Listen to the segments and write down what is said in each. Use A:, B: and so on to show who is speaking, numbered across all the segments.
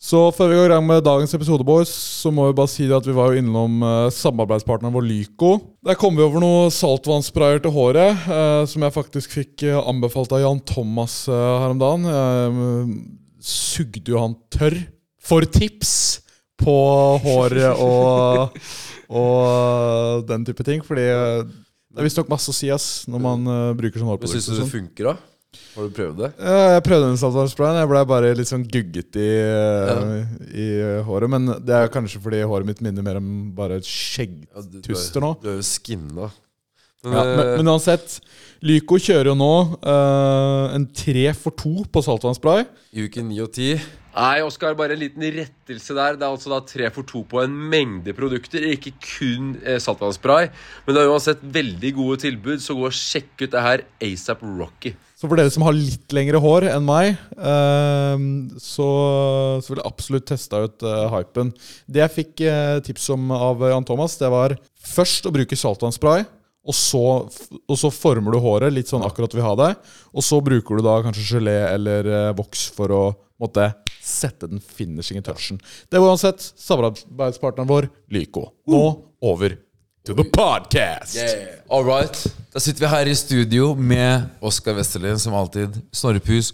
A: Så før vi går i gang med dagens episode, boys, så må vi bare si det at vi var jo innom eh, samarbeidspartneren vår Lyco. Der kom vi over noe saltvannsprayer til håret, eh, som jeg faktisk fikk eh, anbefalt av Jan Thomas eh, her om dagen. Jeg sugde jo han tørr for tips på håret og, og den type ting, fordi eh, det er visstnok masse å si ass, når man eh, bruker sånn
B: Men
A: hårprodukt.
B: Syns
A: og
B: du det
A: sånn.
B: funker, da? Har du prøvd det?
A: Ja, Jeg prøvde den saltvannsprayen. Jeg ble bare litt sånn gugget i, eh, i eh, håret. Men det er kanskje fordi håret mitt minner mer om bare et
B: Ja, du-
A: skjeggtuster
B: du er-
A: nå.
B: Du er jo skinna. Men,
A: Ja, men,
B: eh,
A: men uansett, Lyco kjører jo nå eh, en tre for to på saltvannsspray.
B: i uke 9 og 10
C: Nei, Oskar, bare en liten rettelse der. Det er altså da tre for to på en mengde produkter, ikke kun eh, saltvannsspray. Men det er uansett veldig gode tilbud, så gå og sjekk ut det her ASAP Rocky.
A: Så for dere som har litt lengre hår enn meg, eh, så, så vil jeg absolutt teste ut eh, hypen. Det jeg fikk eh, tips om av Jan Thomas, det var først å bruke saltvannsspray. Og så, og så former du håret litt sånn akkurat du vil ha det. Og så bruker du da kanskje gelé eller eh, voks for å måtte sette den finishing touchen. Det var uansett samarbeidspartneren vår, Lyco. Nå over to the podcast!
B: All right.
D: Da sitter vi her i studio med Oskar Westerlin som alltid, Snorre Pus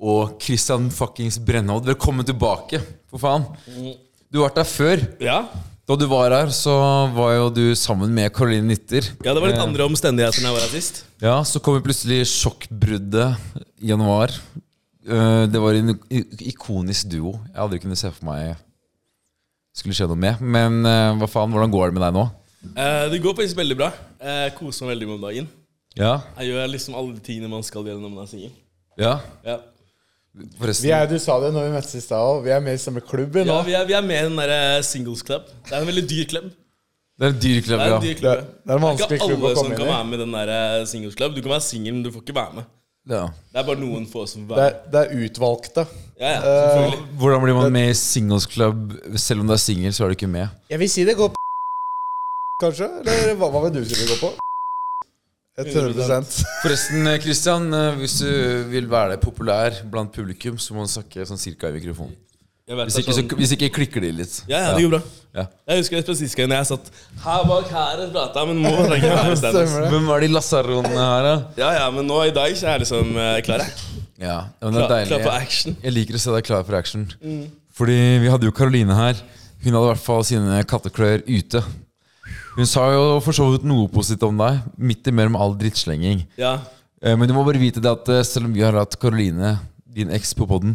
D: og Christian fuckings Brennhold. Velkommen tilbake, for faen. Du har vært her før.
E: Ja.
D: Da du var her, så var jo du sammen med Caroline Nitter.
E: ja, det var litt andre omstendigheter enn jeg var her sist.
D: Ja, så kom jo plutselig sjokkbruddet i januar. Eh, Det var en i- ikonisk duo. Jeg hadde ikke kunnet se for meg skulle skje noe med. Men eh, hva faen, hvordan går det med deg nå?
E: Eh, det går faktisk veldig bra. Eh, Jeg koser meg veldig med om dagen.
D: Ja,
E: Jeg gjør liksom alle de tingene man skal gjøre når man er singel.
D: ja,
E: Ja.
D: forresten.
F: Vi er, du sa det når vi møttes i stad òg. Vi er med i samme klubb nå.
E: Ja, vi, er, vi er med i den der eh, singles club. Det er en veldig dyr club.
D: Det er en dyr
E: Det er
D: klubb,
E: en
D: ja.
E: dyr
F: Det,
E: klubb.
F: det er en
E: Det er
F: vanskelig
E: ikke
F: klubb å
E: alle som
F: komme
E: kan
F: inn i.
E: være med i den der eh, singles club. Du kan være singel, men du får ikke være med.
D: ja.
E: Det er bare noen få som får
F: Det
E: være
F: er,
E: med.
F: det er utvalgte.
E: Ja, ja, selvfølgelig.
D: Hvordan blir man med i singles club? Selv om du er singel, så er du ikke med.
F: Jeg vil si det går på kanskje? Eller hva, hva vil du si det går på? 100
D: Forresten, eh, Christian, eh, hvis du vil være populær blant publikum, så må du snakke sånn cirka i mikrofonen.
E: Jeg vet
D: Hvis
E: det er
D: ikke,
E: sånn-
D: så, hvis ikke klikker de litt.
E: ja, ja, det går bra.
D: Ja.
E: Jeg husker det sist gang jeg satt her bak her og prata, men nå trenger jeg være i stedet.
D: Hvem er de lasaronene her, da?
E: Ja, ja, men nå i dag så er jeg liksom eh, klar, jeg.
D: Ja, men det er
E: Klar,
D: deilig.
E: klar for action. Mm.
D: Jeg liker å se deg klar for action. Fordi vi hadde jo Karoline her. Hun hadde i hvert fall sine katteklør ute. Hun sa jo for så vidt noe positivt om deg, midt imellom all drittslenging.
E: Ja.
D: Eh, Men du må bare vite det at eh, selv om vi har hatt Karoline, din eks, på poden,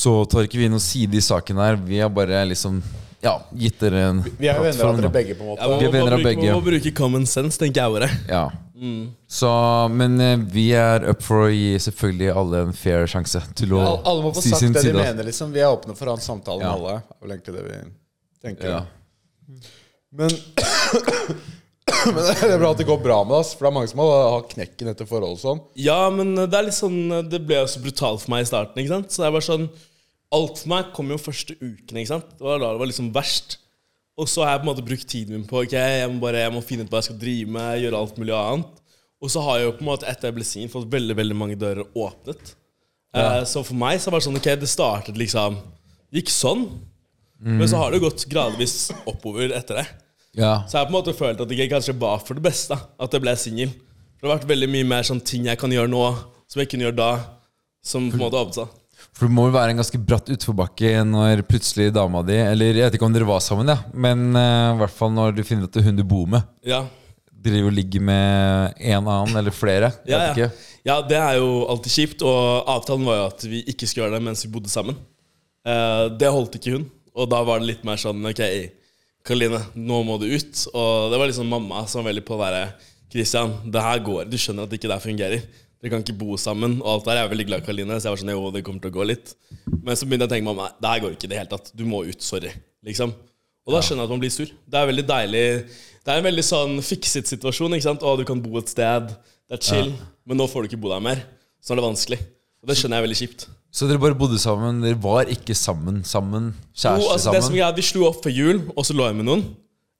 D: så tar ikke vi noen side i saken her. Vi har bare liksom ja, gitt dere en
F: Vi er jo venner av
D: plattform,
F: dere
D: da.
F: begge, på en måte.
E: Ja, man
D: Vi
E: må
D: er venner
E: bare
D: av
E: bruke-
D: begge.
E: Man må bruke common sense, tenker jeg bare.
D: Ja. Så, men eh, vi er up for å gi selvfølgelig alle en fair sjanse til å
F: Al- Alle må få
D: si
F: sagt
D: sin
F: det de
D: side.
F: mener, liksom. Vi er åpne for å ha en samtale med
D: Ja.
F: alle. Det er vel egentlig det vi tenker.
D: Ja.
F: Men, men det er bra at det går bra med oss, for det er mange som har har knekken etter forhold og sånn.
E: Ja, men det er litt sånn Det ble jo så brutalt for meg i starten. ikke sant? Så det er bare sånn Alt for meg kom jo første ukene. ikke sant? Det var da det var liksom verst. Og så har jeg på en måte brukt tiden min på ok, jeg må bare jeg må finne ut hva jeg skal drive med, gjøre alt mulig annet. Og så har jeg jo på en måte etter jeg ble singel, fått veldig veldig mange dører åpnet. Eh, så for meg så var det sånn ok, det startet liksom Gikk sånn. Men så har det jo gått gradvis oppover etter det.
D: Ja.
E: Så jeg har på en måte følt at det ikke kanskje var for det beste da, at jeg ble singel. Det har vært veldig mye mer sånn ting jeg kan gjøre nå, som jeg kunne gjøre da. Som på en måte åpnet seg.
D: For det må jo være en ganske bratt utforbakke når plutselig dama di Eller jeg vet ikke om dere var sammen, ja, men eh, i hvert fall når du finner at det er hun du bor med,
E: Ja.
D: driver og ligger med en annen eller flere. Jeg
E: Ja,
D: vet
E: ja.
D: ikke.
E: ja, det er jo alltid kjipt. Og avtalen var jo at vi ikke skulle gjøre det mens vi bodde sammen. Eh, det holdt ikke hun. Og da var det litt mer sånn OK, Karoline, nå må du ut. Og det var liksom mamma som var veldig på å være Christian, det her går. Du skjønner at det ikke der fungerer. Dere kan ikke bo sammen. Og alt der. Jeg er veldig glad i Karoline, så jeg var sånn jo, det kommer til å gå litt. Men så begynte jeg å tenke mamma, det her går ikke i det hele tatt. Du må ut. Sorry. Liksom. Og da skjønner jeg at man blir sur. Det er veldig deilig Det er en veldig sånn fikset situasjon. ikke sant? Å, du kan bo et sted, det er chill, men nå får du ikke bo der mer. Så er det vanskelig. Og det skjønner jeg er veldig kjipt.
D: Så dere bare bodde sammen? Dere var ikke sammen? sammen Kjæreste
E: Jo, altså, det som
D: sammen?
E: er greia, Vi slo opp for jul, og så lå jeg med noen.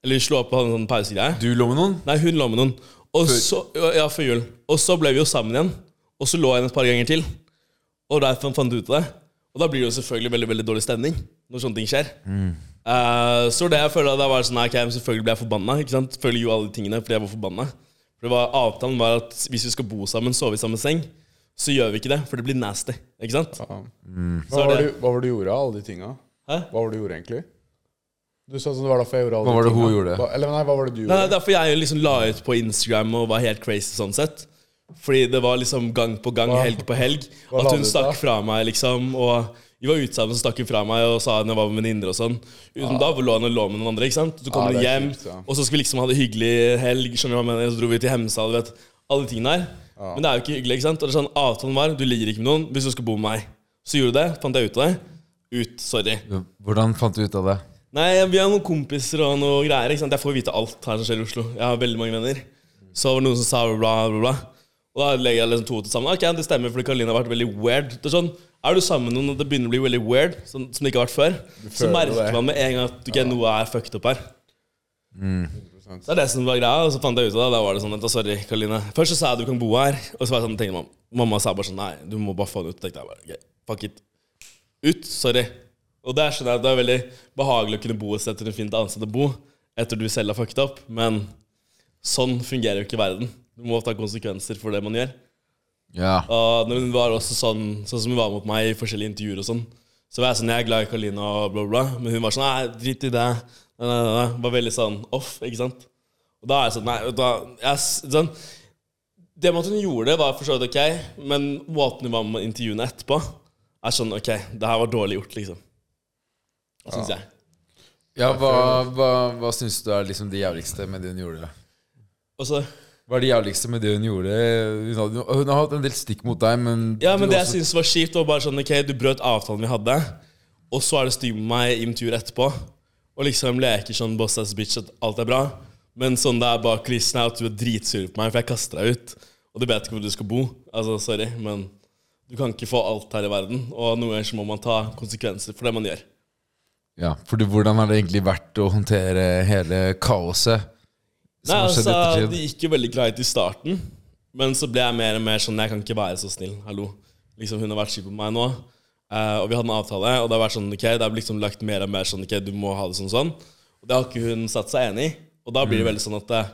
E: Eller vi slo opp på en sånn pausegreie.
D: Du lå med noen?
E: Nei, hun lå med noen. Og så, ja, før jul. Og så ble vi jo sammen igjen. Og så lå jeg henne et par ganger til. Og derfor fant du ut av det. Og da blir det jo selvfølgelig veldig veldig dårlig stemning når sånne ting skjer.
D: Mm.
E: Eh, så det jeg føler at det var sånn, ok, men selvfølgelig ble jeg forbanna. ikke sant? Følger jo alle de tingene fordi jeg var forbanna. For det var, Avtalen var at hvis vi skal bo sammen, sove i samme seng, så gjør vi ikke det, for det blir nasty. ikke sant?
F: Hva
E: er
F: var,
E: det-
F: det, du, hva var det du gjorde av alle de tinga?
E: Hæ?
F: Hva var det du gjorde, egentlig? Du sa sånn, det var derfor jeg gjorde alle
D: Hva var
F: de
D: det hun
F: tinga.
D: gjorde?
F: Hva- Eller nei, hva var det du
E: Nei, nei,
F: gjorde?
E: Derfor jeg liksom la ut på Instagram og var helt crazy sånn sett. Fordi det var liksom gang på gang, helg på helg,
F: Hva la
E: at
F: du
E: hun
F: ut
E: stakk
F: da?
E: fra meg, liksom. Og vi var ute sammen, så stakk hun fra meg og sa hun var med venninner og sånn. Uten da lå hun og lå med noen andre, ikke sant. Så kom
F: Ja,
E: hun
F: Ah. det er
E: hjem,
F: kjipt, ja.
E: og så skulle vi liksom ha det hyggelig helg, skjønner du hva jeg mener. Så dro vi til Hemsedal, du vet. Alle de tingene her.
F: Ah.
E: Men det er jo ikke hyggelig, ikke sant. Og det er sånn, avtalen var du ligger ikke med noen hvis du skal bo med meg. Så gjorde du det, fant jeg ut av det. Ut, sorry.
D: Hvordan fant du ut av det?
E: Nei, vi har noen kompiser og noe greier. Ikke sant? Jeg får vite alt her som skjer i Oslo. Jeg har veldig mange venner. Så var det noen som sa bla, bla, bla. Og da legger jeg liksom to og to sammen. Ok, det stemmer, fordi Karoline har vært veldig weird. Det Er sånn, er du sammen med noen og det begynner å bli veldig weird, sånn, som det ikke har vært før, så
F: føler
E: merker
F: det.
E: man med en gang at ok, noe er fucked up her.
F: Mm.
E: Det er det som var greia, og så fant jeg ut av det. Da var det sånn, vent, sorry, Karoline. Først så sa jeg du kan bo her, og så var jeg sånn, tenkte mamma. Mamma sa bare sånn, nei, du må bare få det ut. Tenkte jeg bare, ok, fuck it ut. Sorry. Og der skjønner jeg at det er veldig behagelig å kunne bo et sted til et fint annet sted å bo etter du selv har fucket opp, men sånn fungerer jo ikke verden. Du må ta konsekvenser for det man gjør.
D: Ja.
E: Og når hun var også sånn Sånn som hun var mot meg i forskjellige intervjuer og sånn, så var jeg sånn Jeg er glad i Karolina og bla, bla, bla, men hun var sånn Nei, drit i det. Nei, nei, nei, nei. Var veldig sånn off, ikke sant? Og da er jeg sånn Nei, vet du hva jeg s- sånn, Det med at hun gjorde det, var for så vidt ok, men måten hun var med intervjuene etterpå, er sånn Ok, det her var dårlig gjort, liksom. Syns jeg.
D: Ja, hva, hva, hva syns du er liksom det jævligste med det hun gjorde?
E: Og så
D: Hva er det jævligste med det hun gjorde? Hun, hadde, hun har hatt en del stikk mot deg, men
E: Ja, men
D: du
E: det
D: også-
E: jeg syntes var kjipt, var bare sånn Ok, du brøt avtalen vi hadde, og så er det stygt med meg i en tur etterpå. Og liksom leker sånn boss ass bitch at alt er bra. Men sånn det er bak kulissene, er at du er dritsur på meg, for jeg kaster deg ut. Og du vet ikke hvor du skal bo. Altså, sorry, men du kan ikke få alt her i verden. Og noen ganger så må man ta konsekvenser for det man gjør.
D: Ja, for du- hvordan har det egentlig vært å håndtere hele kaoset?
E: Nei,
D: har skjedd
E: altså,
D: i ettertid?
E: Det gikk jo veldig greit i starten, men så ble jeg mer og mer sånn Jeg kan ikke være så snill. Hallo. Liksom Hun har vært kjip på meg nå, eh, og vi hadde en avtale. Og det har vært sånn, ok, det har liksom lagt mer og mer sånn Ok, du må ha det sånn sånn. Og det har ikke hun satt seg enig i. Og da
D: Mm.
E: blir det veldig sånn at eh,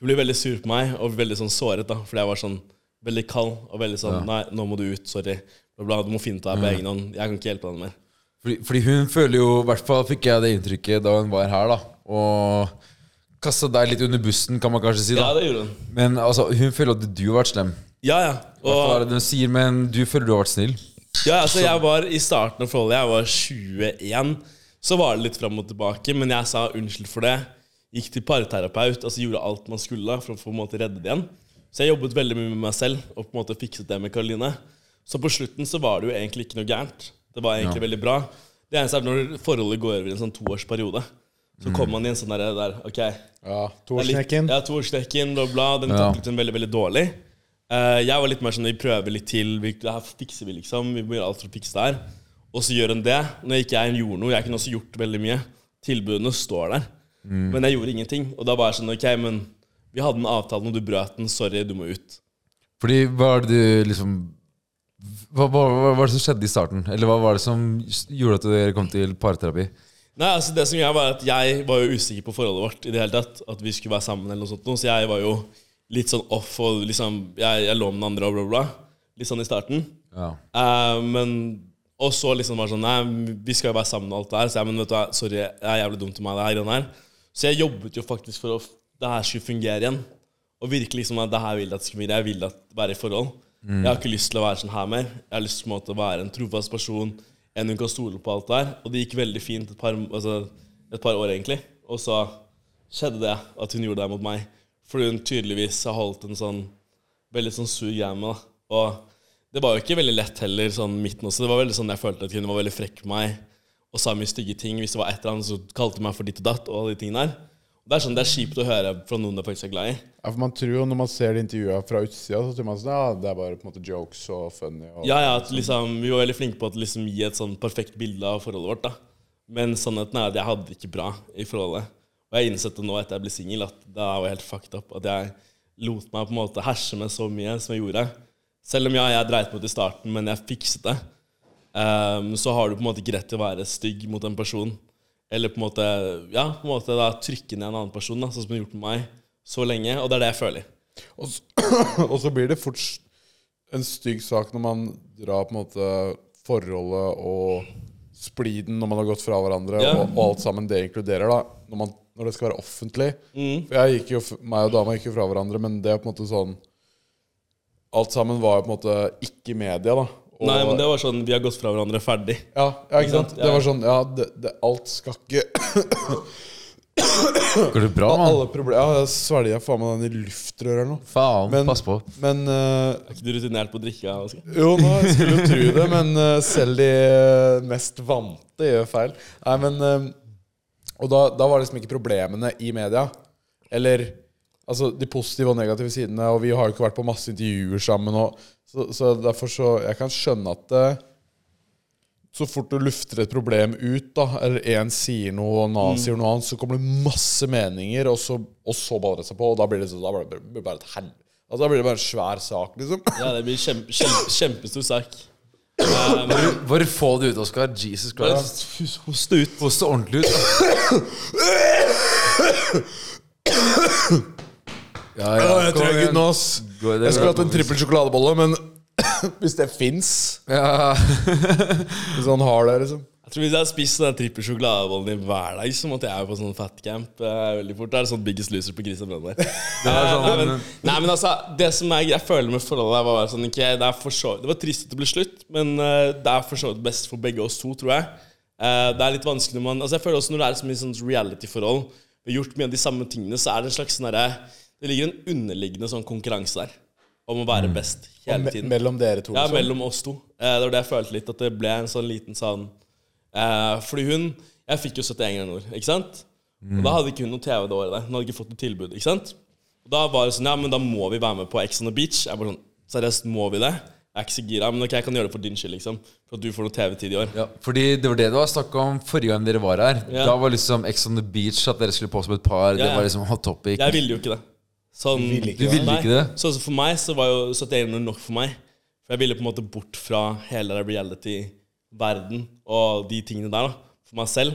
E: hun blir veldig sur på meg, og veldig sånn såret, da, fordi jeg var sånn veldig kald og veldig sånn Nei, nå må du ut. Sorry. Bla, bla, du må finne deg på egen hånd. Jeg kan ikke hjelpe deg mer.
D: Fordi, fordi hun føler jo, i hvert fall fikk jeg det inntrykket da hun var her, da. Og kasta deg litt under bussen, kan man kanskje si.
E: Ja,
D: da
E: det gjorde hun.
D: Men altså, hun føler at du har vært slem.
E: Ja, ja.
D: I hvert fall
E: Og
D: er det det hun sier, men du føler du har vært snill.
E: Ja, altså jeg var I starten av forholdet, jeg var 21, så var det litt fram og tilbake. Men jeg sa unnskyld for det. Gikk til parterapeut, altså gjorde alt man skulle for å på en måte redde det igjen. Så jeg jobbet veldig mye med meg selv og på en måte fikset det med Karoline. Så på slutten så var det jo egentlig ikke noe gærent. Det var egentlig veldig bra. Det eneste er når forholdet går over i en sånn toårsperiode, så kommer man i en sånn derre der, OK,
F: Ja,
E: det er litt-
F: Torsnekken.
E: Ja, Torsnekken, bla, bla. Den
D: Ja.
E: taklet hun veldig, veldig dårlig. Eh, jeg var litt mer sånn vi prøver litt til, vi, det her fikser vi, liksom. Vi må gjøre alt for å fikse det her. Og så gjør hun det. Når ikke jeg gjorde noe, jeg kunne også gjort veldig mye. Tilbudene står der. Men jeg gjorde ingenting. Og da var jeg sånn, ok, men vi hadde en avtale, og du brøt den. Sorry, du må ut.
D: Fordi hva er det du liksom hva, hva, hva var det som skjedde i starten? Eller hva var det som gjorde at dere kom til parterapi?
E: Nei, altså det som jeg var at jeg var jo usikker på forholdet vårt i det hele tatt. At vi skulle være sammen eller noe sånt. noe, Så jeg var jo litt sånn off, og liksom, jeg, jeg lå med den andre og bla, bla. bla. Litt sånn i starten.
D: Ja.
E: Eh, men Og så liksom var det sånn Nei, vi skal jo være sammen og alt det her. Så jeg, men vet du hva, sorry, det er jævlig dumt av meg, det her greiene her. Så jeg jobbet jo faktisk for at det her skulle fungere igjen. Og virkelig liksom at det her vil jeg at det skal fungere. Jeg vil at være i forhold. Jeg har ikke lyst til å være sånn her mer. Jeg har lyst til på en måte å være en trofast person, en hun kan stole på alt det her. Og det gikk veldig fint et par, altså, et par år, egentlig. Og så skjedde det at hun gjorde det mot meg. Fordi hun tydeligvis har holdt en sånn veldig sånn sur greie med da. Og det var jo ikke veldig lett heller, sånn midten også. Det var veldig sånn jeg følte at hun var veldig frekk med meg og sa mye stygge ting. Hvis det var et eller annet, så kalte hun meg for ditt og datt og alle de tingene der. Og det er sånn, det er kjipt å høre fra noen du faktisk er glad i.
F: Ja, for man tror jo Når man ser de intervjua fra utsida, så tror man sånn, ja, det er bare på en måte jokes og funny. Og,
E: Ja, ja, at liksom, vi var veldig flinke på å liksom, gi et sånn perfekt bilde av forholdet vårt, da. Men sannheten er at jeg hadde det ikke bra i forholdet. Og jeg har innsett det nå etter jeg ble singel, at det er jo helt fucked up. At jeg lot meg på en måte herse med så mye som jeg gjorde. Selv om ja, jeg dreit meg ut i starten, men jeg fikset det. Eh, ehm, så har du på en måte ikke rett til å være stygg mot en person. Eller på en måte, ja, på en måte da trykke ned en annen person, da, sånn som du har gjort med meg så lenge. Og det er det jeg føler.
F: Og så, og så blir det fort s- en stygg sak når man drar på en måte forholdet og spliden når man har gått fra hverandre,
E: Ja.
F: og, og alt sammen det inkluderer, da. Når, man, når det skal være offentlig.
E: Mm.
F: For jeg gikk jo, f- meg og dama gikk jo fra hverandre, men det er på en måte sånn Alt sammen var jo på en måte ikke media, da. Og,
E: Nei, men det var sånn, vi har gått fra hverandre ferdig.
F: ja, ja, ikke sant?
E: sant? Ja,
F: Det
E: ja.
F: var sånn Ja, det, det, alt skal ikke
D: Går det bra, mann?
F: Alle problemer Ja, jeg svelger faen meg den i luftrøret eller noe.
D: Faen,
F: Men-
D: pass på.
F: Men eh,
E: Er ikke du rutinert på å drikke? Aske?
F: Jo, nå jeg skulle jo tro det, men eh, selv de eh, mest vante gjør feil. Nei, men eh, Og da, da var liksom ikke problemene i media. Eller altså de positive og negative sidene, og vi har jo ikke vært på masse intervjuer sammen. Og, så, så derfor så Jeg kan skjønne at det, så fort du lufter et problem ut, da, eller én sier noe, og en annen sier noe annet, så kommer det masse meninger, og så, og så baller det seg på, og da blir det, så, da blir det bare et helvete. Altså, da blir det bare en svær sak, liksom.
E: Ja, det blir kjempe, kjempe, kjempestor sak. Ehm,
D: Bare få det ut, Oskar. Jesus Christ.
E: bare Host det ut.
D: Post det ordentlig ut. Ja, ja.
F: Å, jeg tror jeg er good nå, ass.
D: Går det
F: Jeg skulle
D: bra,
F: hatt en
D: kompis?
F: trippel sjokoladebolle, men hvis det fins
D: Ja.
F: Hvis han har det, liksom.
E: Jeg tror Hvis jeg hadde spist den trippel sjokoladebollen din hver dag, så måtte jeg jo på sånn fatcamp eh, veldig fort. Det er sånn Biggest Loser på Gris og Brønn der. nei, men, nei, men altså, det som jeg, jeg føler med forholdet der, var bare sånn ok, det, er for så, det var trist at det ble slutt, men eh, det er for så vidt best for begge oss to, tror jeg. Eh, det er litt vanskelig når man Altså, jeg føler også når det er så mye sånn reality-forhold, vi har gjort mye av de samme tingene, så er det en slags sånn derre Det ligger en underliggende sånn konkurranse der om å være best hele
F: Me
E: tiden.
F: mellom dere to.
E: Ja,
F: Liksom.
E: mellom oss to. Eh, det var det jeg følte litt, at det ble en sånn liten sånn eh, Fordi hun Jeg fikk jo 71 grader nord, ikke sant? Og
F: Mm.
E: da hadde ikke hun noe TV det året der. Hun hadde ikke fått noe tilbud, ikke sant? Og da var det sånn Ja, men da må vi være med på Ex on the Beach. Jeg bare sånn Seriøst, må vi det? Jeg er ikke så gira, men ok, jeg kan gjøre det for din skyld, liksom. For at du får noe TV-tid i år.
D: Ja, fordi Det var det det var snakk om forrige gang dere var her.
E: Ja.
D: Da var liksom Ex on the beach at dere skulle på som et par.
E: Ja,
D: Det
E: ja.
D: var liksom hot topic.
E: Jeg ville jo ikke det. Sånn,
D: Du ville
E: Nei.
D: ikke det?
E: Så så for meg så var jo 71 år nok for meg. For jeg ville på en måte bort fra hele den reality-verden og de tingene der, da. For meg selv.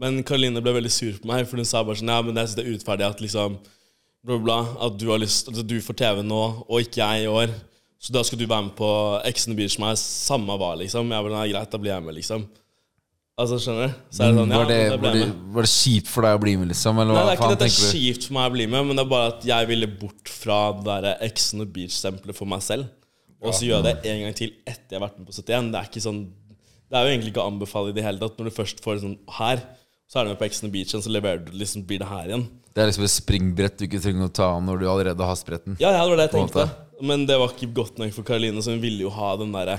E: Men Karoline ble veldig sur på meg, for hun sa bare sånn Ja, men jeg synes det er urettferdig at liksom bla, bla, bla, at du har lyst At du får TV nå, og ikke jeg i år. Så da skal du være med på Ex on the Beach med meg, samme hva, liksom. Jeg bare Nei, greit, da blir jeg med, liksom. Altså, skjønner du? Så er det sånn, ja,
D: var, det,
E: men da
D: var,
E: blir jeg
D: det,
E: med.
D: var det kjipt for deg å bli med, liksom? Eller
E: Nei, det
D: hva
E: er ikke
D: faen
E: at det er
D: tenker du?
E: kjipt for meg å bli med, men det er bare at jeg ville bort fra det der Ex on the Beach-stempelet for meg selv. Og så gjør jeg det en gang til etter jeg har vært med på 71. Det er ikke sånn Det er jo egentlig ikke å anbefale i det hele tatt. Når du først får sånn her, så er du med på Ex on the Beach, og så leverer du liksom blir det her igjen.
D: Det er liksom et springbrett du ikke trenger å ta av når du allerede har spretten.
E: Ja, ja, det var det jeg
D: På en
E: tenkte. Men det var ikke godt nok for Karoline, så hun ville jo ha den derre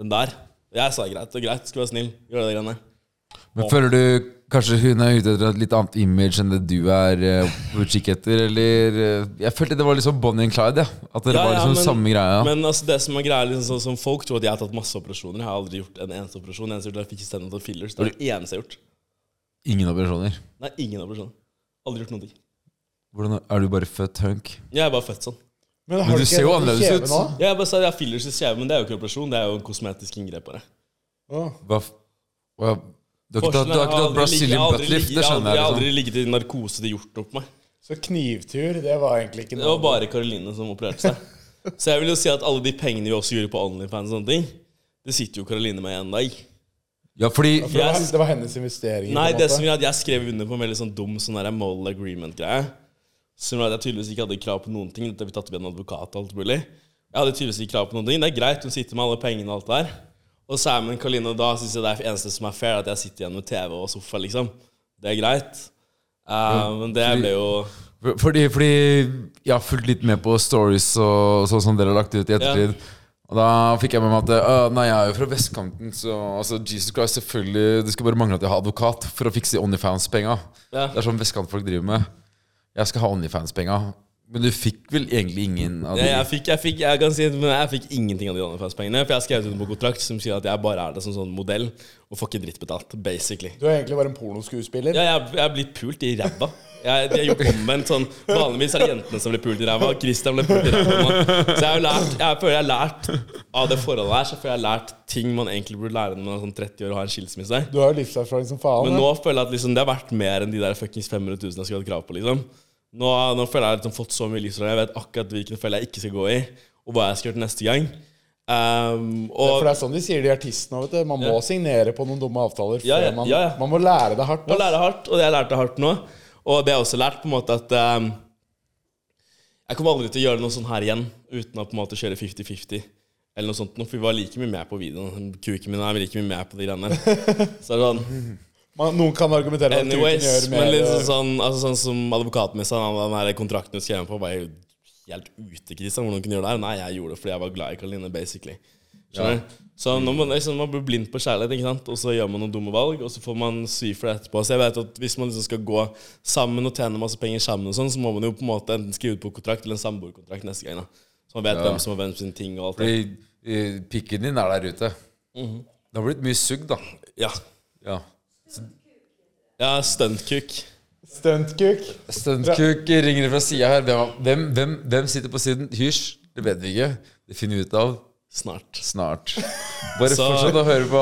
E: Den der. Jeg sa greit, det er greit, skal være snill. Gjør det greiene.
D: Men føler du kanskje hun er ute etter et litt annet image enn det du er eh, på utkikk etter? Eller eh, Jeg følte det var liksom Bonnie and Clyde, ja. At dere
E: Ja,
D: var
E: ja,
D: liksom
E: men-
D: samme greia.
E: Men altså det som er greia liksom, sånn som Folk tror at jeg har tatt masse operasjoner. Jeg har aldri gjort en eneste operasjon. Jeg eneste jeg gjorde, var at jeg fikk stenoid og fillers. Det er det eneste jeg har gjort.
D: Ingen operasjoner.
E: Nei, ingen operasjoner. Aldri gjort noen ting.
D: Hvordan er- Er du bare født hunk?
E: Jeg er bare født sånn.
F: Men,
D: Men
F: har
D: du
F: ikke
D: ser jo
F: en
D: annerledes
F: kjeve
D: ut.
F: nå?
E: Jeg er bare sa jeg har fillers i kjeven, men det er jo ikke operasjon. Det er jo en kosmetisk inngrep. bare.
D: Hva, f- hva, du har ikke tatt,
E: Forskjellen
D: du har ikke
E: er at
D: tatt
E: jeg
D: Brazilian
E: har aldri
D: buttlift,
E: ligget-
D: det skjønner
E: Jeg har
D: jeg.
E: aldri
D: liksom
E: ligget i narkose det gjort noe på meg.
F: Så knivtur, det var egentlig ikke
E: Det var bare Karoline som opererte seg. Så jeg vil jo si at alle de pengene vi også gjorde på Onlyfans og sånne ting, det sitter jo Karoline med en dag.
D: Ja, fordi
F: For det, var,
E: Yes.
F: det var hennes investeringer.
E: Nei,
F: på en
E: det
F: måte.
E: som gjør at jeg skrev under på en veldig sånn dum sånn der moral agreement-greie. Som gjør at jeg tydeligvis ikke hadde krav på noen ting. Dette har vi tatt ved en advokat og alt mulig. Jeg hadde tydeligvis ikke krav på noen ting. Det er greit, hun sitter med alle pengene og alt det der. Og Simon Kaline, og da syns jeg det er det eneste som er fair, at jeg sitter igjen med TV og sofa, liksom. Det er greit. Eh, men det ble jo
D: For- Fordi, fordi jeg har fulgt litt med på stories og sånn som dere har lagt ut i ettertid. Og da fikk jeg med meg at «Å, Nei, jeg er jo fra vestkanten, så altså, Jesus Christ, selvfølgelig Det skulle bare mangle at jeg har advokat for å fikse Onlyfans-penga.
E: Ja.
D: Det er sånn vestkantfolk driver med. Jeg skal ha Onlyfans-penga. Men du fikk vel egentlig ingen av de
E: Jeg, jeg, fikk, jeg, fikk, jeg kan si det, men jeg fikk ingenting av de Danefast-pengene. For jeg har skrevet under på kontrakt som sier at jeg bare er der som sånn modell og får ikke dritt betalt. Basically.
F: Du er egentlig bare en pornoskuespiller.
E: Ja, jeg, jeg er blitt pult i ræva. Jeg, de har gjort omvendt sånn Vanligvis er det jentene som blir pult i ræva. og Christian ble pult i ræva. nå. Så jeg, har jo lært, jeg føler jeg har lært av det forholdet her Så føler jeg har lært ting man egentlig burde lære når man er sånn 30 år og har en skilsmisse.
F: Du har jo livserfaring som faen.
E: Men
F: ja.
E: nå føler jeg at liksom, det er verdt mer enn de der fuckings 500 000 jeg skulle hatt krav på. liksom Nå, nå føler jeg at jeg har fått så mye livsråd. Jeg vet akkurat hvilken felle jeg ikke skal gå i, og hva jeg skal gjøre til neste gang. Ehm, og
F: For det er sånn de sier de artistene òg, vet du. Man må
E: Ja.
F: signere på noen dumme avtaler.
E: Ja, ja,
F: før man,
E: ja, ja.
F: man må lære det hardt.
E: må
F: ass.
E: lære hardt, og det har jeg lært det hardt nå. Og det har jeg også lært på en måte at ehm, Jeg kommer aldri til å gjøre noe sånn her igjen uten å på en måte kjøre 50-50. Eller noe sånt, nå, for vi var like mye med på videoen. Kuken min er like mye med på de greiene der. Så er det sånn
F: Man, noen kan argumentere at du kan
E: Anyways,
F: gjøre mer.
E: men liksom sånn, altså sånn som advokaten min sa, han- den her kontrakten du skrev på, var jo helt ute, Kristian. Hvordan kunne du gjøre det her? Nei, jeg gjorde det fordi jeg var glad i Karoline, basically. Skjønner du? Så når man, liksom, man blir blind på kjærlighet, ikke sant? og så gjør man noen dumme valg, og så får man sy for det etterpå. Så jeg vet at hvis man liksom skal gå sammen og tjene masse penger sammen, og sånn, så må man jo på en måte enten skrive ut på kontrakt eller en samboerkontrakt neste gang. da. Så man vet hvem som har hvem sin ting og alt det.
D: Fordi eh, pikken din er der ute.
E: Mhm.
D: Det har blitt mye sugg, da.
E: Ja.
D: Ja.
E: ja stuntkuk.
F: Stuntkuk.
D: Stuntkuk ringer fra sida her. Hvem, hvem, hvem, hvem sitter på siden? Hysj, det vet vi ikke. Det finner vi ut av
E: Snart.
D: snart. Bare
E: Så-
D: fortsett å høre på.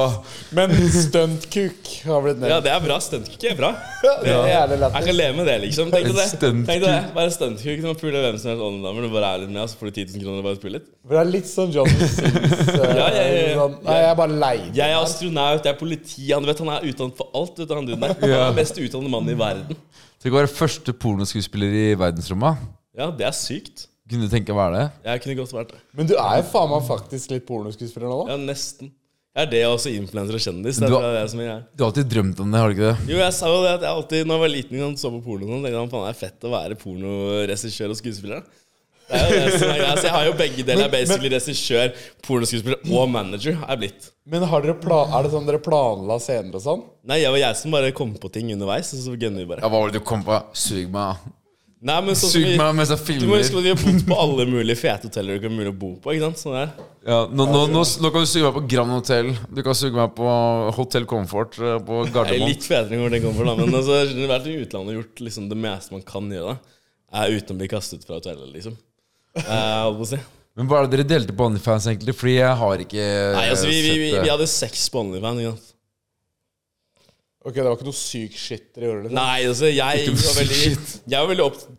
F: Men stuntkuk har blitt
E: Ja,
F: nevnt.
E: det er bra. Stuntkuk er bra.
F: Det er jævlig
E: Jeg
F: lættis.
E: kan leve med det, liksom. Tenk deg det.
D: Stuntkuk.
E: Tenk deg det. Bare stuntkuk. Du må pule hvem som helst online-damer. Du bare er litt med, og så får du 10 000 kroner bare å spille litt.
F: For det er litt sånn John Sims eh,
E: Ja, ja, ja, ja.
F: sånn, Nei, jeg er bare lei.
E: Jeg er astronaut, jeg er politi. Han, vet, han er utdannet for alt, vet du, han duden der. Han er den mest utdannede mannen i verden.
D: Tenk å være første pornoskuespiller i verdensrommet.
E: Ja, det er sykt.
D: Kunne du tenke å være det?
E: Jeg kunne godt vært det.
F: Men du er jo faen meg faktisk litt pornoskuespiller nå, da.
E: Ja, nesten. Jeg er det og også influenser og kjendis. Det
D: Du
E: er
D: har-
E: det jeg som jeg er.
D: Du har alltid drømt om det, har du ikke det?
E: Jo, jeg sa jo det at jeg alltid, når jeg var liten, ikke sant, så på porno, og sånn, tenkte jeg faen, det er fett å være pornoregissør og skuespiller. da. Det er jo det som er greia. Så jeg har jo begge deler. Jeg er basically regissør, pornoskuespiller og manager. er jeg blitt.
F: Men har dere pla er det sånn dere planla scener og sånn?
E: Nei, jeg var jeg som bare kom på ting underveis, og så gønner vi bare.
D: Ja, hva var det du kom på? Sug meg.
E: Nei, men sånn som
D: Sug
E: vi,
D: meg mens jeg
E: Du må huske
D: filmer.
E: at vi har bodd på alle mulige fete hoteller det ikke er mulig å bo på. ikke sant? Sånn der.
D: Ja, nå, nå, nå, nå kan du suge meg på Grand Hotel. Du kan suge meg på Hotel Comfort eh, på
E: Jeg er
D: Gardermoen.
E: litt fetere enn hvor det kommer fra, men altså, jeg har vært i utlandet og gjort liksom, det meste man kan gjøre da. Er uten å bli kastet fra hotellet, liksom. Eh, holdt på å si.
D: Men hva er det dere delte på OnlyFans, egentlig? Fordi jeg har ikke
E: Nei, altså, vi, vi, vi,
D: sett eh,
E: vi
D: det.
E: hadde sex på OnlyFan. ikke sant?
F: Ok, det var ikke noe syk shit dere gjorde? Liksom.
E: Nei, altså, jeg var veldig, jeg var veldig opptatt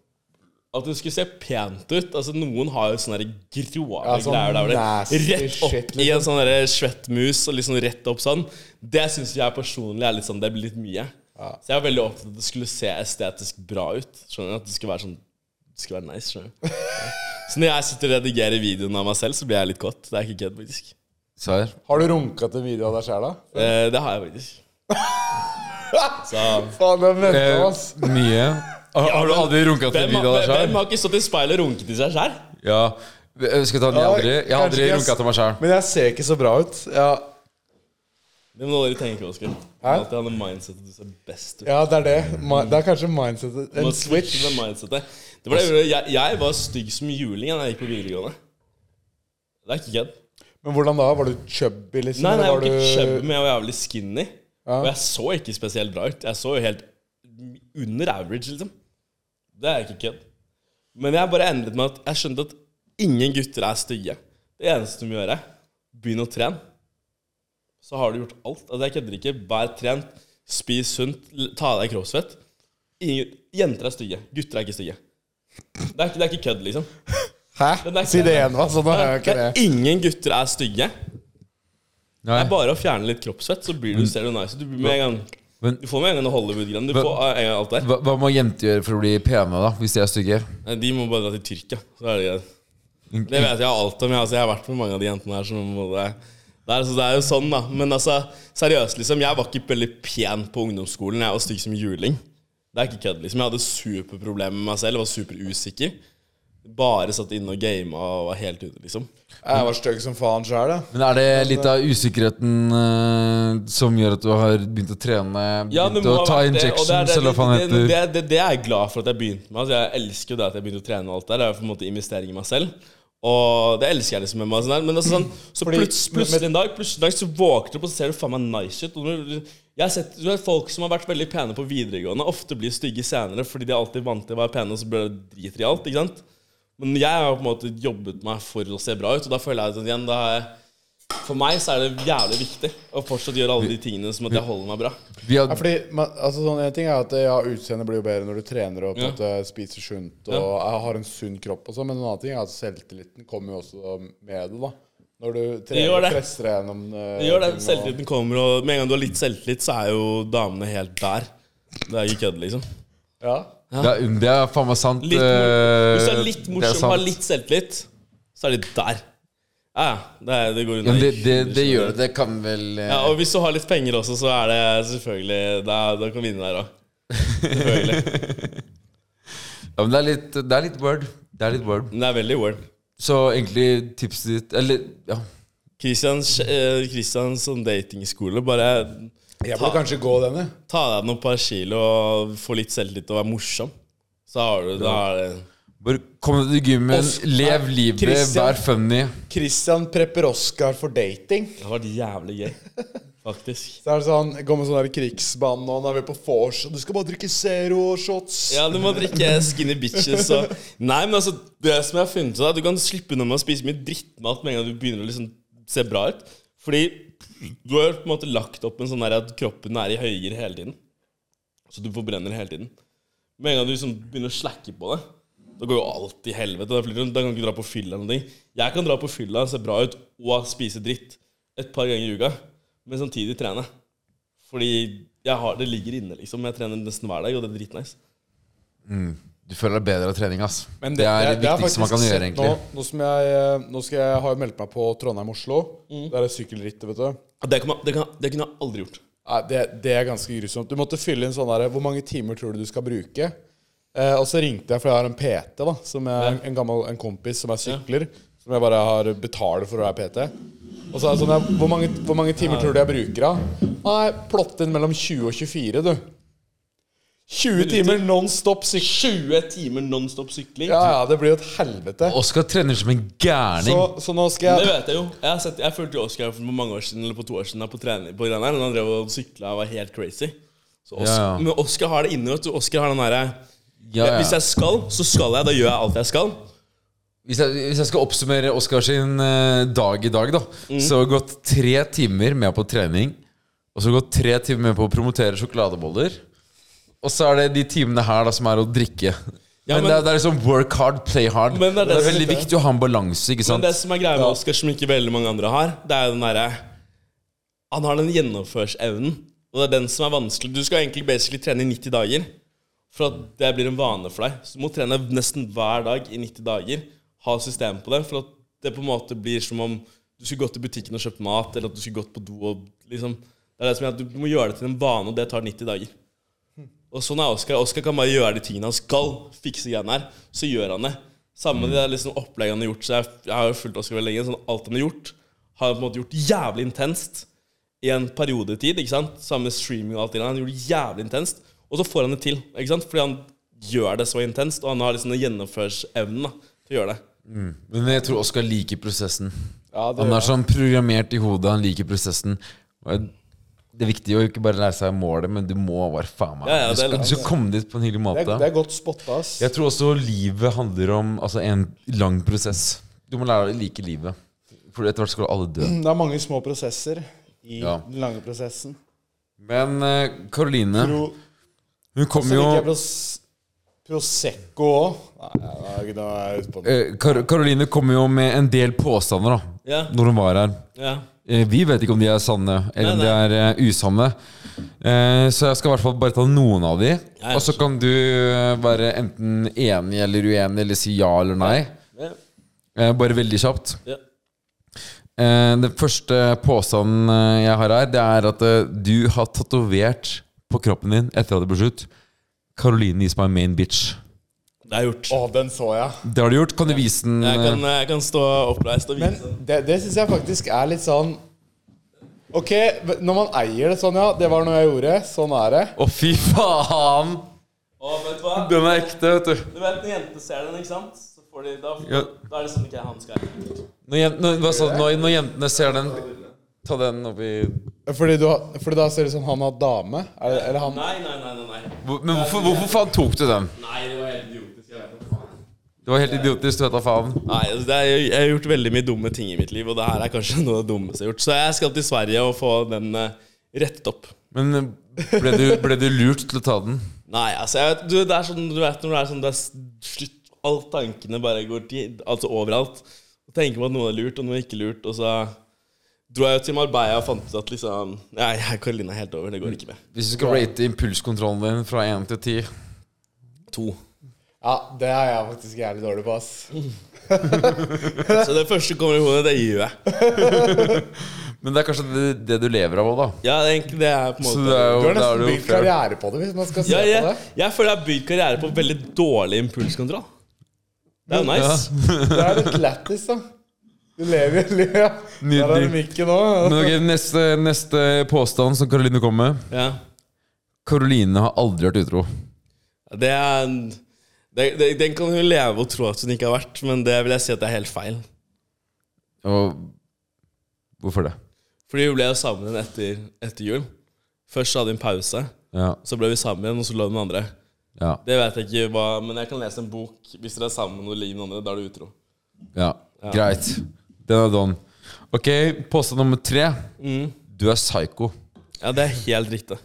E: at det skulle se pent ut. Altså, Noen har jo sånne der grove
F: Ja, sånn
E: greier der hvor
F: nasty
E: det rett opp
F: shit, liksom.
E: i en sånn der svettmus og liksom rett opp sånn. Det syns jeg personlig er litt sånn, det blir litt mye. Så jeg var veldig opptatt av at det skulle se estetisk bra ut. Skjønner du? At det skulle være sånn Det skulle være nice. skjønner du? Så når jeg sitter og redigerer videoen av meg selv, så blir jeg litt kåt. Det er ikke kødd, faktisk.
D: Så her.
F: Har du runka til video av deg sjæl, da?
E: Eh, det har jeg faktisk. Så
F: Faen, det er venta,
D: Eh,
F: ass.
D: mye. Har, har du
E: men
D: aldri runka til
E: hvem,
D: video av deg
E: hvem, hvem
D: sjøl?
E: har ikke stått i speilet og runket til seg sjæl?
D: Ja. Jeg Skal jeg ta den? Jeg har aldri, jeg har
F: Kanskje
D: aldri
F: ikke, ass.
D: runka til meg sjøl.
F: Men jeg ser ikke så bra ut. Ja,
E: Det må dere tenke på, Oskar.
F: Hæ?
E: Alltid ha det mindsetet du ser best ut.
F: ja det er det. Ma- Det er kanskje mindsetet.
E: Du må
F: En
E: switche
F: switch.
E: det mindsetet. Det var det, jeg gjorde. jeg, jeg var stygg som juling da jeg gikk på videregående. Det er ikke kødd.
F: Men hvordan da? Var du chubby, liksom?
E: Nei, nei, jeg
F: eller
E: var ikke chubby,
F: du...
E: men jeg var jævlig skinny. Og jeg så ikke spesielt bra ut. Jeg så jo helt under average, liksom. Det er ikke kødd. Men jeg bare endret meg at jeg skjønte at ingen gutter er stygge. Det eneste du må gjøre, begynn å trene. Så har du gjort alt. Altså, jeg kødder ikke. Vær trent, spis sunt, l- ta av deg kroppsfett. Ingen, jenter er stygge. Gutter er ikke stygge. Det er ikke, det er ikke kødd, liksom. Men det
F: Hæ?
E: er ikke-
F: Si det igjen, hva? Sånn er
E: Det
F: jo ikke
E: er
F: det.
E: ingen gutter er stygge.
D: Nei.
E: Det er bare å fjerne litt kroppsfett, så blir du, ser du nice ut. Du, blir med en gang-
D: Men
E: du får med en gang noe Hollywood-gren. Du
D: Men-
E: får eh, en gang alt der.
D: hva, hva må jenter gjøre for å bli pene, da? Hvis de er stygge?
E: Nei, De må bare dra til Tyrkia. Så er det greit. Det vet jeg alt om. Jeg, altså, jeg har vært med mange av de jentene her. Som, det, det, er, så det er jo sånn, da. Men altså, seriøst, liksom. Jeg var ikke veldig pen på ungdomsskolen. Jeg var stygg som juling. Det er ikke kødd, liksom. Jeg hadde superproblemer med meg selv. Jeg var superusikker. Bare satt inne og gama og var helt ute, liksom.
F: Jeg var stygg som faen sjøl, jeg.
D: Men er det
E: Altså-
D: litt av usikkerheten eh, som gjør at du har begynt å trene?
E: Ja, det
D: Begynt
E: må
D: å
E: ha
D: ta
E: vært det, og det er
D: injections,
E: det-
D: eller hva faen
E: det, det,
D: heter?
E: det, det er jeg glad for at jeg begynte med. Altså, jeg elsker jo det at jeg begynte å trene. og alt der Det er jo på en måte investering i meg selv. Og det elsker jeg liksom med meg. og Sånn der. Men altså, sånn, så pluts- plutselig en dag Plutselig en dag så våkner du opp, og så ser du faen meg nice ut. Og når du- Jeg har sett du vet, Folk som har vært veldig pene på videregående, ofte blir stygge senere fordi de er alltid vant til å være pene, og så blir det driter i alt. ikke sant? Men jeg har på en måte jobbet meg for å se bra ut, og da føler jeg at igjen, da har jeg for meg så er det jævlig viktig å fortsatt gjøre alle de tingene som at jeg holder meg bra.
D: Vi har,
F: Ja, fordi, man, altså sånn En ting er at ja, utseendet blir jo bedre når du trener og på en måte spiser sunt og har en sunn kropp, og sånn, men en annen ting er at selvtilliten kommer jo også med det. da Når du
E: gjør
F: trener
E: det.
F: og presser deg gjennom eh,
E: Det gjør det.
F: ting og-
E: Selvtilliten kommer, og med en gang du har litt selvtillit, så er jo damene helt der. Det er ikke kødd, liksom.
F: Ja.
D: det, er, det er faen meg sant.
E: Litt
D: eh,
E: mor- Hvis du er litt
D: det er
E: morsom og
D: sant.
E: har litt selvtillit, så er de der. Ja, ja. Det, er- det går
D: Ja,
E: unna.
D: men det, det,
E: ikke-
D: det gjør det. Det kan vel eh,
E: Ja, og hvis du har litt penger også, så er det selvfølgelig Da, da kan vi vinne der òg. Selvfølgelig.
D: ja, men det, er litt, det er litt word. Det er litt word.
E: Men det er veldig word.
D: Så egentlig tipset ditt Eller ja.
E: Christians, eh, Christians sånn datingskole, bare
F: Jeg burde kanskje gå denne.
E: Ta deg noen par kilo og få litt selvtillit og være morsom. Så har du da er det
D: Bare kom deg til gymmen,
F: Oss-
D: lev
F: Nei,
D: livet,
F: Christian.
D: vær funny.
F: Christian prepper Oscar for dating.
E: Det har vært jævlig gøy, faktisk.
F: Så er det sånn, Går med sånn der krigsband og nå er vi på vors, og du skal bare drikke zero shots.
E: Ja, du må drikke skinny bitches og Nei, men altså, det som jeg har funnet ut, er at du kan slippe unna med å spise mye drittmat med en gang du begynner å liksom se bra ut. Fordi du har på en måte lagt opp en sånn der at kroppen er i høygir hele tiden. Så du forbrenner hele tiden. Med en gang du liksom begynner å slakke på det, da går jo alt til helvete. Da, flyr du rundt, da kan du ikke dra på fylla eller noe. Jeg kan dra på fylla, se bra ut og spise dritt et par ganger i uka, men samtidig trene. Fordi jeg har, det ligger inne, liksom. Jeg trener nesten hver dag, og det er dritnice.
D: Du føler deg bedre av trening, ass.
F: Men
D: det, er det,
F: har
D: viktigste man
F: faktisk
D: kan
F: sett
D: gjøre, egentlig.
F: Nå, nå, som jeg, eh, nå skal jeg, har jeg meldt meg på Trondheim-Oslo.
E: Mm.
F: Der er det sykkelrittet, vet du.
E: Det, kan man, det, kan, det kunne jeg aldri gjort.
F: Nei, det, det er ganske grusomt. Du måtte fylle inn sånn der Hvor mange timer tror du du skal bruke? Eh, og så ringte jeg, for jeg har en PT, da som jeg, en gammel en kompis som er sykler. Som jeg bare har betaler for å være PT. Og så er det sånn der, hvor, mange, hvor mange timer tror du jeg bruker av? Nei, plott inn mellom 20 og 24, du. 20 timer non stop sykling.
E: 20 timer nonstop sykling.
F: Ja, ja, det blir jo et helvete.
D: Oskar trener som en
F: Så,
D: gærning.
F: så nå skal
E: Det
F: jeg
E: vet jeg jo. Jeg, har sett, jeg fulgte jo Oskar for mange år siden Eller på to år siden da, på trening på Granheim. Han drev og sykla og var helt crazy. Så Os-
D: Ja, ja.
E: Men Oskar har det inne. vet du. Oskar har den derre
D: Ja, ja.
E: Hvis jeg skal, så skal jeg. Da gjør jeg alt jeg skal.
D: Hvis jeg, hvis jeg skal oppsummere Oskar sin eh, dag i dag, da Så har vi gått tre timer med på trening. Og så har vi gått tre timer med på å promotere sjokoladeboller. Og så er det de timene her da som er å drikke.
E: Ja,
D: men,
E: men-
D: det, er, det er liksom work hard, play hard.
E: Men det er det som-
D: veldig viktig å ha en balanse. ikke
E: Men
D: sant?
E: det som er greia med Oskar, som ikke veldig mange andre har, det er jo den derre Han har den gjennomførsevnen, og det er den som er vanskelig. Du skal egentlig basically trene i 90 dager for at det blir en vane for deg. Så du må trene nesten hver dag i 90 dager. Ha system på det, for at det på en måte blir som om du skulle gått til butikken og kjøpt mat, eller at du skulle gått på do og liksom Det er det som gjør at du må gjøre det til en vane, og det tar 90 dager. Og sånn er Oskar. Oskar kan bare gjøre de tingene han skal. Fikse greiene her. Så gjør han det. Samme med det liksom opplegget han har gjort. Så jeg, jeg har jo fulgt Oskar veldig lenge. Sånn alt han har gjort, har han på en måte gjort jævlig intenst i en periodetid. ikke sant? Samme med streaming og alt det der. Han gjorde det jævlig intenst. Og så får han det til. ikke sant? Fordi han gjør det så intenst, og han har liksom den gjennomførsevnen da, til å gjøre det.
D: Men jeg tror Oskar liker prosessen.
F: Ja, det
D: han
F: gjør
D: er sånn programmert i hodet, han liker prosessen. Og Det er viktig å ikke bare lære seg målet, men du må bare faen meg
E: Ja,
D: Du
E: ja, det er
D: skal, du skal komme dit på en hyggelig
F: Det
D: måte.
F: er, det er godt spotta, ass.
D: Jeg tror også livet handler om altså, en lang prosess. Du må lære deg å like livet. For etter hvert skal alle dø.
F: Det er mange små prosesser i
D: Ja.
F: den lange prosessen.
D: Men Karoline,
F: Pro,
D: hun kom
F: så
D: jo
F: liker jeg pros, Prosecco òg. Nei, nei, nå er jeg ute på den.
D: eh, Kar- Karoline kom jo med en del påstander da
E: Ja.
D: Når hun var her.
E: Ja.
D: Eh, Vi vet ikke om de er sanne, eller om de er eh, usanne. Eh, Så jeg skal i hvert fall bare ta noen av de.
E: Ja, ja,
D: Og så kan du eh, være enten enig eller uenig, eller si ja eller nei.
E: Ja.
D: Eh, Bare veldig kjapt.
E: Ja.
D: Eh, Den første påstanden eh, jeg har her, det er at eh, du har tatovert på kroppen din etter at det ble slutt. Karoline is my main bitch.
E: Det er gjort.
F: Å, den så jeg.
D: Det har du gjort. Kan du vise den?
E: Jeg
D: eh,
E: kan, jeg kan stå oppreist og
F: Men
E: vise.
F: det, det syns jeg faktisk er litt sånn Ok, når man eier det sånn, ja. Det var noe jeg gjorde. Sånn er
D: eh?
F: det.
B: Å, fy faen!
E: Å, vet du hva?
B: Den er ekte, vet du.
E: Du vet når jenter ser den, ikke sant? Så får de, da,
D: Ja.
E: da er det sånn ikke jeg han skal.
D: Når, jen- når, hva sa du? når, når jentene ser den Ta den oppi
F: Fordi, du, har- fordi da ser det ut som han har dame. Er, det- eller han
E: Nei, nei, nei, nei, nei.
D: Hvor- Men hvorfor, hvorfor faen tok du den?
E: Nei, det var helt idiotisk. Jeg vet ikke.
D: Det var helt idiotisk, du vet da faen.
E: Nei, altså, det er, jeg har gjort veldig mye dumme ting i mitt liv, og det her er kanskje noe av det dummeste jeg har gjort. Så jeg skal til Sverige og få den eh, rettet opp.
D: Men eh, ble du, ble du lurt til å ta den?
E: Nei, altså, jeg vet, du, det er sånn, du vet når det er sånn, det er s- slutt, alle tankene bare går til, altså overalt. Og tenker på at noe er lurt, og noe er ikke lurt, og så dro jeg jo til Marbella og fant ut at liksom, nei, Karoline er helt over, det går ikke med.
D: Hvis du skal rate impulskontrollen din fra 1 til 10
E: To.
F: Ja, det er jeg faktisk jævlig dårlig på, ass.
E: Så det første som kommer i hodet, det gjør jeg.
D: Men det er kanskje det, det du lever av òg, da.
E: Ja, det er egentlig det er på en
D: Så
E: måte.
D: det er jo,
F: Du
D: da er
F: har nesten
D: det jo
F: bygd
D: fair.
F: karriere på det, hvis man skal se
E: Ja,
F: på
E: jeg,
F: det.
E: jeg føler jeg har bygd karriere på veldig dårlig impulskontroll. Det er jo nice.
F: Det er litt lættis, da. Du lever jo livet. Der er det mikken altså. òg.
D: Men ok, neste, neste påstand som Karoline kom med.
E: Ja.
D: Karoline har aldri vært utro.
E: Det er, det, det, den kan hun leve og tro at hun ikke har vært, men det vil jeg si at det er helt feil.
D: Og hvorfor det?
E: Fordi vi ble jo sammen etter, etter jul. Først hadde vi en pause,
D: Ja,
E: så ble vi sammen igjen, og så lå den andre.
D: ja,
E: Det vet jeg ikke hva Men jeg kan lese en bok. Hvis dere er sammen og ligger med noen andre, da er du utro.
D: ja. Greit. Den er done. Ok, påstand nummer tre. Du er psycho.
E: Ja, det er helt riktig.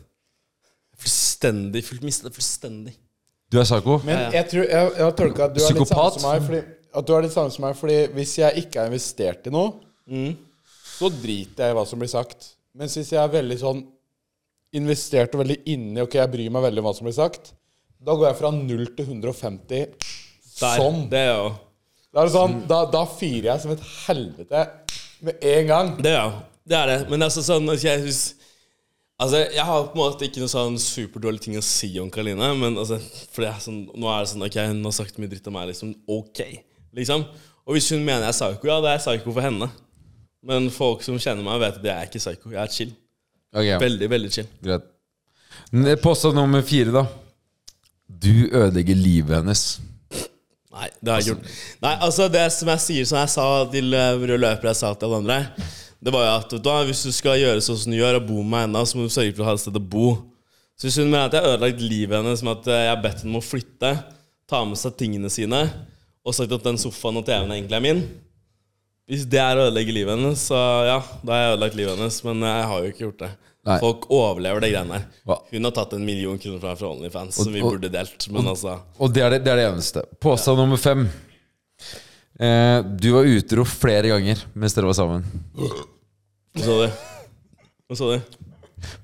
E: Fullstendig. Fullt mistet fullstendig.
D: Du er psycho?
F: Men jeg tror jeg, jeg har tolka at du er litt samme
D: Psykopat?
F: som meg. Fordi, at du er litt samme som meg Fordi hvis jeg ikke er investert i noe, så driter jeg i hva som blir sagt. Mens hvis jeg er veldig sånn investert og veldig inni Ok, jeg bryr meg veldig om hva som blir sagt, da går jeg fra 0 til 150
E: Der,
F: sånn.
E: Det er jo
F: Da, er det sånn da, da fyrer jeg som et helvete med en gang.
E: Det, ja. Det er det. Men altså, sånn at jeg synes Altså, jeg har på en måte ikke noe sånn superdårlig ting å si om Karoline, men altså For det er sånn Nå er det sånn Ok, hun har sagt mye dritt om meg, liksom. Ok. Liksom. Og hvis hun mener jeg er psyko, ja, da er jeg psyko for henne. Men folk som kjenner meg, vet at jeg er ikke psyko. Jeg er chill.
D: Ok,
E: Veldig, veldig chill.
D: greit. N- eh, Påstand nummer fire, da. Du ødelegger livet hennes.
E: Nei, det har jeg ikke gjort. Nei, altså Det som jeg sier, som jeg sa til eh, rød løper jeg sa til alle andre, det var jo at vet du hva, hvis du skal gjøre sånn som du gjør, og bo med henne, så må du sørge for å ha et sted å bo. Så hvis hun mener at jeg har ødelagt livet hennes med at eh, jeg har bedt henne om å flytte, ta med seg tingene sine, og sagt at den sofaen og TV-en egentlig er min Hvis det er å ødelegge livet hennes, så ja, da har jeg ødelagt livet hennes. Men jeg har jo ikke gjort det.
D: Nei.
E: Folk overlever de greiene
D: Hva?
E: her. Hun har tatt en million kroner fra fra OnlyFans, som vi
D: og-
E: burde delt. Men altså
D: Og det er det, det, er det eneste. Påstand nummer fem. Eh, du var utro flere ganger mens dere var sammen.
E: Hva sa du? Hva sa du?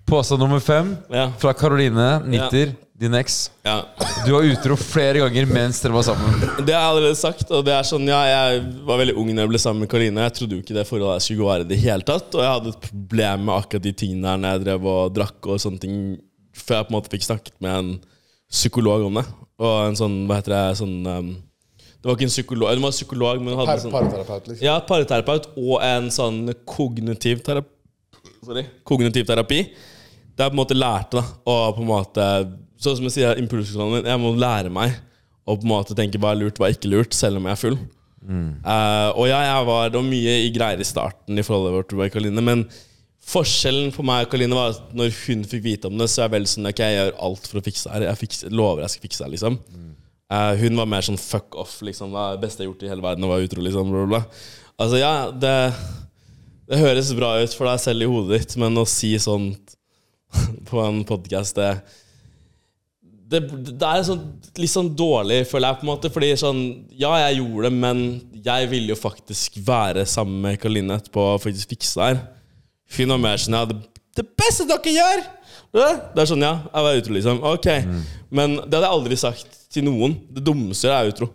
D: Påstand nummer fem
E: Ja.
D: fra Karoline Nitter, din eks.
E: ja.
D: Du var utro flere ganger mens dere var sammen.
E: Det har jeg allerede sagt. Og det er sånn, ja, Jeg var veldig ung når jeg ble sammen med Karoline. Jeg trodde jo ikke det forholdet her skulle være i det hele tatt. Og jeg hadde et problem med akkurat de tingene der når jeg drev og drakk og sånne ting, før jeg på en måte fikk snakket med en psykolog om det. Og en sånn, hva heter det, sånn ehm, Det var ikke en psykolog, hun var psykolog, men hun hadde
F: Par,
E: en sånn
F: parterapeut, liksom.
E: Ja, parterapeut og en sånn kognitiv terapi. Sorry. Kognitiv terapi. Det er på en måte lærte, da. Og på en måte Sånn som jeg sier, impulskontrollen min. Jeg må lære meg å på en måte tenke hva er lurt, hva er ikke lurt, selv om jeg er full. Eh, og ja, jeg var, det var mye i greier i starten i forholdet vårt med Karoline, men forskjellen for meg og Karoline var at når hun fikk vite om det, så er jeg vel sånn Ok, jeg gjør alt for å fikse det her. Jeg fikser, lover jeg skal fikse det her, liksom. Eh, hun var mer sånn fuck off, liksom. Det er det beste jeg har gjort i hele verden, å være utro, liksom. Bla, bla, bla. Altså, ja, det, det høres bra ut for deg selv i hodet ditt, men å si sånt på en podkast, det det, det er sånn, litt sånn dårlig, føler jeg, på en måte. Fordi sånn Ja, jeg gjorde det, men jeg ville jo faktisk være sammen med Karoline etterpå og faktisk fikse det her. Finn og mer sånn Ja, det, det beste dere gjør! Ja, Det er sånn, ja. Jeg var utro, liksom. Ok. Men det hadde jeg aldri sagt til noen. Det dummeste jeg gjør, er utro.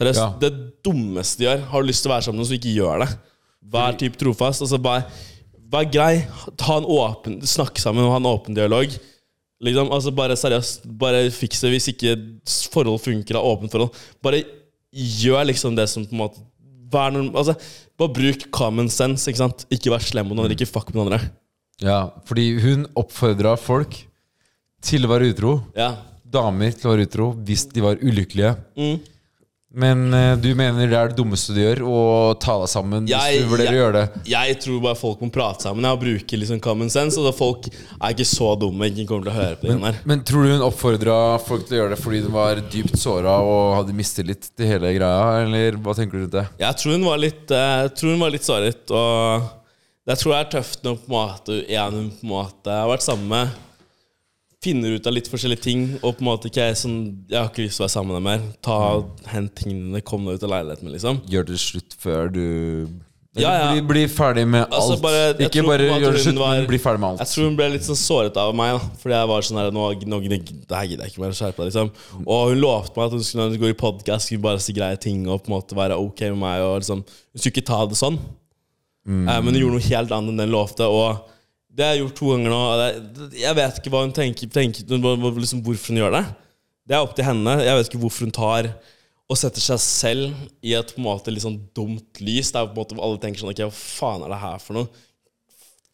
E: Det, er
D: Ja.
E: det dummeste de gjør. Har du lyst til å være sammen med noen, så ikke gjør det. Vær typ trofast. Altså, bare vær grei. Ta en åpen, snakk sammen og ha en åpen dialog. Liksom, altså Bare seriøst, bare fiks det hvis ikke forhold funker av åpent forhold. Bare gjør liksom det som på en måte Vær norm... Altså, bare bruk common sense, ikke sant? Ikke vær slem mot noen, ikke fuck med noen andre.
D: Ja, fordi hun oppfordra folk til å være utro.
E: Ja.
D: Damer til å være utro hvis de var ulykkelige.
E: Mm.
D: Men eh, du mener det er det dummeste du gjør, å ta deg sammen
E: Jeg-
D: hvis du vurderer
E: jeg-
D: å gjøre det?
E: Jeg tror bare folk må prate sammen ja, og bruke liksom common sense. Og da folk er ikke så dumme. Ingen kommer til å høre på det der.
D: Men tror du hun oppfordra folk til å gjøre det fordi hun var dypt såra og hadde mistillit til hele greia, eller hva tenker du rundt det?
E: Jeg tror hun var litt eh, Jeg tror hun var litt såret Og jeg tror det er tøft når på en måte En hun på en måte har vært sammen med Finner ut av litt forskjellige ting Og på en måte ikke er sånn Jeg har ikke lyst til å være sammen med deg mer Ta, hent tingene dine Kom deg ut av leiligheten min liksom
D: Gjør det slutt før du
E: Ja, ja.
D: Bli, bli ferdig med alt.
E: Altså, bare- jeg
D: ikke
E: tror
D: bare
E: på en måte
D: gjør det
E: hun
D: slutt,
E: var-
D: men bli ferdig med alt.
E: Jeg tror hun ble litt sånn såret av meg, da. Fordi jeg var sånn her Nå, nå gidder jeg gidder jeg ikke mer å skjerpe deg, liksom. Og hun lovte meg at hun skulle når hun går i podkast, skulle bare si greie ting og på en måte være ok med meg. Og liksom Hun skulle ikke ta det sånn. Eh, men hun gjorde noe helt annet enn den lovte. Og det har jeg gjort to ganger nå. og Det, jeg vet ikke hva hun tenker, tenker hun- hva- hva- liksom, Hvorfor hun gjør det. Det er opp til henne. Jeg vet ikke hvorfor hun tar og setter seg selv i et på en måte litt sånn dumt lys. Der på en måte alle tenker sånn Ok, hva faen er det her for noe?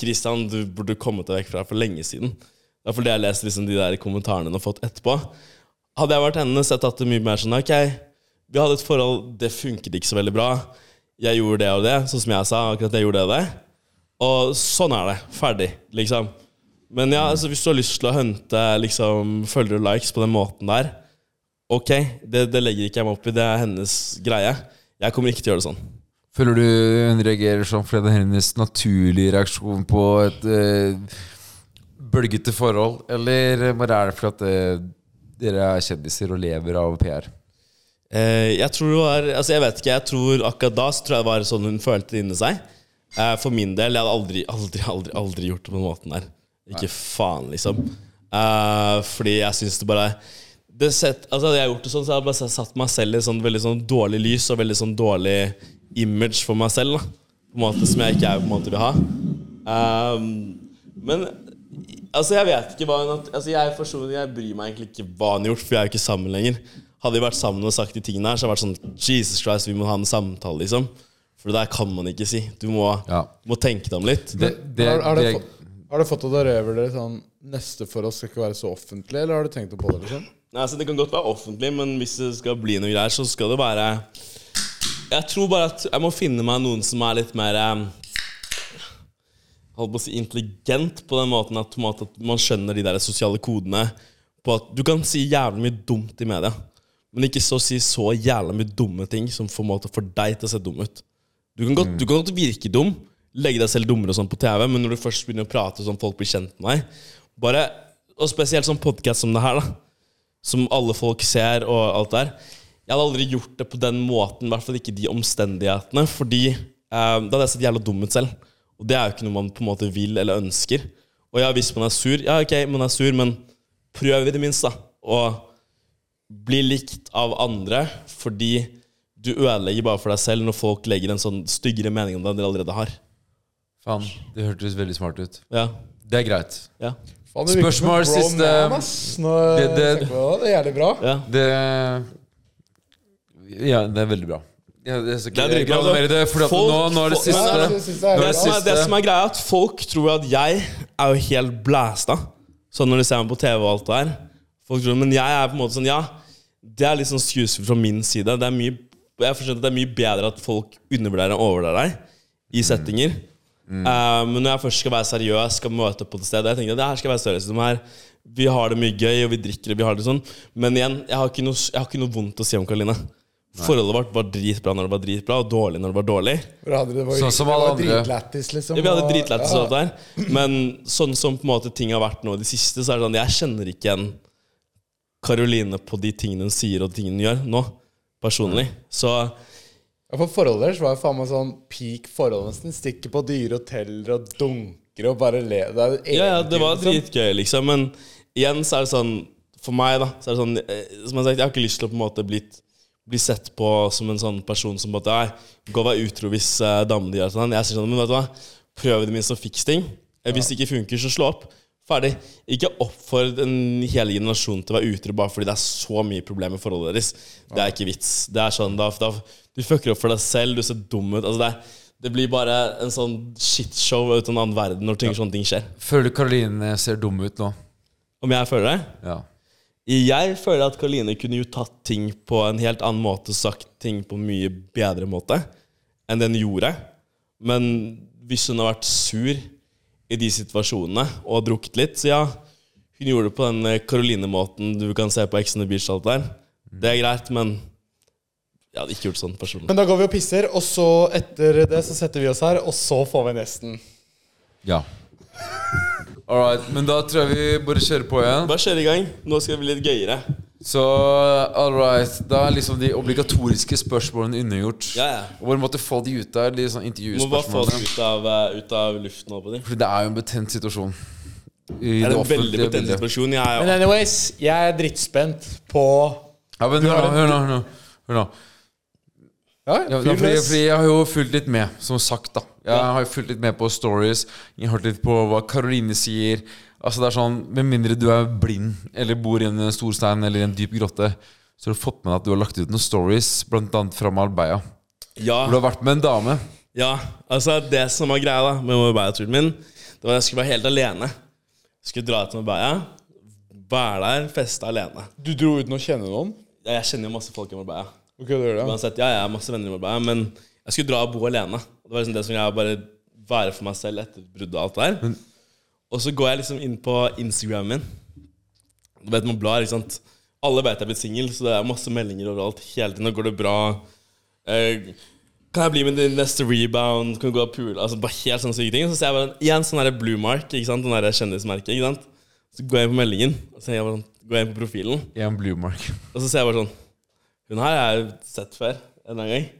E: Christian, du burde kommet deg vekk fra for lenge siden. Det er fordi jeg har lest liksom de der kommentarene hun har fått etterpå. Hadde jeg vært henne, så hadde jeg tatt det mye mer sånn Ok, vi hadde et forhold, det funket ikke så veldig bra. Jeg gjorde det og det, sånn som jeg sa. akkurat jeg gjorde det Og det. Og sånn er det. Ferdig, liksom. Men ja, altså, hvis du har lyst til å hente liksom, følgere og likes på den måten der, ok, det, det legger ikke jeg meg opp i. Det er hennes greie. Jeg kommer ikke til å gjøre det sånn.
D: Føler du hun reagerer sånn fordi det er hennes naturlige reaksjon på et eh, bølgete forhold, eller bare er det fordi at eh, dere er kjendiser og lever av PR?
E: Eh, jeg tror det var Altså jeg vet ikke, jeg tror akkurat da Så tror jeg det var sånn hun følte det inni seg. Eh, for min del, jeg hadde aldri, aldri, aldri, aldri gjort det på den måten der. Ikke faen, liksom. Eh, fordi jeg syns det bare det sett, altså Hadde jeg gjort det sånn, så hadde jeg bare satt meg selv i et sånn veldig sånn dårlig lys og veldig sånn dårlig image for meg selv. Da. På en måte som jeg ikke er, på en måte vil ha. Ehm, men Altså, jeg vet ikke hva hun har altså, jeg, for så vidt- jeg bryr meg egentlig ikke hva hun har gjort, for jeg er jo ikke sammen lenger. Hadde vi vært sammen og sagt de tingene her, så hadde jeg vært sånn Jesus Christ, vi må ha en samtale, liksom. For det der kan man ikke si. Du må,
D: Ja.
E: må tenke deg om litt.
D: Det, det,
F: Har, har, det,
D: det-
F: fått- har det fått deg til å revurdere sånn Neste for oss skal ikke være så offentlig, eller har du tenkt på det? liksom?
E: Nei, altså, det kan godt være offentlig, men hvis det skal bli noe greier, så skal det være Jeg tror bare at jeg må finne meg noen som er litt mer eh, holdt på å si intelligent på den måten at, på en måte at man skjønner de der sosiale kodene på at du kan si jævlig mye dumt i media, men ikke så si så jævlig mye dumme ting som på en måte får deg til å se dum ut. Du kan godt, du kan godt virke dum, legge deg selv dummere og sånn på TV, men når du først begynner å prate sånn folk blir kjent med deg, bare, og spesielt sånn podcast som det her da, som alle folk ser og alt der. Jeg hadde aldri gjort det på den måten, i hvert fall ikke de omstendighetene, fordi eh, da hadde jeg sett jævla dum ut selv. Og det er jo ikke noe man på en måte vil eller ønsker. Og ja, hvis man er sur, ja ok, man er sur, men prøv i det minste, da. Og bli likt av andre, fordi du ødelegger bare for deg selv når folk legger en sånn styggere mening om deg enn de allerede har.
D: faen, det hørtes veldig smart ut.
E: Ja,
D: Det er greit.
E: ja,
F: Faen, det virker som en
D: Spørsmål
F: grown
D: siste-
F: man, ass. Nå, det,
D: Det- det-
F: det er jævlig bra.
E: ja.
D: Det Ja, det er veldig bra. Ja, det, er
E: Det er dritbra,
D: dritbra. Det, fordi at
E: Folk-
D: nå, nå er det
E: folk-
D: siste.
E: Men-
F: det synes jeg er
D: Nå er
E: Det,
F: bra.
D: det
E: som er, det
D: siste.
E: som er greia, er at folk tror at jeg er jo helt blæsta. Sånn når de ser meg på TV og alt det der. Folk tror, Men jeg er på en måte sånn, ja, det er litt sånn skuespill fra min side. Det er mye, jeg forstår at det er mye bedre at folk undervurderer og overvurderer deg i settinger. Eh, men når jeg først skal være seriøs, skal møte opp på et sted Jeg tenker at det her skal være seriøst som her. Vi har det mye gøy, og vi drikker og vi har det sånn. Men igjen, jeg har ikke noe, jeg har ikke noe vondt å si om Karoline. Forholdet vårt var dritbra når det var dritbra, og dårlig når det var dårlig.
F: Hvor hadde det var,
D: Sånn som alle
F: det var
D: andre.
F: dritlættis, liksom.
E: Ja, vi hadde
F: og-
E: dritlættis
F: ja.
E: og alt der. Men sånn som på en måte ting har vært nå i det siste, så er det sånn Jeg kjenner ikke igjen Karoline på de tingene hun sier og de tingene hun gjør nå, personlig. Så
F: Ja, for forholdet deres var jo faen meg sånn peak forhold, nesten. Stikker på dyre hoteller og dunker og bare le. Det er
E: ja, ja, det
F: eventyr,
E: var
F: liksom.
E: dritgøy, liksom. Men igjen så er det sånn For meg, da, så er det sånn eh, Som jeg har sagt, jeg har ikke lyst til å på en måte bli, bli sett på som en sånn person som bare Nei, gå og vær utro hvis eh, damene de gjør sånn. Jeg sier sånn, men vet du hva, prøv i det minste å fikse ting. Eh, Hvis det ikke funker, så slå opp. Ferdig. Ikke oppfordr en hel generasjon til å være utro bare fordi det er så mye problemer i forholdet deres. Det er ikke vits. Det er sånn, da, da, Du fucker opp for deg selv, du ser dum ut. Altså det, er, det blir bare en sånn shitshow ut av en annen verden når ting, sånne ting skjer.
D: Føler du Karoline ser dum ut nå?
E: Om jeg føler det?
D: Ja.
E: Jeg føler at Karoline kunne jo tatt ting på en helt annen måte, sagt ting på en mye bedre måte enn den gjorde. Men hvis hun har vært sur i de situasjonene og drukket litt, så ja, hun gjorde det på den eh, Karoline-måten du kan se på Ex on the Beach og alt det der. Det er greit, men jeg hadde ikke gjort sånn personlig.
F: Men da går vi og pisser, og så etter det så setter vi oss her, og så får vi gjesten.
D: ja. All right, men da tror jeg vi bare kjører på igjen.
E: Bare kjør i gang. Nå skal det bli litt gøyere.
D: Så all right, da er liksom de obligatoriske spørsmålene unnagjort.
E: Ja, ja.
D: Og bare måtte få de ut der, de sånn
E: Må bare få det
D: intervjuspørsmålene.
E: ut av, eh, ut av luften. holdt på å si.
D: Fordi det er jo en betent situasjon. I
E: Det er en
D: offentlige
E: veldig betent
D: bildet.
E: situasjon. Jeg er
F: Men anyways, jeg er drittspent på
D: Ja, men hør nå, hør nå, hør nå. Hør nå.
F: Ja,
D: Ja,
F: fyr
D: da, fordi,
F: løs.
D: fordi jeg har jo fulgt litt med, som sagt. da Jeg har jo fulgt litt med på stories, jeg har hørt litt på hva Karoline sier. Altså det er sånn, Med mindre du er blind eller bor i en stor stein eller i en dyp grotte, så har du fått med deg at du har lagt ut noen stories, bl.a. fra Marbella.
E: ja.
D: Hvor du har vært med en dame.
E: Ja, altså det som var greia da med Marbella-turen min, det var at jeg skulle være helt alene. Jeg skulle dra til Marbella, være der, feste alene.
F: Du dro uten å kjenne noen?
E: Ja, Jeg kjenner jo masse folk i Marbella.
F: Ok, du gjør det.
E: Uansett, ja, jeg har masse venner i Marbella, men jeg skulle dra og bo alene. Det var liksom det som jeg bare være for meg selv etter bruddet og alt det der. Og så går jeg liksom inn på Instagramen min. Du vet man blar, ikke sant? Alle vet jeg er blitt singel, så det er masse meldinger overalt hele tiden. Nå går det bra. Eh, kan jeg bli med din neste rebound? Kan du gå og pule? Altså bare helt sånne syke ting. Så ser jeg bare igjen sånn der blue mark, ikke sant? Den der kjendismerket, ikke sant? Så går jeg inn på meldingen, og så ser jeg bare sånn, går jeg inn på profilen.
D: I en blue mark.
E: Og så ser jeg bare sånn Hun her har jeg sett før en eller annen gang.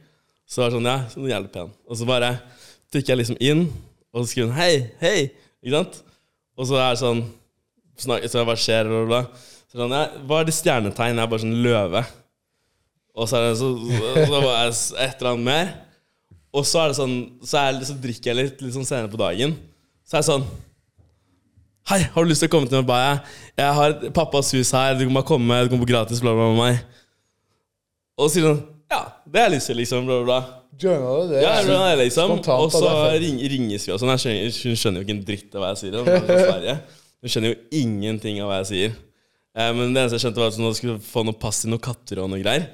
E: Så var det sånn, ja, så hun er jævlig pen. Og så bare trykker jeg liksom inn, og så skriver hun hei, hei. Ikke sant? Og så er det sånn snakker, Så jeg bare ser og bla. Så er det sånn, ja, hva er det stjernetegn? Jeg er bare sånn løve. Og så er det så, så, så bare er det et eller annet mer. Og så er det sånn Så, er, det- så drikker jeg litt, litt sånn senere på dagen. Så er det sånn Hei, har du lyst til å komme til meg? Bare, jeg- jeg har et- pappas hus her, du kan bare komme, du kan bo gratis, bla, bla, bla. med meg. Og så sier hun ja, det har jeg lyst til, liksom, bla, bla, bla.
F: Joina du det?
E: Ja, jeg blir det, liksom.
F: Spontant,
E: Og så
F: da, det er
E: ring, ringes vi og sånn. Jeg skjønner, hun skjønner jo ikke en dritt av hva jeg sier. Hun er fra Sverige. Hun skjønner jo ingenting av hva jeg sier. Eh, men det eneste jeg skjønte, var at hun skulle få noe pass til noen katter og noe greier.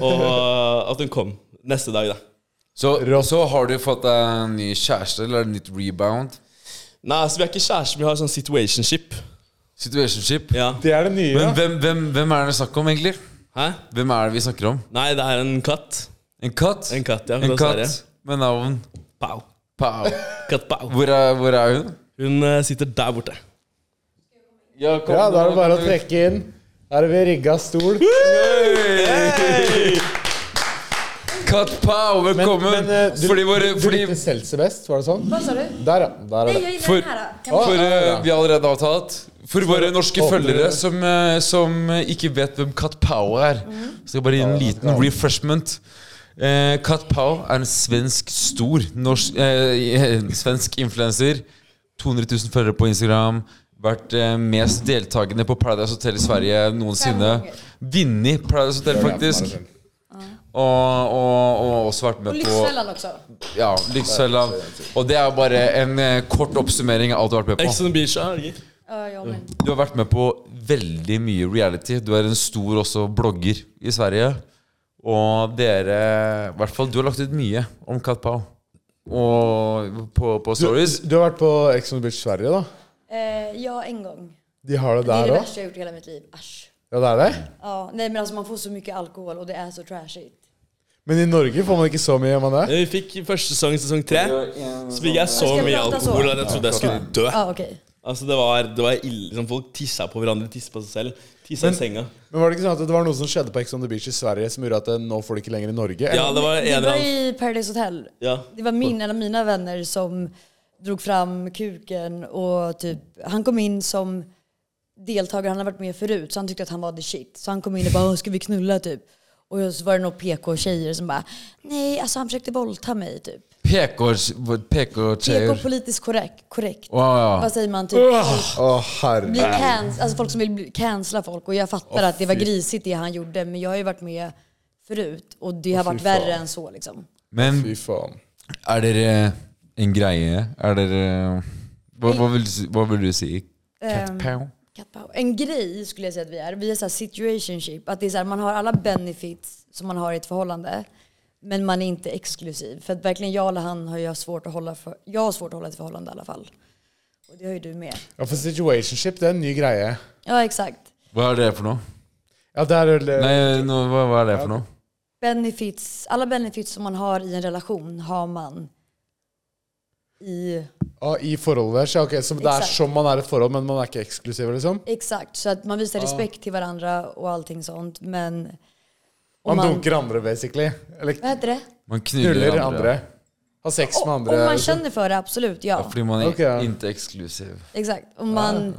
E: Og at hun kom neste dag, da.
D: Så, så har du fått deg en ny kjæreste eller en nytt rebound.
E: Nei, altså, vi er ikke kjærester, vi har sånn situationship.
D: Situationship.
E: Ja.
F: Det er det nye.
D: Men hvem, hvem, hvem er det snakk om, egentlig?
E: Hæ?
D: Hvem er det vi snakker om?
E: Nei, det er en katt.
D: En katt?
E: En katt, ja.
D: En
E: Fra Sverige.
D: katt med navn
E: Pow.
D: Pau.
E: Katt pow.
D: Hvor er, hvor er hun?
E: Hun eh, sitter der borte.
F: ja, da er det bare å trekke inn. Da er vi rigga stol.
D: Cut Pow, velkommen!
F: Men, eh, du,
D: fordi våre,
F: du,
D: fordi,
F: likte seltzer best, var det sånn?
G: Hva sa du?
F: Der, ja. Der er
G: Jeg
F: det.
G: gjør jo
D: For-
G: den her, da. Kan
D: for
G: vi-
D: eh, vi allerede har tatt For våre norske
F: Håper
D: følgere
F: dere-
D: som, eh, som eh, ikke vet hvem Cut Pow er, skal jeg bare gi en liten refreshment. Eh, Cut Pow er en svensk stor norsk, eh, svensk influenser. 200 000 følgere på Instagram. Vært eh, mest deltakende på Paradise Hotel i Sverige noensinne.
G: ganger.
D: Vunnet Paradise Hotel, faktisk. Og, og, og også vært med på
G: Lykkesølvene også.
D: Ja, Lykkesølvland. Og det er jo bare en eh, kort oppsummering av alt du har vært med
E: Ex
D: på.
E: on the beach, ja. er det ikke?
G: Ja, ja, men.
D: Du har vært med på veldig mye reality. Du er en stor også blogger i Sverige. Og dere I hvert fall du har lagt ut mye om Kat Pau. Og på, på stories.
F: Du har vært på Ex on the Beach Sverige, da?
G: Eh, ja, en gång.
F: De har det
G: Det är det
F: der òg?
G: värsta jag gjort i hela mitt liv. Äsch.
F: Ja, det er det?
G: Ja, nej, men alltså man får så mycket alkohol och det är så trashigt.
F: Men i Norge får man ikke så mye, gjør man det?
E: Eh, Vi fikk første sesong, sesong tre. Så fikk jeg så
G: Jeg skal
E: mye
G: prate så.
E: alkohol at jeg trodde jeg skulle dø.
G: Ja, okej.
E: Altså det var, det var ille liksom, Folk tissa på hverandre, tissa på seg selv. Tissa i senga.
F: Men var det ikke sånn at det var noe som skjedde på Ex on the Beach i Sverige som gjorde at eh, nå får du ikke lenger i Norge?
E: Ja, det var en
G: Det
E: eller
G: var
E: annen
G: i Paradise Hotel.
E: ja.
G: Det var min, en av mina vänner som drog fram kuken och typ, han kom in som deltagare, han har varit med förut så han tyckte att han var the shit. Så han kom in och bara "Åh, ska vi knulla typ? Och så var det några PK-tjejer som bara, nej alltså han försökte våldta mig typ. PK
D: PK-tjejer.
G: politiskt korrekt. korrekt.
D: Wow.
G: Vad säger man? Typ,
F: Å, herre.
G: bli canc- alltså folk som vill bli- cancella folk. Och jag fattar att det var grisigt det han gjorde, men jag har ju varit med förut och det har varit värre än så liksom.
D: Men
F: Fy faen.
D: er dere en greie? Er dere Hva, hva, vil, du si- hva vil du si?
G: Ehm,
D: Pow.
G: Cat power. En grej skulle jag säga att vi är. Vi är så här situationship. Att det är så här, man har alla benefits som man har i ett förhållande. Men man är inte exklusiv. För att verkligen jag eller han har ju svårt att hålla för, Jag har svårt att hålla ett förhållande i alla fall. Och det har ju du med.
F: Ja, for situationship, det er en ny greie.
G: Ja, exakt.
D: Hva er det for noe?
F: Ja, det er eh, vel
D: Nei, nå, hva, hva er det for noe?
G: Benefits, alla benefits som man har i en relation har man i...
F: Ja, I forholdet deres. Ja, ok, så det er
G: Exakt.
F: som man er i et forhold, men man er ikke eksklusiv, liksom?
G: Exakt. Så att man visar respekt till varandra och allting sånt. Men... och
F: Man, dunker andre, basically. Eller
G: Vad heter det?
D: Man knuller
F: knuller
D: andre.
F: andre. Har sex med
G: Om
F: andre.
G: man
F: liksom.
G: känner för det, absolut. Ja.
D: Fordi man er
F: Ok, ja.
D: ikke eksklusiv.
G: Exakt. Och man,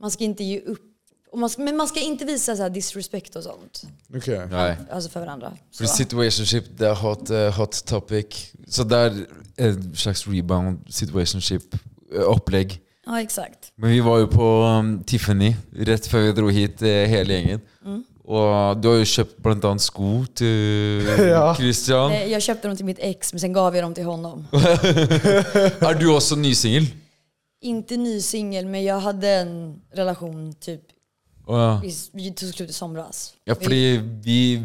G: man ska inte ge upp. Och man ska, men man ska inte visa så här disrespect och sånt.
F: Ok.
D: Nei.
G: Alltså för varandra. Så.
D: For situationship, det er hot, eh, hot topic. Så det er en slags rebound situationship-opplegg.
G: Ja, exakt.
D: Men vi var jo på um, Tiffany rett før vi dro hit, eh, hele gjengen.
G: Mm.
D: Og du har jo kjøpt blant annet sko til
F: Ja.
D: Christian.
G: Eh, Jag köpte dem till mitt ex, men sen gav jag dem till honom.
D: Er du også nysingel?
G: inte ny singel, men jag hade en relation typ
D: Å ja.
G: i, vi tog slut i somras.
D: ja, fordi vi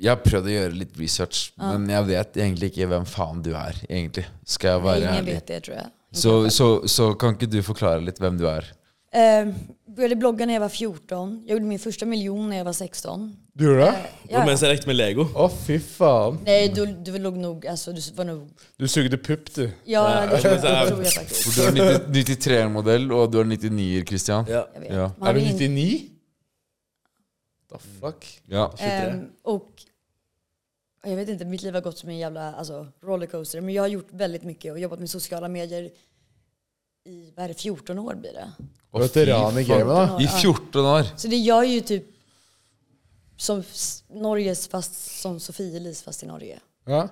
D: Jeg har prøvd å gjøre litt research, men jeg vet egentlig ikke hvem faen du er, egentlig. Skal jeg
G: Vi-
D: være
G: Ingen
D: ærlig.
G: vet det tror jag.
D: Så, så, så kan ikke du forklare litt hvem du er?
G: Eh, började blogga när jag var 14. Jag gjorde min första miljon när jag var 16.
F: Du gjorde det?
G: Ja, ja.
E: Mens jeg lekte med Lego.
F: Å, fy faen.
G: Nej, du, du låg nog, alltså du var nog...
F: Du sugde pupp, du.
G: Ja, det tror
E: men så här-
G: det tror jag faktiskt.
D: For du er 93-modell, og du er 99-er, Christian.
E: Ja.
G: Jag vet.
D: Ja.
G: Man
F: Er du
G: vill inte-
F: 99? The fuck?
D: ja.
G: Ehm, och jag vet inte, mitt liv har gått som en jävla alltså, rollercoaster. Men jag har gjort väldigt mycket og jobbat med sociala medier i vad är det, 14 år blir det.
D: Å,
F: Veteran i
D: fy faen.
F: gamet, da.
D: I 14 år.
G: Så det jag är ju typ som s- Norges fast som Sofie Elise fast i Norge.
F: Ja.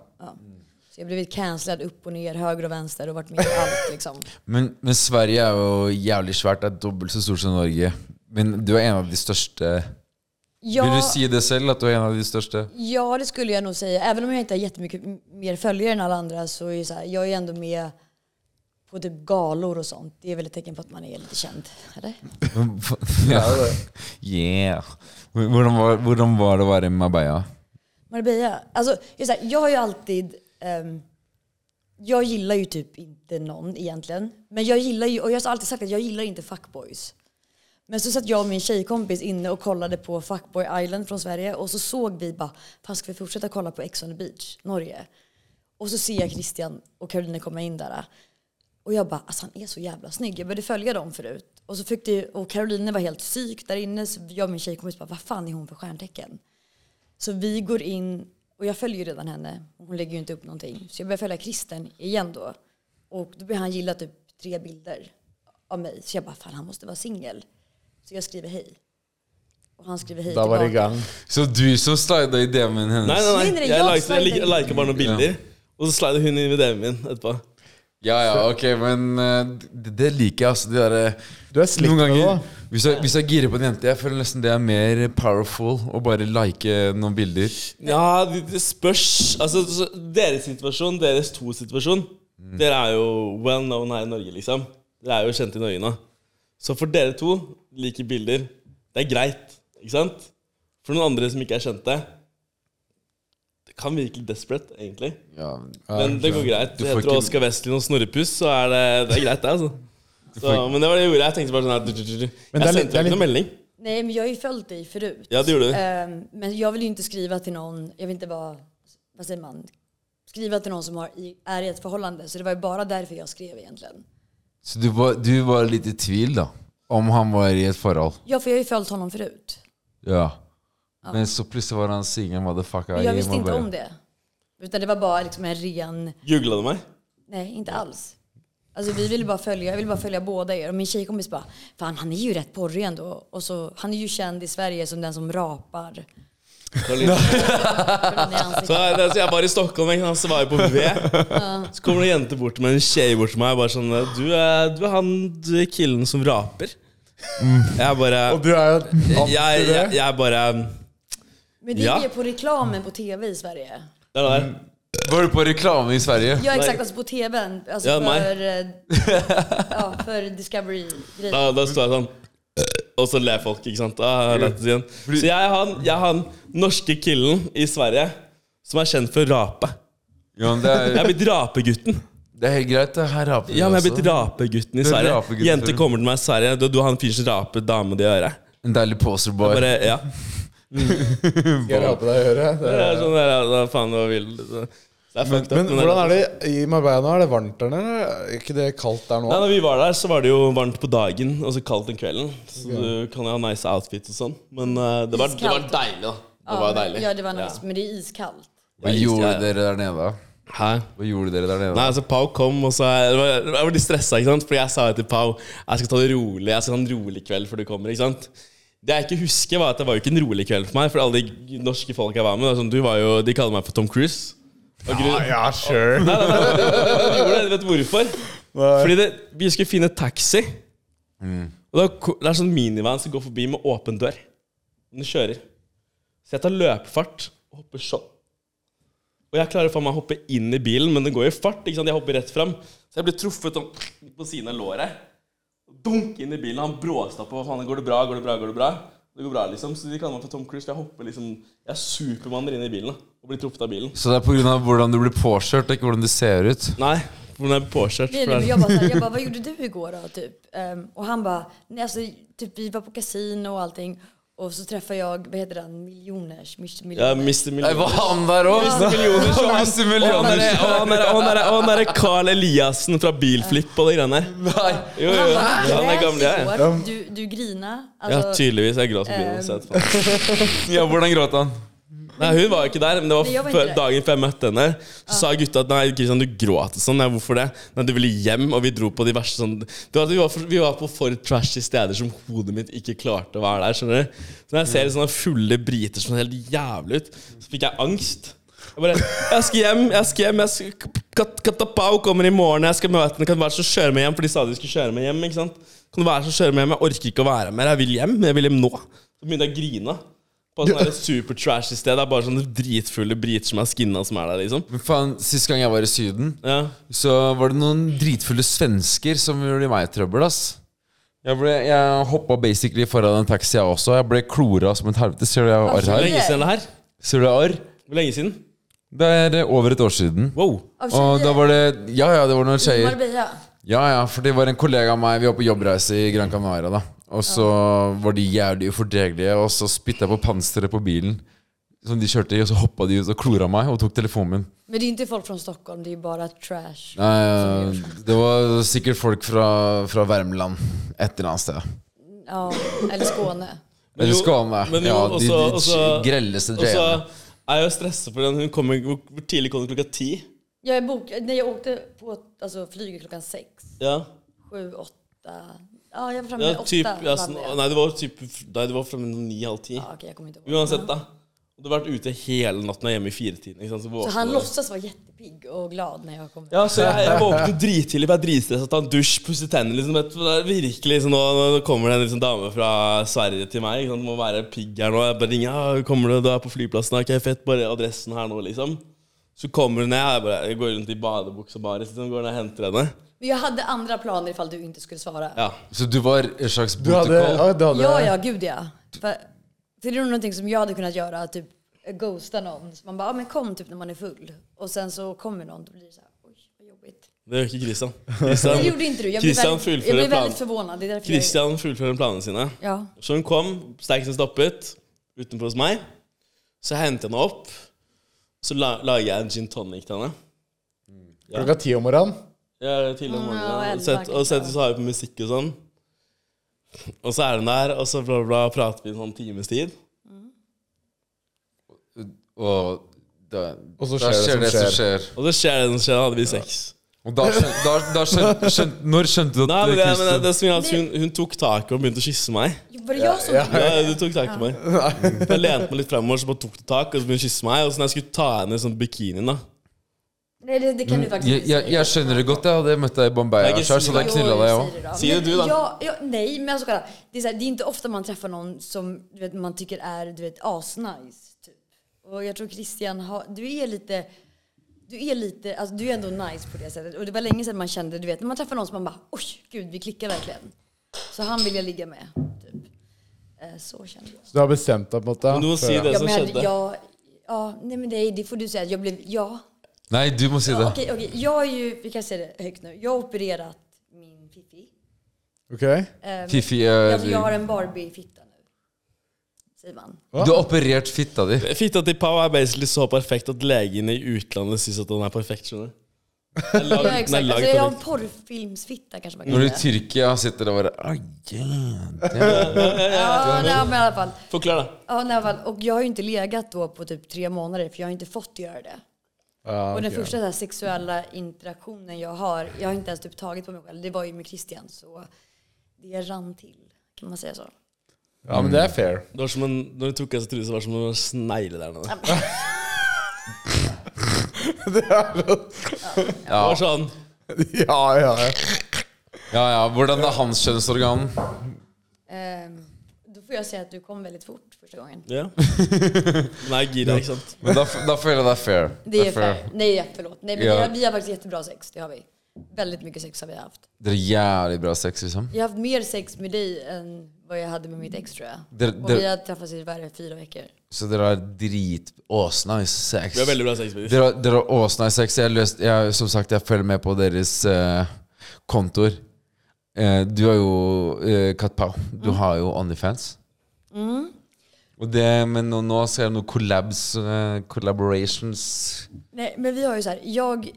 G: Så jag har blivit cancellad upp och ner, höger och vänster och varit med i allt liksom.
D: Men, men Sverige er jo jævlig svært. Det er dobbelt så stort som Norge. Men du er en av de største
G: Ja,
D: Vil du si det selv, at du er en av de største?
G: ja, det skulle jag nog säga. Även om jag inte har jättemycket m- mer följare än alla andra så är ju så här, jag är ändå med på typ galor och sånt. Det är väl ett tecken på att man är lite känd, eller?
D: ja. Yeah. Hvordan var, hvordan var det å være i Marbella?
G: Marbella. Alltså, jag, är så här, jag har ju alltid... ehm, jag gillar ju typ inte någon egentligen. Men jag gillar ju, och jag har alltid sagt att jag gillar inte fuckboys. Men så satt jag och min tjejkompis inne och kollade på Fuckboy Island från Sverige och så såg vi bara, fan ska vi fortsätta kolla på Ex on the beach, Norge? Och så ser jag Christian och Caroline komma in där. Och jag bara, alltså han är så jävla snygg. Jag började följa dem förut. Och, så fick det, och Caroline var helt psyk där inne. Så jag och min tjejkompis bara, vad fan är hon för stjärntecken? Så vi går in, och jag följer ju redan henne. Hon lägger ju inte upp någonting. Så jag börjar följa Kristen igen då. Och då börjar han gilla typ tre bilder av mig. Så jag bara, fan han måste vara singel. Så jag skriver hej. Och han skriver hej
F: Da var det i gang.
D: Så du som slida i DM-en
E: Nei,
D: hennes?
E: nei, nei.
G: Mindre jeg
E: Jeg liker, jeg
G: slider.
E: liker, jeg liker bare noen bilder. Og så slider hun inn i DM-en min etterpå.
D: Ja, ja, ok, men eh, det, det liker jeg, altså. De derre
F: Du er slitt
D: Noen
F: med det,
D: ganger,
F: da.
D: hvis jeg, hvis jeg girer på en jente, jeg føler nesten det er mer powerful å bare like noen bilder.
E: Ja, det, det spørs Altså, så deres situasjon, deres to situasjon Dere er jo well known her i Norge, liksom. Dere er jo kjent i Norge nå. Så for dere to, like bilder, det er greit, ikke sant? For noen andre som ikke er kjente Det kan virke litt desperate, egentlig.
D: Ja,
E: Men det går greit.
D: Du
E: Det
D: får
E: heter
D: ikke-
E: Oskar Westlin og Snorrepuss, så er det, det er greit, det, altså. Så,
D: får ikke-
E: men det var det jeg gjorde. Jeg tenkte bare sånn her du, du, du, du.
F: det er
E: Jeg
F: litt-
E: sendte
F: det
E: jo
F: er
E: ikke noen melding.
G: Nej men jag har ju följt dig förut.
E: Ja, det gjorde du.
G: Ehm, men jag vill ju inte skriva till någon, jag vill inte vara, vad säger man, skriva till någon som har, i- är i ett förhållande. Så det var ju bara därför jag skrev egentligen.
D: Så du var, du var litt i tvil, da? Om han var i et forhold?
G: Ja, för jag har ju följt honom förut.
D: Ja. Men så plutselig var han singel motherfucker.
G: Men jag visste
D: må
G: inte
D: bare-
G: om det. Utan det var bara liksom en ren,
E: Jugla du meg?
G: nej inte alls. Alltså vi ville bara följa, jag ville bara följa båda er. Och min tjejkompis bara, fan han är ju rätt porrig ändå. Och så, han är ju känd i Sverige som den som rapar.
E: Karolina.
G: Får den i ansiktet.
E: Så jeg, så jeg var i Stockholm, ikke sant, så var jeg på V. Så kommer det en jente bort med en skje bort til meg. Bare sånn du er, du er han du er killen som raper. Jeg bare
F: Du er jo
E: jeg, jeg, jeg bare
G: Men det
E: Ja.
G: ligger på reklamen på tv i Sverige.
E: Det er det der.
D: Var du på reklame i Sverige?
G: Ja, exakt. Alltså på tvn. Alltså
E: Ja, mig.
G: för, eh, ja, för Discovery-grejen.
E: Da, da står jeg sånn Og så ler folk, ikke sant? Da, er det igjen. Så jeg er, han, jeg er han norske killen i Sverige som er kjent for å rape.
D: Ja, men det,
E: Jeg
D: er,
E: er blitt rapegutten.
D: det er altså. helt greit. det. Her raper vi
E: Ja, men jeg er blitt
D: også.
E: rapegutten i
D: Du er
E: Sverige.
D: rapegutten,
E: Jenter
D: sorry.
E: kommer til meg i Sverige. Du, du har en fyr som raper dame i øret.
D: En deilig posterboy.
E: Bare, ja.
F: Skal jeg rape deg i øret? Det
E: Det
F: er-
E: er sånn der, ja, da faen, hva vil du? Så Det er fucked up.
F: Men hvordan er det i Marbella nå? Er det varmt der nede? Er ikke det kaldt der
E: Nei,
F: nå?
E: når vi var der, så var det jo varmt på dagen og så kaldt den kvelden. Så du kan jo ha nice outfits og sånn. Men eh, det, var, det var
G: Iskaldt.
E: deilig, da. Det
G: Ja,
E: var
G: men-
E: deilig.
G: ja, det var nice. Men det är iskallt.
D: Hva
E: Ja,
D: gjorde
E: ja.
D: dere der nede?
E: Hæ?
D: Hva gjorde dere der nede?
E: Nei, altså Pau kom, og så jeg var, jeg var litt stressa, ikke sant? Fordi jeg sa jo til Pau jeg skal ta det rolig, jeg skal ha en rolig kveld før du kommer. ikke sant? Det jeg ikke husker, var at det var jo ikke en rolig kveld for meg. For alle de norske folk jeg var med, det er sånn, du var jo, de kaller meg for Tom Cruise. Og grunn-
F: Ja, sure.
E: Nei, nei, nei, nei, nei, de gjorde det, vet du hvorfor? Fordi det, vi skulle finne taxi. Og da, ko- det er sånn minivan som går forbi med åpen dør. Den kjører. Så jeg tar løpefart og hopper sånn. Og jeg klarer faen meg å hoppe inn i bilen, men den går i fart. ikke sant? Jeg hopper rett fram. Så jeg blir truffet sånn på siden av låret. Og Dunk inn i bilen. Han bråstopper. Hva faen, går det bra? Går det bra? Går det bra? Det går bra, liksom. Så de kaller meg for Tom Cruise. For jeg hopper liksom Jeg supermanner inn i bilen da, og blir truffet av bilen.
D: Så det er pga. hvordan du blir påkjørt, ikke hvordan du ser ut?
E: Nei, for den er påkjørt.
G: Det är det, men jag, bara, så här, jag bara, vad gjorde du igår då? Typ. Ehm, och han bara, nej alltså typ vi var på kasino och allting. Och så träffade jag, vad heter han, miljoners, Mr.
E: Ja,
G: miljoners.
E: Mr.
D: Nei,
E: Millioner.
D: Var han der òg?
G: Mr.
E: Millioner, så han-
D: Mr.
E: Og
D: Millioner.
E: han derre- og han derre- og han derre- og han derre Carl Eliassen fra Bilflipp og de greiene der.
D: Nei.
E: Jo, jo,
G: Han
E: jo.
G: bara,
E: Han er
G: du
E: gamle,
G: grät
E: jeg.
G: igår, du, du grina.
E: Ja,
G: Alltså,
E: tydeligvis. Jeg gråt på bilen. så jeg vet faen.
D: Ja, hvordan gråt han?
E: Nei, hun var jo ikke der, men det var,
G: Nei, jeg var ikke
E: før,
G: der. Ah.
E: dagen før jeg møtte henne. Så sa gutta at nei, Kristian, du gråt sånn. Nei, hvorfor det? Nei, du ville hjem, og vi dro på de verste sånn det var, at vi, var for, vi var på for trashy steder som hodet mitt ikke klarte å være der, skjønner du. Så når jeg ser sånne fulle briter som ser helt jævlig ut, så fikk jeg angst. Jeg bare Jeg skal hjem, jeg skal hjem. Jeg skal, Kat Katapau kommer i morgen, jeg skal møte henne. Kan du være så snill å kjøre meg hjem? For de sa de skulle kjøre meg hjem, ikke sant. Kan du være så snill å kjøre meg hjem? Jeg orker ikke å være mer. Jeg vil hjem. Jeg vil hjem nå. Så begynte jeg å grine. På sånn der super trashy sted. Det er bare sånne dritfulle briter som er skinna, som er der, liksom.
D: Men faen, Sist gang jeg var i Syden,
E: Ja.
D: så var det noen dritfulle svensker som gjorde meg trøbbel. ass Jeg, ble, jeg hoppa basically foran en taxi, jeg også. Jeg ble klora som et helvete. Ser du jeg har arr
E: Hvor
D: her?
E: lenge siden er det her?
D: Ser du jeg har arr?
E: Hvor lenge siden?
D: Det er eh, over et år siden.
E: Wow.
G: av
D: Og da
G: tjejer
D: var det Ja, ja, det var noen
G: i
D: tjejer.
G: Marbella.
D: Ja, ja, for det var en kollega av meg Vi var på jobbreise i Gran Canaria da Og så var de jævlig ufordregelige Og så spyttet jeg på panseret på bilen Som de kjørte i Og så hoppet de ut og klora meg Og tok telefonen min
G: Men det är inte folk från Stockholm, det är bara trash.
D: Nei, eh, Det var sikkert folk fra, fra Värmland Et eller annet sted
G: Ja, eller Skåne.
E: Men
D: Eller
E: jo-
D: Skåne
E: men jo, altså,
D: Ja, de, de
E: også- også-
D: grelleste
E: Og så
D: drevene
E: er jeg jo stressa for den. Hun kommer, hvor hvor tidlig kom hun? Klokka ti?
G: Jag, är bok, när jag åkte på alltså, flyget klockan sex,
E: Ja.
G: sju, åtta. Ja, jag var framme
E: ja
G: åtta.
E: typ, ja,
G: vann
E: sånn,
G: jag.
E: nei, det var typ Nei, det var fra ni-halv ti.
G: Ja, okej, jag kommer inte ihåg.
E: Uansett, da. Du har vært ute hele natten og er hjemme i firetiden. Ikke sant? Så,
G: Så
E: våkner
G: han
E: du.
G: låtsas vara jättepigg och glad när jag kom.
E: Ja, så jeg, jeg våknet drittidlig, for jeg er dritstressa. Ta en dusj, pusse tennene. Liksom. Jeg- Det er virkelig liksom, nå, nå kommer det en liksom, dame fra Sverige til meg. Ikke sant? Må være pigg her nå. Jeg bare ringer. Ja, 'Kommer du? Du er på flyplassen.' Ok, fett. Bare adressen her nå, liksom. Så kommer hun ned. Jeg, bare, jeg går rundt i badebuksa bare. Liksom, går ned og henter henne.
G: Men jag hade andra planer ifall du inte skulle svara. Ja,
E: Ja.
D: Så du var en slags
F: Du hadde,
D: protokoll
F: ja, du hadde
G: ja, gud ja. För, för det är nog någonting som jag hade kunnat göra, typ ghosta någon. Så man bara, ja, men kom typ när man är full. Och sen så kommer någon, då blir det så här, oj, vad jobbigt.
E: Det gjør ikke Christian.
G: Men Det
E: Christian,
G: gjorde inte du. Jag blev
E: Christian
G: väldigt, jag blev
E: fullfører, plan,
G: väldigt förvånad. Det är därför jag,
E: Christian fullfører planene sine.
G: ja.
E: Så hun kom, sterk som stoppet, utenfor hos meg. Så hentet jeg henne opp. Så la, lager jeg en gin tonic til henne.
F: klokka ti om morgenen.
E: Ja, tidlig om morgenen.
G: Ja,
E: og
G: elleve
E: sett,
G: er
E: og
G: ikke
E: sett,
G: bra.
E: så har vi på musikk og sånn. Og så er hun der, og så bla, bla, bla, prater vi en sånn times tid.
D: Og da,
F: Og så
D: da
F: skjer
D: skjer
F: det som
D: det som
F: skjer.
D: skjer
E: Og så skjer det som skjer, da hadde vi sex.
D: Og da skjønte, da, da skjønte, skjønte Når skjønte du at
E: Nei, men det, men det,
D: Christian
E: det som gjør at hun, hun tok taket og begynte å kysse meg.
G: Var det jag som
E: Ja, du tok tak i meg. Jeg lente meg litt fremover, så bare tok du tak, og så begynte hun å kysse meg. Og så når jeg skulle ta henne i sånn bikinien, da
G: Nej, det, det kan
E: Mm,
G: du faktiskt
D: jeg,
G: inte
D: jeg,
G: säga.
D: jeg skjønner det godt. Jeg hadde møtt deg i Bombay,
E: Jeg
D: Ashar, så da
E: sier-
D: knulla deg, jeg òg.
G: säger det då.
E: Säger
G: Men
E: du då?
G: Jag, jag, nej, men alltså kolla. Det är, så här, det är inte ofta man träffar någon som du vet, man tycker är du vet, asnice. Typ. Och jag tror Christian har, du är lite... Du är lite, alltså du är ändå nice på det sättet. Och det var länge sedan man kände, du vet, när man träffar någon som man bara oj, gud, vi klickar verkligen. Så han vill jag ligga med, typ. Eh, Så kände jag.
F: Du har bestemt deg på en måte?
E: Du må si det
G: Ja,
E: som
G: men jag,
E: skjedde.
G: jag, ja, nej men det, det får du säga. Jag blev, ja,
D: Nei, du må si
G: Ja,
D: det.
G: Okej, okej. Jag är ju, vi kan säga det högt nu. Jag har opererat min fiffi.
F: Ok
G: Ehm,
D: Fifi,
G: jag,
D: eh,
G: jag har en Barbie-fitta nu. Säger man.
D: du har operert fitta di.
E: Fitta til Pau er basically så perfekt at legene i utlandet syns at den er perfekt. skjønner du? Den er
G: Ja,
E: lagd-
G: exakt.
E: den er
G: Alltså,
E: lagd
G: jag har en
E: perfekt.
G: porrfilmsfitta kanske man kan
D: Når du i
G: säga.
D: Tyrkia sitter og bare Ai, yeah.
G: Ja, nej, men i alla fall.
E: Forklar, da.
G: Ja, nej, i alla fall. Och jag har ju inte legat då på typ tre månader för jag har inte fått göra det. och den första så här, sexuella interaktionen jag har, jag har inte ens typ tagit på mig själv. Det var ju med Christian så det rann till. Kan man säga så?
F: Ja, men det er fair.
E: Det var som en, når du tok av seg trusa, var det som en snegle der nede. Det var sånn
F: ja, ja, ja.
D: Ja, ja. Hvordan er hans kjønnsorgan?
G: Ehm, då får jag säga att du kom väldigt fort första gången.
E: Ja. Nei, gira, ikke sant.
D: Men da, da føler jeg det er fair.
G: Det är fair. Nej, förlåt. Nej, men
D: Ja.
G: vi, har, vi har faktiskt jättebra sex. Det har vi. Väldigt mycket sex har vi haft.
D: Dere har jævlig bra sex, liksom.
G: Jag har haft mer sex med dig än vad jag hade med mitt ex tror jag.
D: Det-
G: och
D: det-
G: vi har träffats i varje fyra veckor.
D: Så dere har drit åsnice sex.
E: Vi har veldig bra sex. med de.
D: Dere har, dere har åsnice sex. Jeg, har løst, jeg, som sagt, jeg følger med på deres eh, kontor. Eh, du har jo eh, Kat Pau. Du har jo Onlyfans.
G: Mm.
D: Og det, men nå, nå ser jeg noen collabs, eh, collaborations.
G: Nej, men vi har ju så här, jag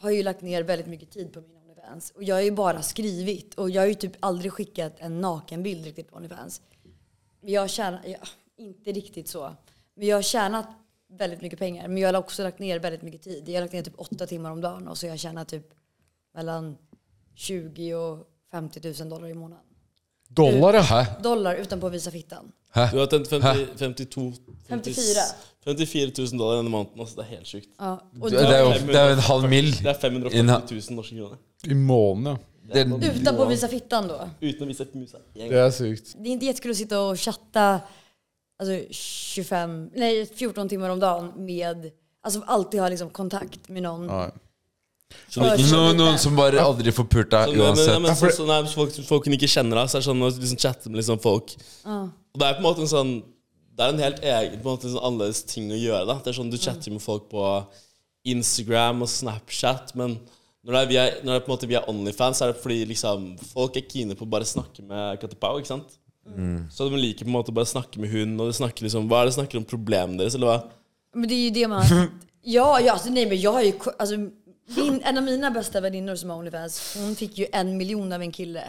G: har ju lagt ner väldigt mycket tid på min Onlyfans och jag har ju bara skrivit och jag har ju typ aldrig skickat en nakenbild riktigt på Onlyfans. Men Jag har tjänat, ja, inte riktigt så, men jag har tjänat väldigt mycket pengar. Men jag har också lagt ner väldigt mycket tid. Jag har lagt ner typ åtta timmar om dagen och så har jag tjänat typ mellan 20 och 50 000 dollar i månaden.
F: Dollar, ja.
D: Hæ?
G: Dollar utanpå Visa Fittan.
E: Du har tjent 50, 52
G: 54.
E: 54 000 dollar denne måneden. Altså, det er helt sjukt.
G: Ja, och
D: Det er jo det er jo en halv mil.
E: Det er 540 000 norske kroner.
F: I måneden, ja.
D: Det,
G: utanpå Visa Fittan då.
E: Uten å vise et musa. en gang.
F: Det er sykt.
G: Det är inte jättekul att sitta och chatta alltså 25, nej 14 timmar om dagen med, alltså alltid ha liksom kontakt med någon.
F: Ja.
G: För så
D: Noen,
G: lite.
D: noen som bare aldri får pult deg
E: Sånn, men, men,
D: uansett.
E: men, så, så, nei, folk, folk hun ikke kjenner deg, så er det sånn å liksom, chatte med liksom, folk Og Det er på en måte en sånn Det er en helt egen, på en måte en sånn annerledes ting å gjøre. Da. Det er sånn Du chatter med folk på Instagram og Snapchat, men når det er, vi er, når det er på en måte vi er Onlyfans, så er det fordi liksom, folk er kine på å bare snakke med Katte Pau. Ikke sant?
D: Mm.
E: Så de liker på en måte å bare snakke med hun, og de snakker liksom Hva er det de snakker om problemene deres, eller hva?
G: Men det är ju det man, ja, ja alltså, nej men jag har ju, ko- alltså, min, en av mina bästa väninnor som har Onlyfans, hon fick ju en miljon av en kille.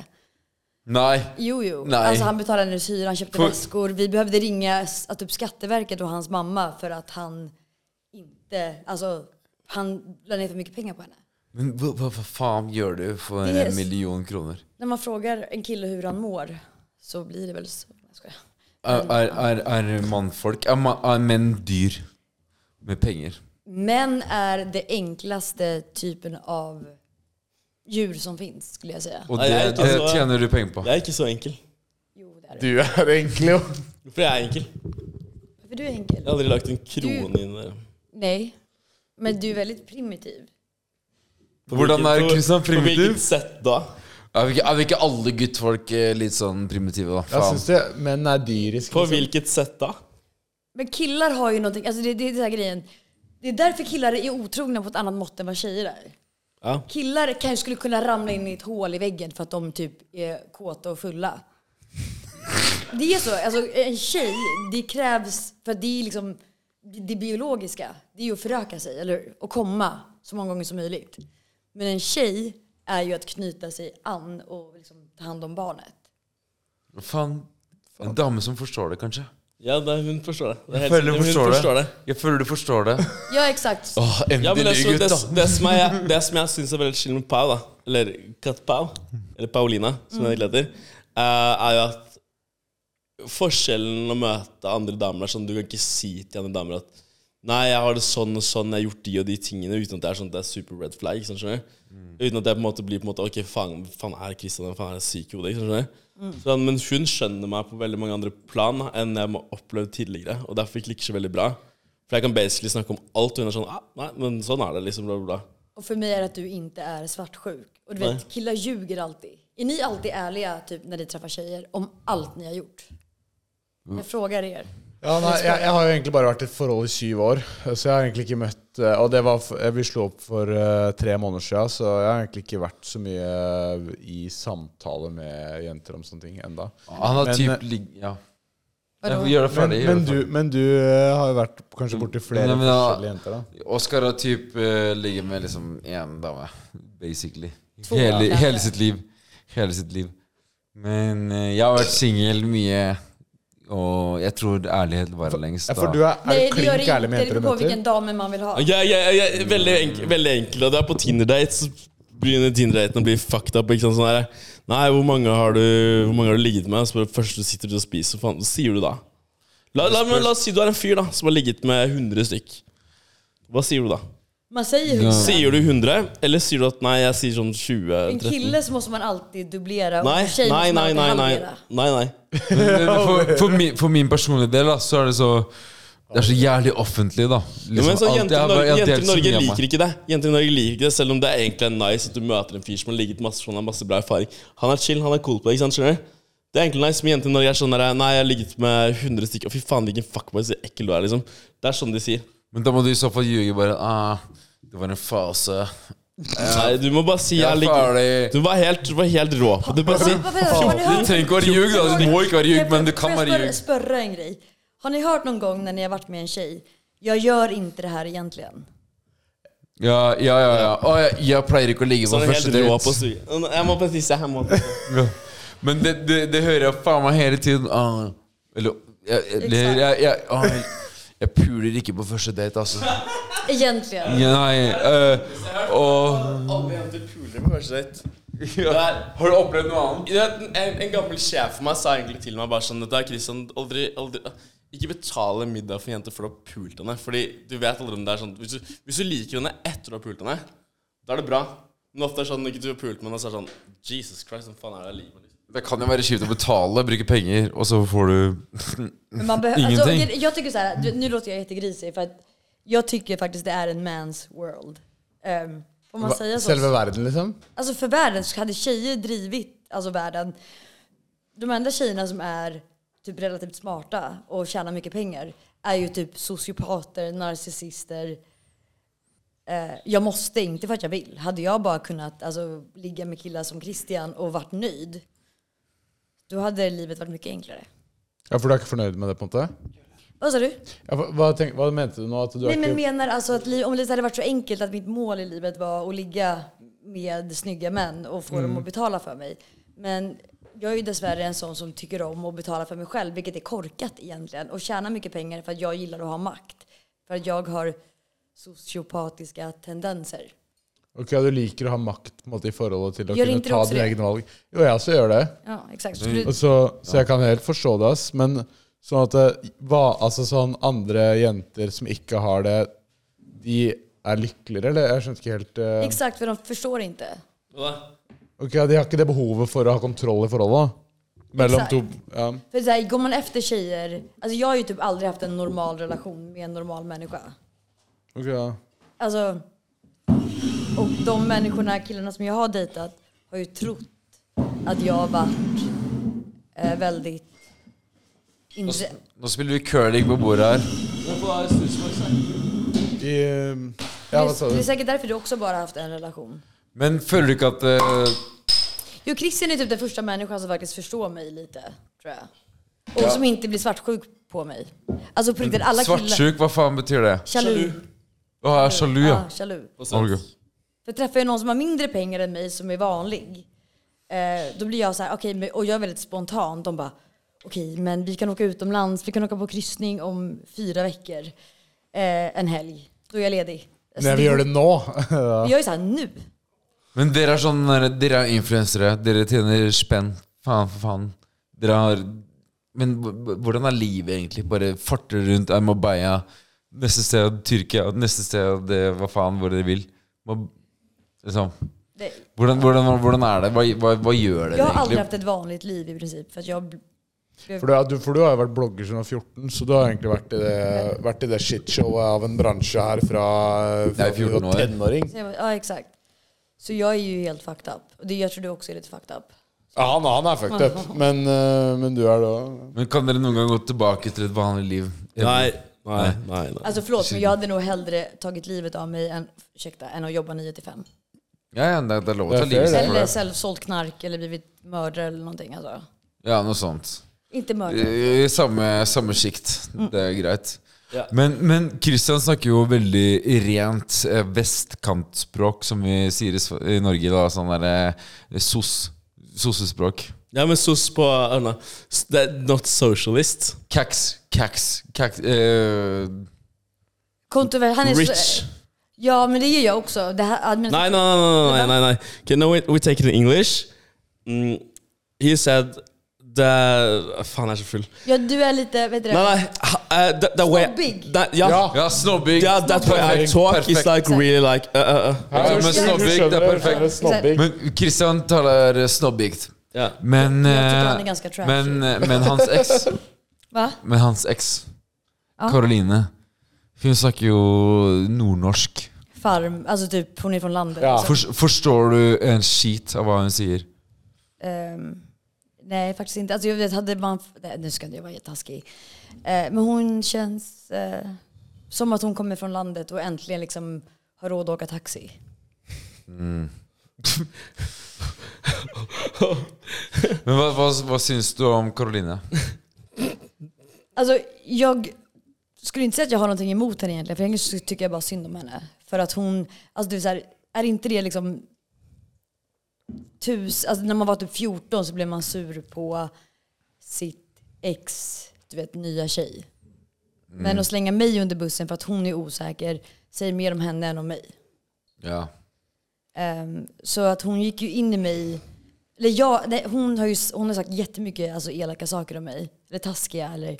D: Nei.
G: Jo, jo.
D: Nej.
G: Alltså han betalade hennes hyra, han köpte
D: Får-
G: väskor. Vi behövde ringa s- att typ Skatteverket och hans mamma för att han inte, alltså han la ner för mycket pengar på henne.
D: Men hva, hva, hva faen gjør du for
G: Det er-
D: en million kroner?
G: När man frågar en kille hur han mår så blir det väl så. Jag skojar.
D: Er, er, er, er mannfolk er, ma- er menn dyr med penger?
G: Män är det enklaste typen av djur som finns skulle jeg si.
D: Og
E: Nei,
D: det,
E: jeg er ikke
D: det
E: så-
D: tjener du penger på.
E: Jeg er ikke så enkel.
G: Jo, det är
F: Du
G: det.
F: er egentlig jo
E: For jeg er enkel.
G: För du är enkel.
E: Jeg har aldri lagt en krone inn der.
G: Nej. Men du är väldigt primitiv.
D: Hvordan er
E: På-
D: Kristian
E: På hvilket
D: primitiv?
E: sett da?
D: Er vi, ikke, er vi ikke alle guttfolk eh, litt sånn primitive, da?
F: Jeg
D: Faen.
F: syns det menn er dyriske.
E: På
F: liksom.
E: hvilket sett da?
G: Men killar har ju någonting, alltså det, det är den här grejen. Det är därför killar är otrogna på ett annat mått än vad tjejer är.
E: Ja.
G: Killar kanske skulle kunna ramla in i ett hål i väggen för att de typ är kåta och fulla. Det är så. Alltså, en tjej, det krävs, för att det är liksom det biologiska. Det är ju att föröka sig, eller hur? Och komma så många gånger som möjligt. Men en tjej är ju att knyta sig an og liksom ta hand om barnet.
D: Faen. En dame som forstår det, kanskje.
E: Ja, det, hun forstår det. det er helt-
D: føler hun forstår
E: hun
D: det.
E: forstår det.
D: Jeg føler du forstår det.
G: Ja, exakt.
E: Ja, men altså, det, det, som jeg, det som jeg syns er veldig chill med Pau, da eller Kat Pau, eller Paulina, som hun egentlig
D: Mm.
E: heter, eh, er jo at forskjellen å møte andre damer er sånn Du kan ikke si til andre damer at Nei, jeg har det sånn og sånn, jeg har gjort de og de tingene, uten at det er sånn at det er super red flag. Sånn, skjønner du? Uten at jeg på en måte blir på en måte Ok, faen, faen er Kristian en faen er en syk i hodet? ikke sant, skjønner du? Sånn, men hun skjønner meg på veldig mange andre plan enn jeg må oppleve tidligere, og derfor klikker så veldig bra. For jeg kan basically snakke om alt, og hun er sånn ah, Nei, men sånn er det, liksom, bla, bla, bla.
G: Och för mig är det att du inte är svartsjuk. Och du vet, killar ljuger alltid. Är ni alltid ärliga typ, när ni träffar tjejer om allt ni har gjort? Jag frågar er.
F: Ja, nei, jeg, jeg har jo egentlig bare vært i et forhold i syv år, så jeg har egentlig ikke møtt eh, Og det var, f- eh, vi slo opp for eh, tre måneder siden, så jeg har egentlig ikke vært så mye i samtale med jenter om sånne ting enda.
D: Han har
F: Men,
D: typ
F: eh,
D: ligg- Ja.
G: Vadå?
D: Ja, Gjør det
F: Men,
D: ferdig. gjør
F: men,
D: det
F: du,
D: ferdig.
F: men du eh, har jo vært kanskje borti flere
D: Nei, men da-
F: forskjellige jenter, da.
D: Oskar har typ eh, ligget med liksom én dame, basically.
G: To
D: Hele,
G: damer.
D: hele sitt liv. Hele sitt liv. Men eh, jeg har vært singel mye, og jeg tror ærlighet varer lengst.
F: Ja,
D: da.
F: for du er, er
G: Nej,
F: du
G: det gör
F: klink
G: det
F: ærlig
G: inte.
F: med jenter
G: Det beror
F: du
G: på
F: møter?
G: vilken dam man vill ha.
E: Ja, ja, ja, ja, veldig, enk, veldig enkelt. Og det er på Tinder-date, så begynner Tinder-daten å bli fucked up. Ikke sant? Sånn der, Nei, hvor mange har du, hvor mange har du ligget med? Så bare først du sitter du og spiser, faen, hva sier du da? La, la, men, la oss si du er en fyr da som har ligget med 100 stykk. Hva sier du da?
G: Man säger hur
E: Sier du 100, eller sier du at nei, jeg sier sånn 20?
G: En
E: 30?
G: kille så måste man alltid dubblera och
E: Nei,
G: en tjej
E: nei,
G: måste man
E: nei,
G: alltid
E: nei. nei,
G: halvera.
E: nei, nei.
D: Men, men for, for, min, for min personlige del da, så er det så Det er så jævlig offentlig, da. Liksom,
E: Ja, men sånn,
D: alt-
E: jenter,
D: jeg
E: i
D: har bare-
E: Norge,
D: jeg har
E: jenter i
D: delt så
E: Norge
D: mye av meg.
E: liker ikke det. Jenter i Norge liker ikke det Selv om det er egentlig er nice at du møter en fyr som har ligget masse sånn, har masse bra erfaring. Han er chill, han er cool på det. ikke sant, skjønner du? Det er egentlig nice, men jenter i Norge er sånn der, Nei, jeg har ligget med 100 stykker. Fy faen, hvilken fuckboy så ekkel du er, liksom. Det er sånn de sier.
D: Men da må du i så fall ljuge bare ah, 'Det var en fase'.
E: Nei, du må bare si jeg
D: Jeg
E: har
D: er
E: ligget
D: ferdig.
E: Du var helt, du var helt rå på det. Du bare si
G: Vad- vad- vad- har ni hört-
D: Du trenger ikke å være ljug, da. Du må ikke være ljug, men du kan
G: Får jag
D: være
G: spör-
D: ljug.
G: spörra en grej? Har ni hört någon gång när ni har varit med en tjej, jag gör inte det här egentligen?
D: Ja, ja, ja. ja. Å, jeg, jeg pleier ikke å ligge på
E: sånn
D: første
E: helt rå på
D: date.
E: suge. Jeg må bare tisse. Jeg må
D: Ja. Men det, det, det hører jeg faen meg hele tiden. Ah, eller jeg, jeg, jeg, jeg, jeg, ah, jeg, jeg puler ikke på første date, altså.
G: Egentligen.
D: Ja, Nei, eh, og
E: Alle jenter puler på første date.
D: Har du opplevd noe annet?
E: Du vet, en, en gammel sjef for meg sa egentlig til meg bare sånn Dette er Christian, aldri, aldri Ikke betale middag for jenter for du har pult henne. Fordi du vet aldri om det er sånn Hvis du, hvis du liker henne etter du har pult henne, da er det bra. Men ofte er det sånn når ikke du har pult med henne, så er det sånn Jesus Christ, hva faen er det jeg liker med? liksom?
D: Det kan jo være kjipt å betale, bruke penger, og så får du
G: Men man behöver-
D: Ingenting.
G: Alltså, okej, jag tycker så här, du- nu låter jag jättegrisig för att jag tycker faktiskt det är en man's world. Ehm, får man säga så?
F: Selve verden, liksom?
G: Alltså för världen så hade tjejer drivit alltså världen. De enda tjejerna som är typ relativt smarta och tjänar mycket pengar är ju typ sociopater, narcissister. Eh, jag måste, inte för att jag vill. Hade jag bara kunnat alltså, ligga med killar som Christian och varit nöjd, då hade livet varit mycket enklere.
F: Ja, For du er ikke fornøyd med det, på en måte?
G: Vad sa du?
F: Ja, for, hva, tenk, hva mente du nå? At du
G: Nej,
F: er
G: men
F: ikke
G: menar alltså att li- om det hade varit så enkelt att mitt mål i livet var att ligga med snygga män och få
F: Mm.
G: dem att betala för mig. Men jag är ju dessvärre en sån som tycker om att betala för mig själv, vilket är korkat egentligen. Och tjäna mycket pengar för att jag gillar att ha makt. För att jag har sociopatiska tendenser.
F: Ok, Du liker å ha makt på en måte, i forholdet til å
G: Gjør
F: kunne
G: ikke du
F: ta Mm.
G: også
F: dine
G: det?
F: egne valg? Jo, jeg også gjør det.
G: Ja, exakt. Skulle
F: Og
G: du,
F: så, så jeg kan helt forstå det, ass. Men sånn at det, hva, altså, sånn andre jenter som ikke har det, de er lykkeligere, eller? Jeg skjønte ikke helt eh,
G: exakt, för de förstår inte.
E: Hva da?
F: Ok, De har ikke det behovet for å ha kontroll i forholdet? da? Mellom
G: Exakt.
F: to ja.
G: För så här, går man efter tjejer, alltså jag har ju typ aldrig haft en normal relation med en normal människa.
F: Ok, ja.
G: Alltså, och de människorna, killarna som jag har dejtat har ju trott att jeg har vært eh, väldigt inte,
D: Nå spiller vi curling på bordet her.
F: De,
A: Ähm,
F: eh,
G: det,
F: ja, hva sa
G: är, det är
F: du?
G: säkert därför du också bara haft en relation.
D: Men føler du ikke at eh,
G: Jo, Christian är typ den första människan som faktiskt förstår mig lite, tror jeg. Og som inte blir svartsjuk på mig. Alltså på riktigt, alla killar...
D: Svartsjuk, hva faen betyr det?
G: Sjalu.
D: Å, jeg er sjalu, ja.
G: Ja, sjalu.
E: Hva sa du?
D: Olga.
G: För träffar jag någon som har mindre pengar än mig som är vanlig, eh, då blir jag så här, okej, men- och jag är väldigt spontan. De bara, okej, men vi kan åka utomlands, vi kan åka på kryssning om fyra veckor, eh, en helg. Då är jag ledig. Alltså,
F: Nei, vi gjør det nå.
G: Vi gör ju såhär nu.
D: Men dere er sånn Dere er influensere. Dere tjener spenn. Faen, for faen. Dere har Men h- h- hvordan er livet egentlig? Bare farter rundt er Marbella, neste sted Tyrkia, neste sted eh, hva faen, hvor dere vil. Hva, liksom.
G: Det,
D: hvordan, hvordan, hvordan er det? Hva, hva, hva gjør dere
G: jag har aldrig
D: egentlig?
G: haft ett vanligt liv i princip. För att jag, bl-
F: For du, er- du, for du har jo vært blogger siden du var 14, så du har egentlig vært i det, vært i det shitshowet av en bransje her fra, fra
D: Det er 14
F: du
D: år.
F: var tenåring.
G: så jag, ja, exakt. Så jag är ju helt fucked up. Och det, jag tror du också är lite fucked up.
F: Ja, han, han er fucked up, men, eh, men du er da
D: Men kan dere noen gang gå tilbake til et vanlig liv?
E: Nei, nei, nei. nei.
G: Alltså förlåt, men jag hade nog hellre tagit livet av mig än, ursäkta, än att jobba 9 till 5.
D: Ja, ja, det, det er lov å
F: Det
D: ta
F: er fair,
D: livet sitt for
G: Eller
D: det.
G: själv sålt knark eller blivit mördare eller någonting. Alltså.
D: Ja, noe sånt.
G: Inte mördare.
D: I i samme, samme sjikt.
G: Mm.
D: Det er greit.
E: Ja.
D: Men, men Christian snakker jo veldig rent eh, vestkantspråk, som vi sier i Sv- i Norge. da Sånn derre sos. Sossespråk.
E: Ja, men sos på uh, no. Det er Not socialist.
D: Kaks, kaks, kaks eh,
G: Kontrover- han är
E: Rich.
G: Så, ja, men det är jag också. Det här, admin-
E: No, no, no, no, no, no, no. Okay, no, we, we take it in English. Mm, he said the... Faen, jeg er så full.
G: Ja, du är lite, vet du
E: Nei,
G: det?
E: nei. ha- eh, the, the way,
G: Snobbig.
E: That, ja,
F: Ja.
D: Ja, snobbing!
E: yeah, that way I
D: Perfekt,
E: talk is
D: perfekt.
E: like really like... Uh, uh, uh.
D: Ja, men snobbig, det er perfekt. Mm.
F: Snobbing.
D: Men Christian taler eh, snobbigt.
E: Ja.
D: Men,
G: Jeg tycker han er
D: eh,
G: ganske trashy.
D: men, eh, men hans eks
G: Va?
D: Men hans eks,
G: Ah.
D: Karoline, hun snakker jo nordnorsk.
G: Farm, alltså typ hon är från landet.
F: Ja.
G: liksom.
D: Fors- forstår du en skit av hva hun sier?
G: Ehm, nej, faktiskt inte. Alltså jag vet, hade man... Nej, nu ska inte jag vara jättetaskig. Eh, men hon känns eh, som att hon kommer från landet och äntligen liksom har råd att åka taxi.
D: Men hva, hva, hva syns du om Karoline?
G: Alltså jag skulle inte säga att jag har någonting emot henne egentligen. För egentligen så tycker jag bara synd om henne. För att hon, alltså du är så här, är inte det liksom tus, alltså när man var typ 14 så blev man sur på sitt ex, du vet nya tjej. Men att slänga mig under bussen för att hon är osäker säger mer om henne än om mig.
D: Ja.
G: Ehm, så att hon gick ju in i mig. Eller jag, nej, hon, har ju, s- hon har sagt jättemycket alltså, elaka saker om mig. Eller taskiga eller...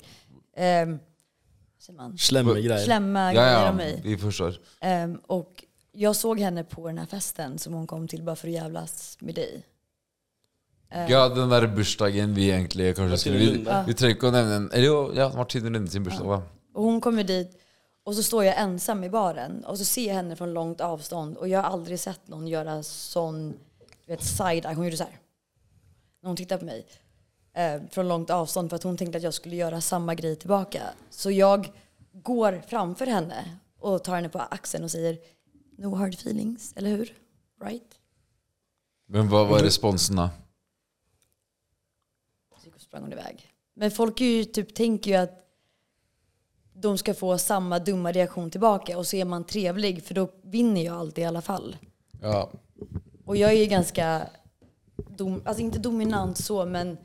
G: ehm, vad säger man?
E: Slemme greier.
G: Slämma
D: ja,
G: grejer
D: ja,
G: om mig.
D: vi forstår.
G: Ehm, och jag såg henne på den här festen som hon kom till bara för att jävlas med dig.
D: Ja, den der bursdagen vi egentlig kanskje skulle Vi, vi trenger ikke å nevne den. Eller jo, ja, Martine Lunde sin bursdag, da.
G: Och hon kommer dit och så står jag ensam i baren och så ser jag henne från långt avstånd och jag har aldrig sett någon göra sån du vet, side-eye. Hon gjorde så här. När hon tittade på mig eh, från långt avstånd för att hon tänkte att jag skulle göra samma grej tillbaka. Så jag går framför henne och tar henne på axeln och säger No hard feelings, eller hur? Right?
D: Men hva var responsen da?
G: Så gick och sprang hon iväg. Men folk är ju, typ, tänker ju att de ska få samma dumma reaktion tillbaka och så är man trevlig för då vinner jag alltid i alla fall.
F: Ja.
G: Och jag är ju ganska, dom, alltså inte dominant så, men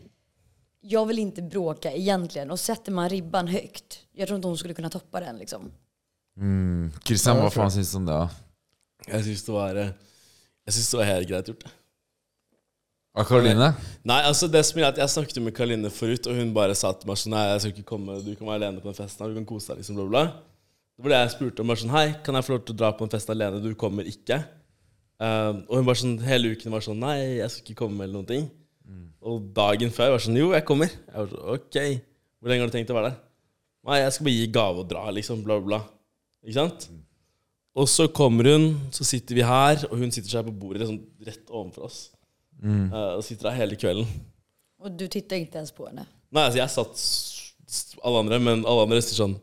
G: jag vill inte bråka egentligen. Och sätter man ribban högt, jag tror inte hon skulle kunna toppa den liksom.
D: Kristian, hva faen syns du om det? da?
E: Jeg syns det var eh, Jeg synes det var helt greit gjort.
D: Av Karoline?
E: Nei, altså det som er at Jeg snakket jo med Karoline forut, og hun bare sa til meg sånn Nei, jeg skal ikke komme, du kan være alene på den festen, her, du kan kose deg, liksom, bla, bla. bla. Det var det jeg spurte om. bare sånn, Hei, kan jeg få lov til å dra på en fest alene? Du kommer ikke. Eh, og hun bare sånn, hele uken var sånn Nei, jeg skal ikke komme, eller noen ting. Og dagen før var sånn Jo, jeg kommer. Jeg var sånn, ok, Hvor lenge har du tenkt å være der? Nei, jeg skal bare gi gave og dra, liksom. Bla, bla. Ikke sant? Og så kommer hun, så sitter vi her, og hun sitter seg på bordet liksom, rett ovenfor oss. Eh, og sitter der hele kvelden.
G: Och du tittar inte ens på henne.
E: Nei, altså jeg satt s- s- alle andre, men alle andre sier sånn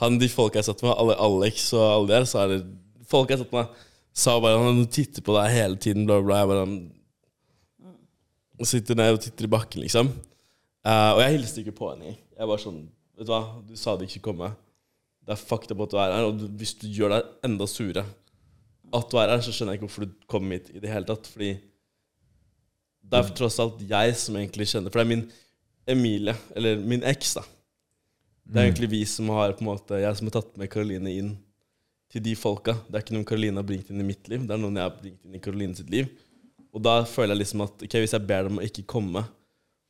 E: han, De folka jeg satt med, alle Alex og alle der, så er det folk jeg satt med, sa bare han «Du titter på deg hele tiden, bla, bla. Jeg bare "Mm." og sitter ned og titter i bakken, liksom. Eh, og jeg hilste ikke på henne. Jeg var sånn Vet du hva, du sa det ikke skulle komme. Det er fucked up at du er her, og du, hvis du gjør deg enda surere at du er her, så skjønner jeg ikke hvorfor du kom hit i det hele tatt, fordi det er tross alt jeg som egentlig kjenner For det er min Emilie, eller min eks, da. Det er egentlig vi som har på en måte, jeg som har tatt med Karoline inn til de folka. Det er ikke noen Karoline har bringt inn i mitt liv, det er noen jeg har bringt inn i Karoline sitt liv. Og da føler jeg liksom at ok, hvis jeg ber dem å ikke komme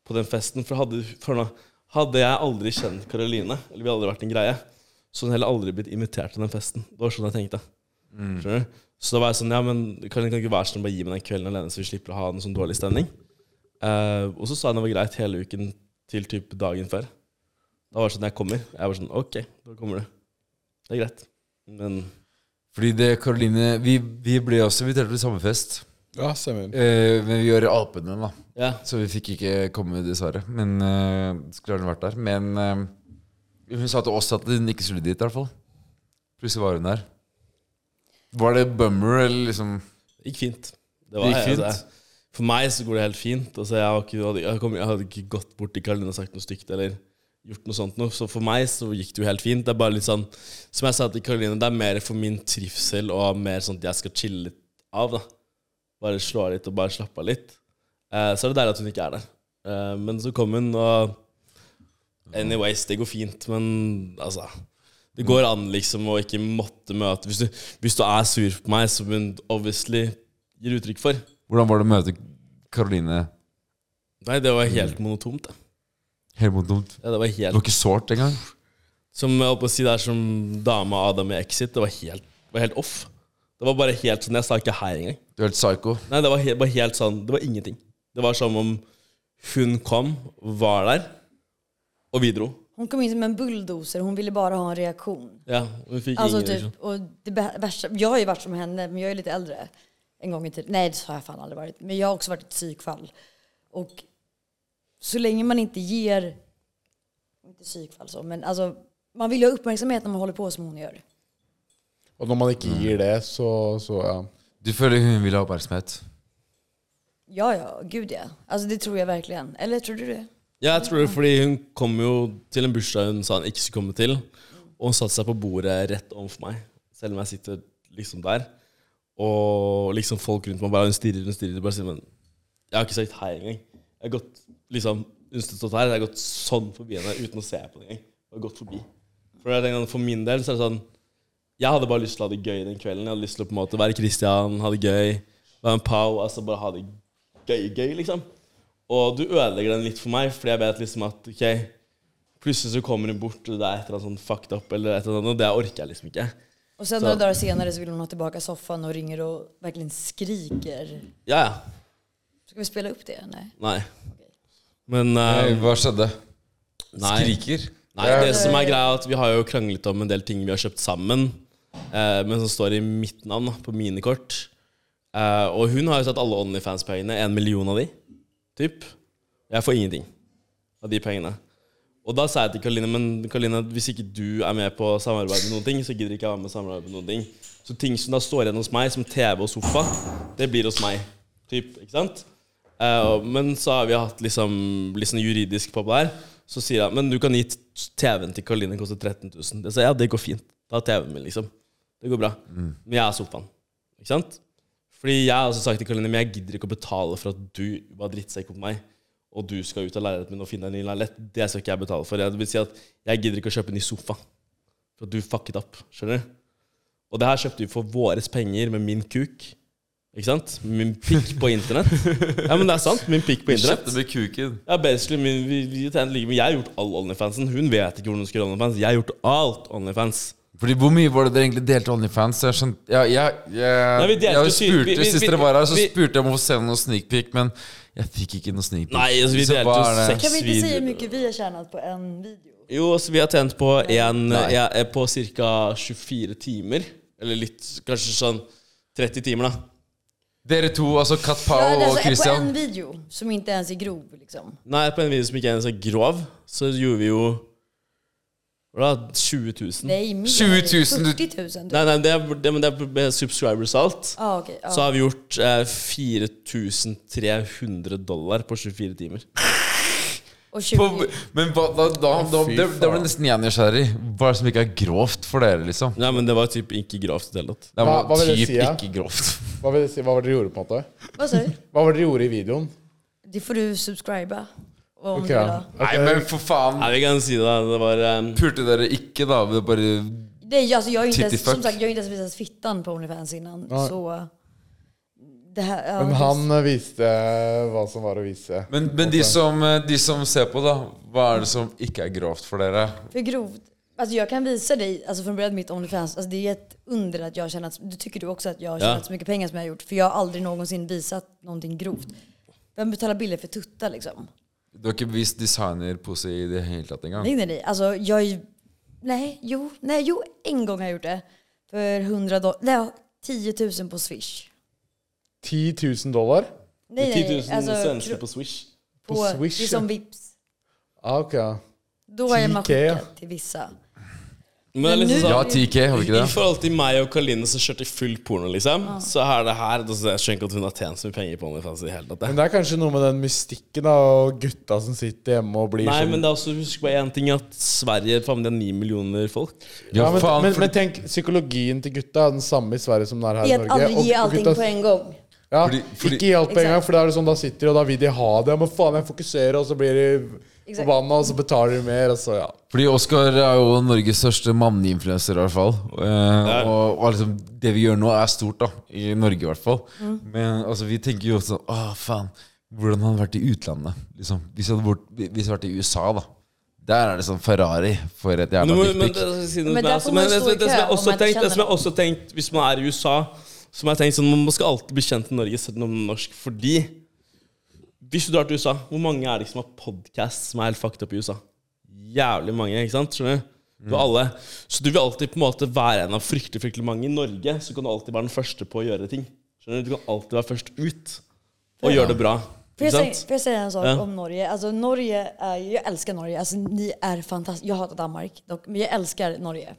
E: på den festen For hadde, for nå, hadde jeg aldri kjent Karoline, eller vi hadde aldri vært en greie, så hadde hun heller aldri blitt invitert til den festen. Det var sånn jeg tenkte. Skjønner du? Så da var jeg sånn, ja, men Karoline kan ikke være sånn, bare gi meg den kvelden alene, så vi slipper å ha en sånn dårlig stemning. Eh, og så sa hun det var greit hele uken til typ dagen før. Da var det sånn jeg kommer. Jeg var sånn OK, da kommer du. Det er greit. Men
D: Fordi det, Karoline Vi, vi ble også invitert til samme fest,
F: Ja, stemmer.
D: eh, men vi gjør Alpene, da.
E: ja,
D: Så vi fikk ikke komme, dessverre. Men eh, skulle gjerne vært der. Men eh, hun sa til oss at hun ikke skulle dit, i hvert fall. Plutselig var hun der. Var det bummer, eller liksom
E: det gikk fint. Det
D: Det gikk
E: altså,
D: fint.
E: jeg- for meg så går det helt fint. Altså, jeg, har ikke, jeg, hadde, jeg, kom, jeg hadde ikke gått bort til Karoline og sagt noe stygt eller gjort noe sånt noe. Så for meg så gikk det jo helt fint. Det er bare litt sånn Som jeg sa til Karoline, det er mer for min trivsel og mer sånn at jeg skal chille litt av, da. Bare slå av litt og bare slappe av litt. Eh, så er det deilig at hun ikke er der. Eh, men så kom hun, og Anyways, det går fint, men altså Det går an liksom å ikke måtte møte Hvis du, hvis du er sur på meg, som hun obviously gir uttrykk for
D: Hvordan var det å møte Karoline
E: Nei, det var helt monotont. da.
D: helt mot dumt?
E: Ja, det
D: Det
E: var
D: var
E: helt
D: ikke sårt engang.
E: Som jeg holdt på å si, det er som dama Adam i Exit. Det var helt, det var helt off. Det var bare helt sånn Jeg sa ikke hei engang.
D: Du er helt psycho.
E: Nei, det var helt, bare helt sånn Det var ingenting. Det var som om hun kom, var der, og vi dro.
G: Hon kom in som en bulldozer, hon ville bara ha en reaktion.
E: Ja, og vi fikk
G: Alltså
E: ingen reaksjon.
G: typ, och det bä- värsta, jag har ju varit som henne, men jag är lite äldre. En gång i tiden. Nej, det har jag fan aldrig varit. Men jag har också varit ett psykfall. Och så länge man inte ger, inte psykfall så, men alltså, man vill ju ha uppmärksamhet när man håller på som hon gör.
F: Og når man ikke gir det, så, så ja.
D: Du føler hun vil ha oppmerksomhet.
G: Ja, ja, gud ja. Alltså det tror jag verkligen. Eller tror du det?
E: Ja, jeg tror det, fordi hun kom jo til en bursdag hun sa hun ikke skulle komme til. Og hun satte seg på bordet rett overfor meg, selv om jeg sitter liksom der. Og liksom folk rundt meg bare Hun stirrer, hun stirrer. Bare sier, men jeg har ikke sagt hei engang. Jeg har gått liksom Hun stått her, jeg har gått sånn forbi henne uten å se på henne engang. Jeg har gått forbi. For, jeg tenker, for min del så er det sånn Jeg hadde bare lyst til å ha det gøy den kvelden. Jeg hadde lyst til å på en måte være Christian, ha det gøy, være en pow, altså bare ha det gøy, gøy, liksom. Og du ødelegger den litt for meg, fordi jeg vet liksom at ok, plutselig så kommer hun bort, og det er et eller annet sånn fucked up, eller et eller annet, og det orker jeg liksom ikke.
G: Och sen några dagar senare så vill hon ha tillbaka soffan och ringer och verkligen skriker.
E: Ja, ja.
G: Ska vi spela upp det? Nej.
E: Nei. Men eh,
D: Hva skjedde?
E: nei.
D: Skriker?
E: Nei, det som er greia, er at vi har jo kranglet om en del ting vi har kjøpt sammen, eh, men som står i mitt navn, da, på mine kort. Eh, og hun har jo tatt alle OnlyFans-pengene, en million av de, typ. Jeg får ingenting av de pengene. Og da sa jeg til Karoline, men Karoline, hvis ikke du er med på samarbeid med noen ting, så gidder ikke jeg være med på samarbeid med noen ting. Så ting som da står igjen hos meg, som TV og sofa, det blir hos meg, typ, ikke sant? Eh, og- men så har vi hatt liksom, litt sånn juridisk på det her. Så sier jeg men du kan gi t- TV-en til Karoline, koster 13 000. Jeg sa ja, det går fint. Ta TV-en min, liksom. Det går bra. Men jeg er sofaen. Ikke sant? Fordi jeg har også sagt til Karoline men jeg gidder ikke å betale for at du var drittsekk på meg, og du skal ut av leiligheten min og finne deg en ny leilighet. Det skal ikke jeg betale for. Det vil si at jeg gidder ikke å kjøpe en ny sofa. For at du fucket opp. Skjønner du? Og det her kjøpte vi for våres penger med min kuk. Ikke sant? Min pikk på internett. Ja, men det er sant. Min pikk på internett.
D: Kjøpte med kuken.
E: Ja, basically min, vi, vi tjener like mye. Jeg har gjort all OnlyFansen. Hun vet ikke hvordan hun skal gjøre OnlyFans. Jeg har gjort alt OnlyFans.
D: Fordi Hvor mye var det dere egentlig delte OnlyFans? Jeg skjønte, ja, jeg, jeg,
E: Nei, vi delte
D: jeg spurte,
E: jo syn- vi- vi-
D: Sist
E: vi-
D: dere var her, så
E: vi-
D: spurte jeg om å få se noen sneak peek, men jeg fikk ikke noen sneak peek.
E: Nei, altså, vi
D: Så
E: delte
D: hva
E: jo
D: er det?
E: seks
G: Kan vi inte säga hur mycket vi har tjänat på en video?
E: Jo, så vi har tjent på en ja, eh, På ca. 24 timer. Eller litt Kanskje sånn 30 timer, da.
D: Dere to, altså Kat
G: Ja,
D: Pao
G: det är
D: og
G: alltså på
D: Christian.
G: en video som inte ens är grov liksom.
E: Nei, på en video som ikke er så grov, så gjorde vi jo Hva da? 20 000? Nei,
G: Nej, mer.
D: 20 000, du-
G: 40 000. typ.
E: nei det, er, det, men det er med subscribers og alt.
G: Ja, okej. Ah, ja.
E: Så har vi gjort eh, 4300 dollar på 24 timer.
G: Och 20,
D: På, men hva, da, da, da, det, det ble nesten jeg nysgjerrig. Hva er det som ikke er grovt for dere, liksom?
E: Nei, men det var typ ikke grovt i det hele tatt.
D: Det var
F: Hva- hva vil det
D: typ
F: si, ja?
D: ikke grovt.
F: Hva vil det si, hva var det dere gjorde, på en måte?
G: vad sa du?
F: Hva var det dere gjorde i videoen?
G: Det får du subscriba. Hva om
F: Ok,
G: du
F: ja.
G: da?
D: Nei, men for faen!
E: Nei, vi kan si det. Det var um,
D: Pulte dere ikke, da? Vi Bare
G: Det är, ju- alltså, jag har ju inte
D: Titty
G: ens, som
D: fuck.
G: sagt, jag har ju inte ens visat fittan på Onlyfans innan. Så... eh, Det här, ja,
F: Men
G: precis.
F: han eh, viste hva som var å vise.
D: men, men de, som, eh, de som ser på, da. Hva er det som ikke er grovt for dere?
G: För grovt. Alltså jag kan visa dig, alltså från början mitt Onlyfans, alltså det är ett under att jag känner att, du tycker du också att jag har tjänat så mycket pengar som jag har gjort, för jag har aldrig någonsin visat någonting grovt. Vem betalar bilder för tuttar liksom?
D: Du har ikke vist designerpose i det hele tatt engang?
G: Nej nej nej, alltså jag är ju- nej, jo, nej, jo, en gång har jag gjort det. För 100 dollar, nej, 10 000 på swish.
F: 10 000 dollar?
G: Nej,
E: 10 000
G: kro-
E: svensker på Swish.
G: på,
F: på Swish,
G: Det är som
F: ja.
G: vips.
F: Ah, ok, ja.
G: Då har jag
F: 10K,
G: man
F: ja.
G: skickat till vissa.
E: Men det er
G: Men
E: liksom
G: nu-
D: Ja,
E: sånn
D: 10K, har vi ikke
E: I
D: det?
E: forhold til meg og Karoline som kjørte full porno, liksom, så er det her altså, Jeg skjønner ikke at hun har tjent så mye penger på OnlyFans i det hele tatt. jeg.
F: Men det er kanskje noe med den mystikken da, og gutta som sitter hjemme og blir
E: Nei,
F: sånn
E: men det er også, husk bare én ting, at Sverige faen, de har ni millioner folk.
F: ja, men,
D: faen,
F: men,
D: for-
F: men tenk, psykologien til gutta er den samme i Sverige som den er her
G: I
F: i
G: att
F: Norge.
G: aldrig ge allting på en gång.
F: ja,
D: Fordi- fordi-
F: ikke gi alt på en gang,
G: Exakt.
F: for da er det sånn, da sitter de, og da vil de ha det. Men faen, jeg fokuserer, og så blir de
G: Exakt.
F: forbanna, og så betaler de mer, og så ja.
D: Fordi Oskar er jo Norges største manneinfluenser, i hvert fall. Eh, og, og liksom, det vi gjør nå, er stort, da. I Norge, i hvert fall. Men altså, vi tenker jo også sånn Å, faen. Hvordan hadde det vært i utlandet? Liksom, hvis det hadde vært, hvis det hadde vært i USA, da. Der er det sånn Ferrari for et jævla
E: Men, men, men,
D: dickpic.
E: det, si noe som
G: Men
E: er-
G: der
E: altså,
G: får man
E: men det,
G: stå i
E: det, det, som
G: kø
E: jeg
G: om
E: også
G: man
E: tenkt, det
G: kjenner
E: som jeg også tenkt Hvis man er i USA, som jeg tenkt sånn Man skal alltid bli kjent i Norge, selv om man er norsk, fordi Hvis du drar til USA, hvor mange er det som har podkast som er helt fucked up i USA? Jævlig mange, ikke sant? Skjønner du? Du har alle. Så du vil alltid på en måte være en av fryktelig fryktelig mange. I Norge så kan du alltid være den første på å gjøre ting. Skjønner Du Du kan alltid være først ut og gjøre det bra. Ikke
G: Får jag, säga,
E: sant?
G: får jag säga en sak
E: Ja.
G: om Norge? Alltså, Norge är, jag älskar Norge. Alltså, ni är fantastiska. Jag hatar Danmark dock, men jag älskar Norge.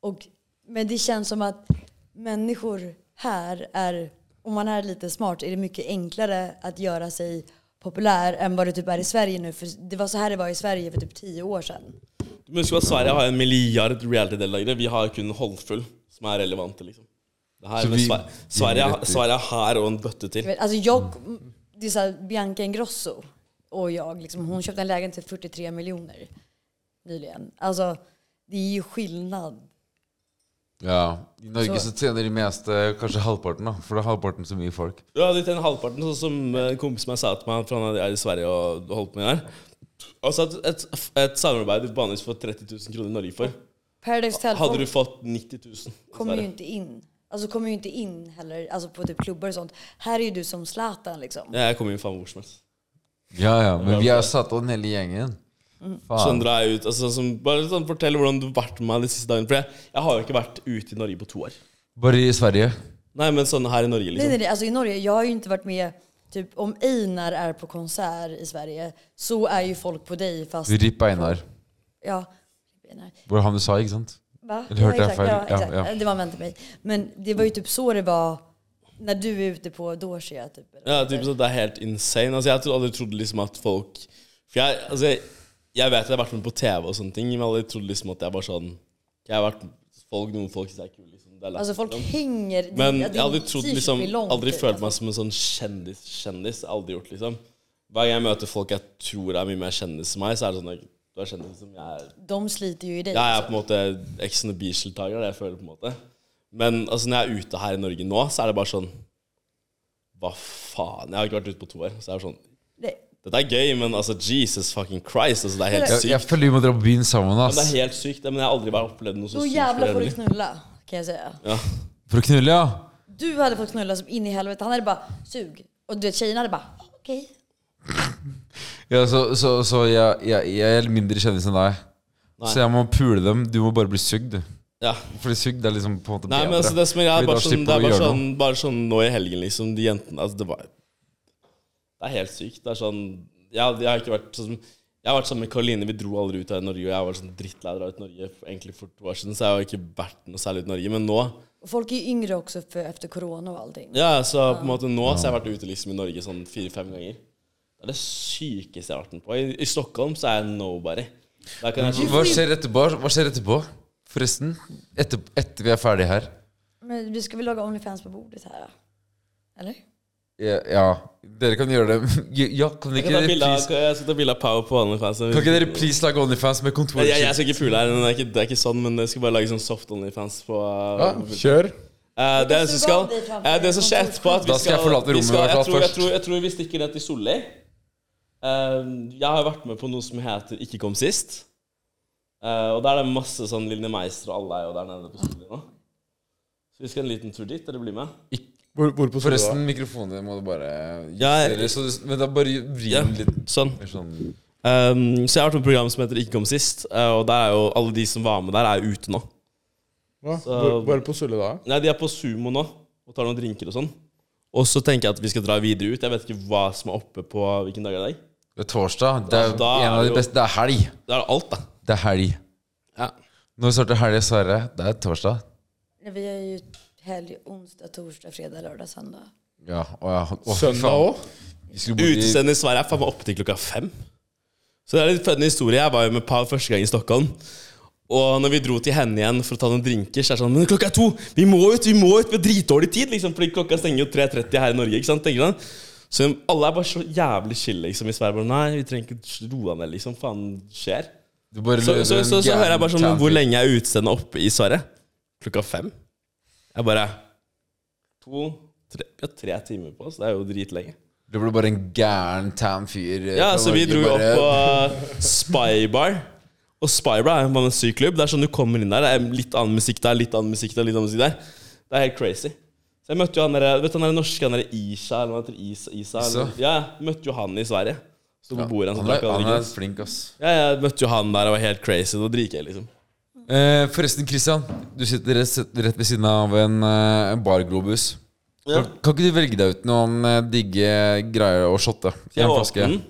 G: Och, men det känns som att människor här är, om man är lite smart, är det mycket enklare att göra sig populär än vad det typ är i Sverige nu. För det var så här det var i Sverige för typ tio år sedan.
E: Men husk at Sverige har en milliard reality-deltakere. Vi har kun Holdfull, som er relevante, liksom. Det her,
D: Så
E: men
D: vi-
E: Sverige,
D: vi
E: Sverige,
D: rett ut.
E: Sverige har og en bøtte
G: Jag
E: til.
G: vet, Alltså jag, det är så här, Bianca Ingrosso och jag, liksom, hon köpte en lägenhet för 43 miljoner nyligen. Alltså, det är ju skillnad.
D: Ja. I Norge
G: Så-
D: så tjener de meste kanskje halvparten, da. For det er halvparten så mye folk.
E: Ja, det er en halvparten, sånn som eh, en kompis meg sa til meg, for han er i Sverige og holdt på med det her. Altså et, et, et samarbeid du vanligvis får 30 000 kroner i Norge for.
G: Paradise Hotel
E: Hadde du
G: folk
E: fått 90 000 i
G: kommer ju
E: Sverige.
G: inte in. Alltså kommer ju inte in heller, alltså på typ klubbar och sånt. Här är ju du som Zlatan liksom.
E: Ja, Jeg kommer jo faen hvor som helst.
D: Ja, ja. Men vi har satt av den hele gjengen. Faen.
E: Søndre er ut, altså, sånn som, Bare sånn, fortell hvordan du har vært med meg de siste dagene. For jeg, jeg har jo ikke vært ute i Norge på to år.
D: Bare i Sverige.
E: Nei, men sånn her i Norge,
G: Nej, nej,
E: liksom.
G: nej, alltså i Norge, jag har ju inte varit med, typ om Einar är på konsert i Sverige så är ju folk på dig fast,
D: Ripp Einar.
G: ja. Einar.
D: Hvor han du sa, ikke sant?
G: Va?
D: Eller hörde jag
G: exakt,
D: fel?
G: ja,
D: Ja,
G: exakt.
D: ja.
G: Det var en vän till mig. Men det var ju typ så det var när du är ute på Dorsia typ. eller
E: Ja,
G: vad
E: typ
G: det
E: sånn, Det er helt insane. Altså, Jeg trodde aldri trodde liksom at folk For jeg, altså, jeg, jeg vet at jeg har vært med på TV og sånne ting, men jeg har aldri trodd liksom at jeg bare sånn Jeg har vært folk, Noen folk syns jeg er kul. Liksom. Det er
G: är.
E: lett,
G: Alltså Altså, folk
E: liksom.
G: hänger. det-
E: Men
G: ja,
E: jeg
G: din
E: har aldri trodd
G: t-shirt
E: liksom
G: blir lång,
E: Aldri
G: typ,
E: følt
G: alltså.
E: meg som en sånn kjendis-kjendis. Aldri gjort, liksom. Hver gang jeg møter folk jeg tror er mye mer kjendis enn meg, så er det sånn at du er kjendis som jeg er
G: De sliter ju i dig.
E: ja, jeg er
G: alltså.
E: på en måte Ex on the Beach-deltaker, det jeg føler på en måte. Men altså, når jeg er ute her i Norge nå, så er det bare sånn Hva faen? Jeg har ikke vært ute på to år. Så jeg er sånn
G: Det-
E: Dette er gøy, men altså, Jesus fucking Christ. Altså, det er helt
G: Eller-
D: Jeg,
E: sykt.
D: jeg føler vi må dra på byen sammen,
E: Men det
D: ass.
E: er helt sykt, det, men jeg har aldri bare opplevd noe så
G: Då
E: sykt.
G: jävlar får
E: for
G: du
E: det.
G: knulla, kan jag säga.
E: Ja.
D: For å knulle, ja.
G: Du hade fått knulla som in i helvete. Han hade bara sug. Och du vet, tjejerna hade bara okej.
D: ja så, så, så jeg, jeg, jeg er mindre kjendis enn deg. Så jeg må pule dem. Du må bare bli sugd.
E: ja.
D: Fordi sugd er liksom på en måte
E: Nei,
D: bedre.
E: men altså, det som er, er
D: Fordi da
E: bare sånn,
D: slipper du
E: det er
D: å
E: bare
D: gjøre
E: sånn, bare sånn nå i helgen, liksom, de jentene Altså, det var Det er helt sykt. Det er sånn Jeg, hadde- jeg har ikke vært sånn Jeg har vært sammen med Karoline, vi dro aldri ut av Norge, og jeg var sånn drittlei av å dra ut av Norge for- egentlig for to år siden, så jeg har ikke vært noe særlig ut i Norge. Men nå
G: Och folk är ju yngre också för, efter corona och allting.
E: Ja, så på en måte nå så har jeg vært ute liksom i Norge sånn fire-fem ganger. Det er det sykeste jeg har vært med på. I, I Stockholm så er jeg nobody. Der kan jeg
D: noe. Hva skjer etterpå? Hva skjer etterpå? Forresten. Etter, etter vi er ferdige her.
G: Men vi ska väl laga Onlyfans på bordet här? Eller?
D: Ja, ja. Dere kan gjøre det. Ja, kan dere ikke
E: Jeg skal ta bilde av-
D: reprise
E: jeg skal ta bilde av Power på OnlyFans.
D: Kan ikke dere please lage OnlyFans med
E: Jeg, jeg,
D: kontorskilt?
E: jeg skal ikke pule her, men det er ikke, det er ikke sånn, men jeg skal bare lage sånn soft OnlyFans på
F: Ja, kjør.
E: Eh, det, som skal, eh, det som skjer etterpå at vi
D: Da skal jeg forlate
E: vi
D: rommet
E: skal,
D: i hvert fall
E: jeg, tror, jeg,
D: først.
E: tror, jeg tror vi stikker ned til Solli. Eh, jeg har vært med på noe som heter Ikke kom sist. Eh, og der er det masse sånn Lille Meister og alle er jo der nede på Solli nå. Så vi skal en liten tur dit. Dere blir med?
F: Hvor, hvorpå skal du da?
D: Forresten, mikrofonen må du bare
E: Ja, jeg-
D: justere, så du- Men da bare vri den litt
E: Sånn.
D: mer sånn
E: Ehm, så jeg har vært med på et program som heter Ikke kom sist, eh, og der er jo alle de som var med der, er jo ute nå.
F: Hva?
E: Så-
F: Hvor, hvor er det på Sulle da?
E: Nei, de er på sumo nå og tar noen drinker og sånn. Og så tenker jeg at vi skal dra videre ut. Jeg vet ikke hva som er oppe på hvilken dag er det i dag.
D: Det er torsdag. Det er,
E: Altså, Da er
D: en av
E: jo-
D: de beste Det er helg.
E: Det er alt, da.
D: Det er helg.
E: Ja.
D: Når starter helg, Sverre? Det er torsdag.
G: Nej, Vi har ju helg, onsdag, torsdag, fredag, lördag, söndag.
D: Ja, å, ja. Å, fy
F: Søndag
D: faen.
F: òg?
D: Vi skulle bo i
E: Utestedet i Sverige er faen meg oppe til klokka fem. Så det er litt funny historie. Jeg var jo med Pav første gang i Stockholm. Og når vi dro til henne igjen for å ta noen drinker, så er det sånn Men klokka er to! Vi må ut! Vi må ut! Vi har dritdårlig tid! Liksom, fordi klokka stenger jo 3.30 her i Norge, ikke sant? Tenker han. Så alle er bare så jævlig chill, liksom, i Sverige. Bare, Nei, vi trenger ikke roe deg ned, liksom. Faen skjer?
D: du bare
E: Så, så,
D: løper
E: så,
D: en
E: så,
D: gæren
E: hører jeg bare sånn
D: town
E: Hvor
D: trip.
E: lenge er utestedene oppe i Sverige? Klokka fem? Jeg bare To tre, Vi har tre timer på oss. Det er jo dritlenge.
D: Det ble bare en gæren tam fyr. eh,
E: Ja,
D: fra
E: så vi
D: Norge,
E: dro jo
D: bare-
E: opp på uh, Spybar. Og Spybar er jo bare en syk klubb. Det er sånn du kommer inn der. Det er litt annen musikk der, litt annen musikk der, litt annen musikk der. Det er helt crazy. Så jeg møtte jo han der, vet du han der norske, han der Isha, eller hva heter det? Isa? Isa, eller,
D: Isa?
E: ja, jeg møtte jo han i Sverige. Sto på bordet hans og
D: Han er,
E: drakk
D: han er
E: Allergis.
D: flink, ass.
E: Ja, jeg møtte jo han der og var helt crazy. Da driker jeg, liksom.
D: Eh, forresten, Christian. Du sitter rett, rett ved siden av en, eh, en barglobus. Kan, kan ikke du velge deg ut noen eh, digge greier å shotte? i
E: Jeg
D: en
E: åpner
D: flaske?
E: den.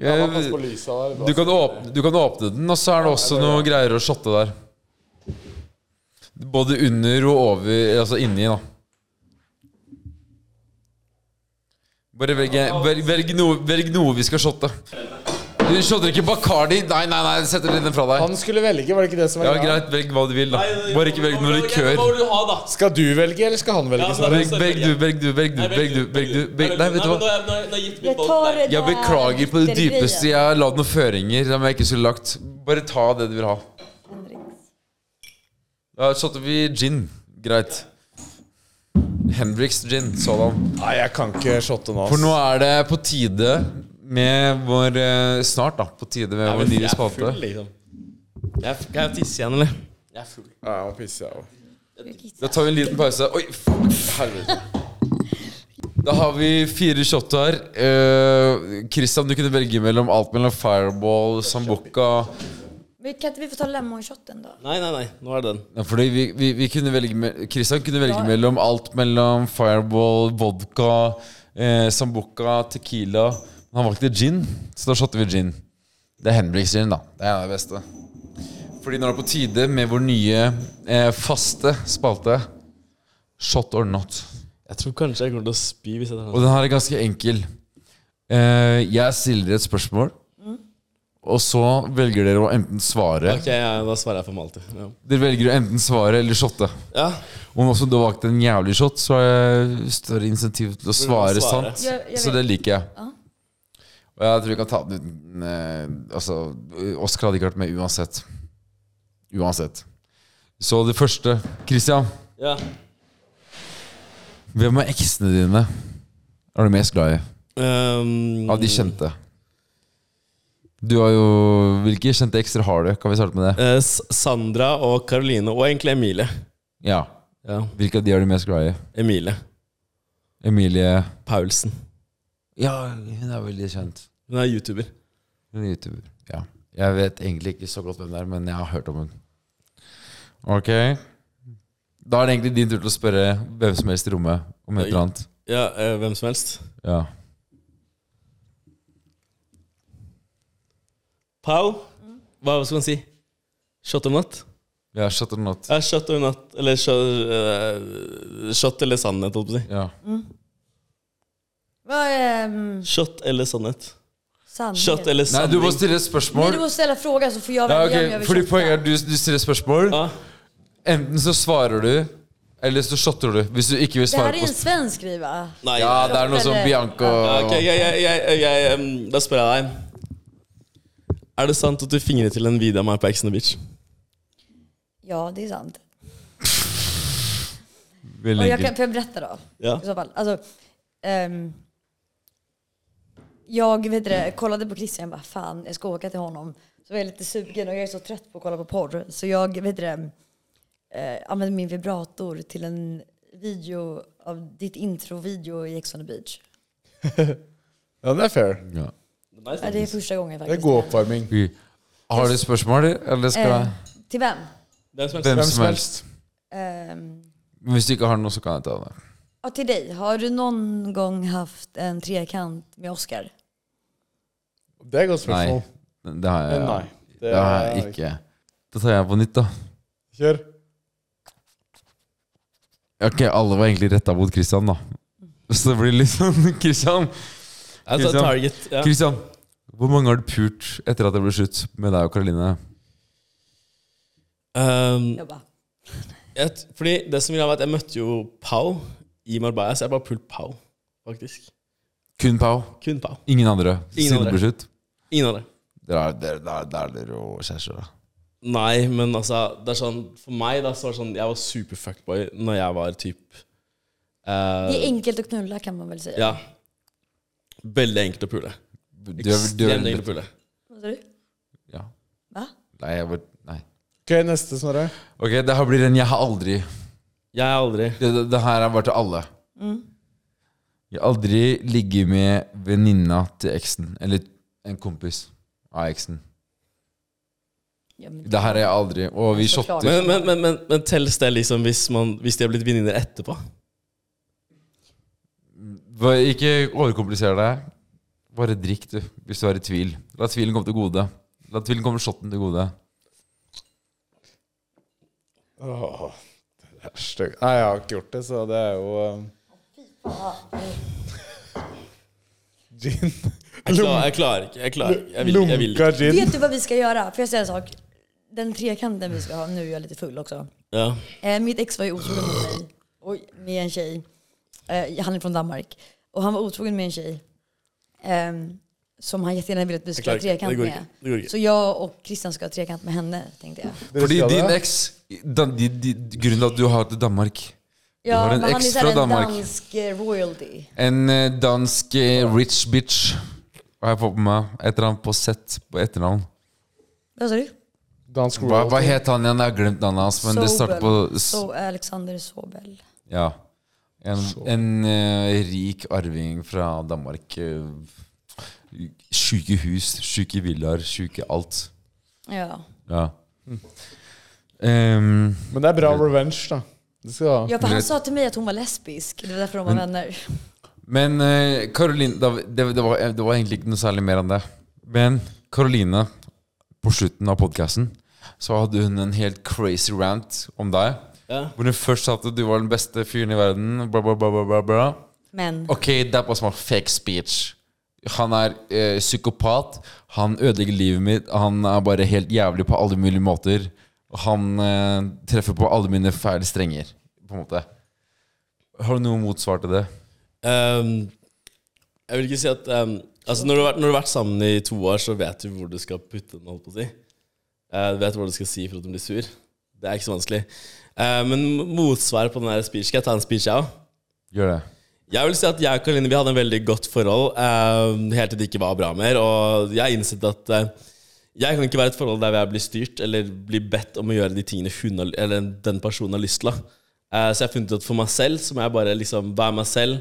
D: Eh,
F: Pass på lysa der.
D: du, kan åpne, du kan åpne den, og så er det også noe greier å shotte der. Både under og over Altså inni, da. Bare velg, velg, velg, noe, velg noe vi skal shotte. Du shotter ikke Bacardi. Nei, nei, nei, setter den fra deg.
F: Han skulle velge, var det ikke det som
D: Ja,
F: var greia?
D: greit, velg hva du vil, da. Bare ikke velg noe
E: Hva
D: likør.
E: vil du ha, da?
F: Skal du velge, eller skal han velge?
E: Ja,
F: Sverre?
D: Velg,
E: men-
D: velg du, velg du, velg du,
E: Nei,
D: velg du, velg du, velg Nei, vet du
E: men nå
D: hva?
E: har jeg- nå har jeg- nå har jeg gitt mitt
G: Jag
E: valg
G: tar
E: til deg.
G: det
D: Jeg
G: där
D: beklager på det
G: bittergrejen.
D: dypeste. Jeg har lagd noen føringer som jeg ikke skulle lagt. Bare ta det du vil ha.
G: Henriks.
D: Da shotter vi gin. Greit. Hendrix gin, sådan.
F: Nei, jeg kan ikke shotte nå. altså. ass.
D: For nå er det på tide med vår eh, Snart, da. På tide med vår nye
E: Jeg er full,
D: spalte.
E: liksom. Jeg er f- Kan jeg tisse igjen, eller? Jeg er full.
F: Ja, jeg må pisse, jeg òg.
D: Da tar vi en liten pause. Oi, faen, helvete. Da har vi fire shot her. Eh, Christian, du kunne velge mellom alt mellom fireball, sambuca
G: Men kan inte vi få ta lemonshotten då?
E: Nei, nei, nei. Nå er det den.
D: ja, Fordi vi, vi, vi kunne velge me Christian kunne velge mellom alt mellom fireball, vodka, eh, sambuca, tequila Men han valgte gin, så da shotter vi gin. Det er Henriks gin, da. Det er det beste. Fordi nå er det på tide med vår nye eh, faste spalte. Shot or not.
E: Jeg tror kanskje jeg kommer til å spy hvis jeg tar den.
D: Og den her er ganske enkel. Eh, jeg stiller et spørsmål, og så velger dere å enten svare
E: Ok, ja, Da svarer jeg for Malte. Ja.
D: Dere velger å enten svare eller shotte.
E: ja.
D: Om også du har valgt en jævlig shot, så er det større insentiv til å svare,
E: svare.
D: sant.
G: Jag, jag
D: Så
G: vet.
D: det liker jeg. Og jeg tror vi kan ta den uten eh, Altså, Oskar hadde ikke vært med uansett. Uansett. Så det første Christian,
E: ja.
D: hvem av eksene dine er du mest glad i?
E: Ehm,
D: Av de kjente. Du har jo Hvilke kjente ekstra har du? Kan vi starte med det?
E: eh, S- Sandra og Karoline, og egentlig Emilie.
D: Ja.
E: Ja.
D: Hvilke av de er du mest glad i?
E: Emilie
D: Emilie
E: Paulsen.
D: Ja, hun er veldig kjent.
E: Hun er YouTuber.
D: Hun er YouTuber. Ja. Jeg vet egentlig ikke så godt hvem det er, men jeg har hørt om hun. Ok. Da er det egentlig din tur til å spørre hvem som helst i rommet om et eller annet.
E: Ja, eh, hvem som helst.
D: Ja.
E: Pau, hva skal man si? Shot or not?
D: Ja, shut or not.
E: Ja, shot or not. Eller shot, eh, shot eller sannhet, holdt på å si.
D: Ja.
G: Vad är um,
E: Shot eller sannhet?
G: sanning?
E: Shot eller
D: Nei,
E: sanning?
D: du må stille et
G: Nej, du
D: spørsmål.
G: måste ställa frågan så får jag
D: Ja,
G: välja om
D: ok.
G: jag vill
D: Fordi
G: shotta.
D: poenget er at du, du stiller spørsmål.
E: Ja.
D: Enten så svarer du Eller så shotter du. Hvis du ikke vil
G: Det
D: svare
G: här är
D: på
G: en svensk skiva.
E: Nei.
D: Ja, det er noe som
G: Eller-
D: Bianca
E: Ok, jeg, jeg, jeg, jeg, em, Da spør jeg deg. Er det sant at du fingret til en video av meg på Ex on the Beach?
G: Ja, det är sant. Och
D: Veldig
G: jag kan,
D: enkelt.
G: får jag berätta då?
E: Ja.
G: I så fall. Alltså, ehm, jag vet det, kollade på Christian och bara fan, jag ska åka till honom. Så var jag lite sugen och jag är så trött på att kolla på porr. Så jag vet det, eh, använde min vibrator till en video av ditt introvideo i Ex on the beach.
F: Ja, den er fair.
D: Ja.
G: Ja, det är första gången
F: Det er
G: faktiskt.
F: god oppvarming.
D: Vi- Har du spørsmål, eller skal
G: Eh, till vem?
E: Hvem som helst.
D: hvem
F: Hvem
D: som helst?
G: Ehm,
D: Hvis du ikke har noe, så kan jeg ta det.
G: ja, till dig. Har du någon gång haft en trekant med Oscar?
F: Det er et godt
D: Nei.
F: spørsmål.
D: Det har jeg,
F: Men nei. Det
D: det har jeg ikke. Da tar jeg på nytt, da.
F: Kjør.
D: Ok, alle var egentlig retta mot Christian, da. Så det blir litt sånn Christian,
E: Altså,
D: Christian.
E: target, ja.
D: Christian, hvor mange har du pult etter at det ble slutt med deg og Karoline?
E: Em,
G: Jag bara,
E: jeg, fordi det som ville ha vært Jeg møtte jo Pau i Marbella, så jeg bare pult Pau, faktisk.
D: Kun Pau.
E: Kun Pau.
D: Ingen andre.
E: Ingen
D: Siden det ble slutt.
E: Ingen andre.
D: Det er det er- det er- det er dere og kjærester, da.
E: Nei, men altså det er sånn, For meg da, så var det sånn Jeg var super fuckboy når jeg var typ eh,
G: det är enkelt att knulla kan man väl säga.
E: Ja. Veldig enkelt å pule.
D: Du er- du er-
E: Ekstremt enkelt å pule.
G: Vad sa du?
D: Ja.
G: Va?
D: Nei, jeg bare Nei.
F: Ok, neste, Snorre.
D: Ok, det her blir en jeg har aldri
E: Jeg er aldri
D: Det, det, det her er bare til alle.
G: Mm.
D: Jeg har aldri ligget med venninna til eksen. Eller en kompis av eksen.
G: Ja, men
D: Det her har jeg aldri. Og vi
G: Så klart.
D: shotter.
E: Men, men, men, men, men telles det liksom hvis, man, hvis de har blitt venninner etterpå?
D: Hva- Ikke overkompliser deg. Bare drikk, du, hvis du er i tvil. La tvilen komme til gode. La tvilen komme shotten til gode.
F: Åh, det er stygg. Nei, jeg har ikke gjort det, så det er jo um, Gin.
E: Jeg, klar, jeg klarer ikke. Jeg klarer ikke. Jeg vil, jeg vil ikke.
F: Lunka gin.
G: Vet du vad vi ska göra? Får jag säga en sak? Den trekanten vi ska ha, nu är jag lite full också.
E: Ja.
G: Eh, mitt ex var ju otrogen mot mig. Oj, med en tjej. Eh, han är från Danmark. Och han var otrogen med en tjej. ehm, som han jättegärna ville att vi skulle ha
E: klarar inte.
G: trekant
E: Det går
G: med.
E: inte. Det går inte.
G: Så jag och Christian ska ha trekant med henne, tänkte jag.
D: Fordi
F: skal
D: din
F: det?
D: eks den- din- din- Grunnen til at du har til Danmark Du har en
G: men han
D: ex
G: är så här
D: från
G: en
D: Danmark.
G: dansk eh, royalty.
D: En eh, dansk eh, rich bitch har jeg fått på meg. Et eller annet på sett på etternavn.
G: Vad sa du?
F: Dansk
D: Hva, hva
F: royalty.
D: het han igjen? Jeg har glemt navnet hans. Men det starter på s-
G: Så Alexander Sobel.
D: Ja. En, en eh, rik arving fra Danmark. eh, sjuke hus, sjuke villaer, sjuke alt.
G: Ja.
D: Ja. Ehm,
F: Men det er bra revenge, da. Det skal du ha.
G: ja, för han
D: Vet-
G: sa till mig att hon var lesbisk. Det var därför de var vänner.
D: men eh, Caroline da, det, det, var, det var egentlig ikke noe særlig mer enn det. Men Caroline, på slutten av podkasten, så hadde hun en helt crazy rant om deg.
E: Ja.
D: Hvor hun først sa at du var den beste fyren i verden. Bla, bla, bla, bla, bla, bla.
G: Men.
D: Ok, that was my fake speech. Han er eh, psykopat. Han ødelegger livet mitt. Han er bare helt jævlig på alle mulige måter. Han eh, treffer på alle mine feil strenger, på en måte. Har du noe motsvar til det?
E: Ehm, jeg vil ikke si at ehm, Altså når du, har vært, når du har vært sammen i to år, så vet du hvor du skal putte den. holdt på å si Eh, Du vet hva du skal si for at hun blir sur. Det er ikke så vanskelig. Eh, men motsvar på den der speech Skal jeg ta en speech, jeg òg?
D: Gjør det.
E: Jeg vil si at jeg og Karoline vi hadde en veldig godt forhold eh, helt til det ikke var bra mer. Og jeg har innsett at eh, jeg kan ikke være i et forhold der jeg blir styrt eller blir bedt om å gjøre de tingene hun har, eller den personen har lyst til. da. Eh, så jeg har funnet ut at for meg selv så må jeg bare liksom være meg selv.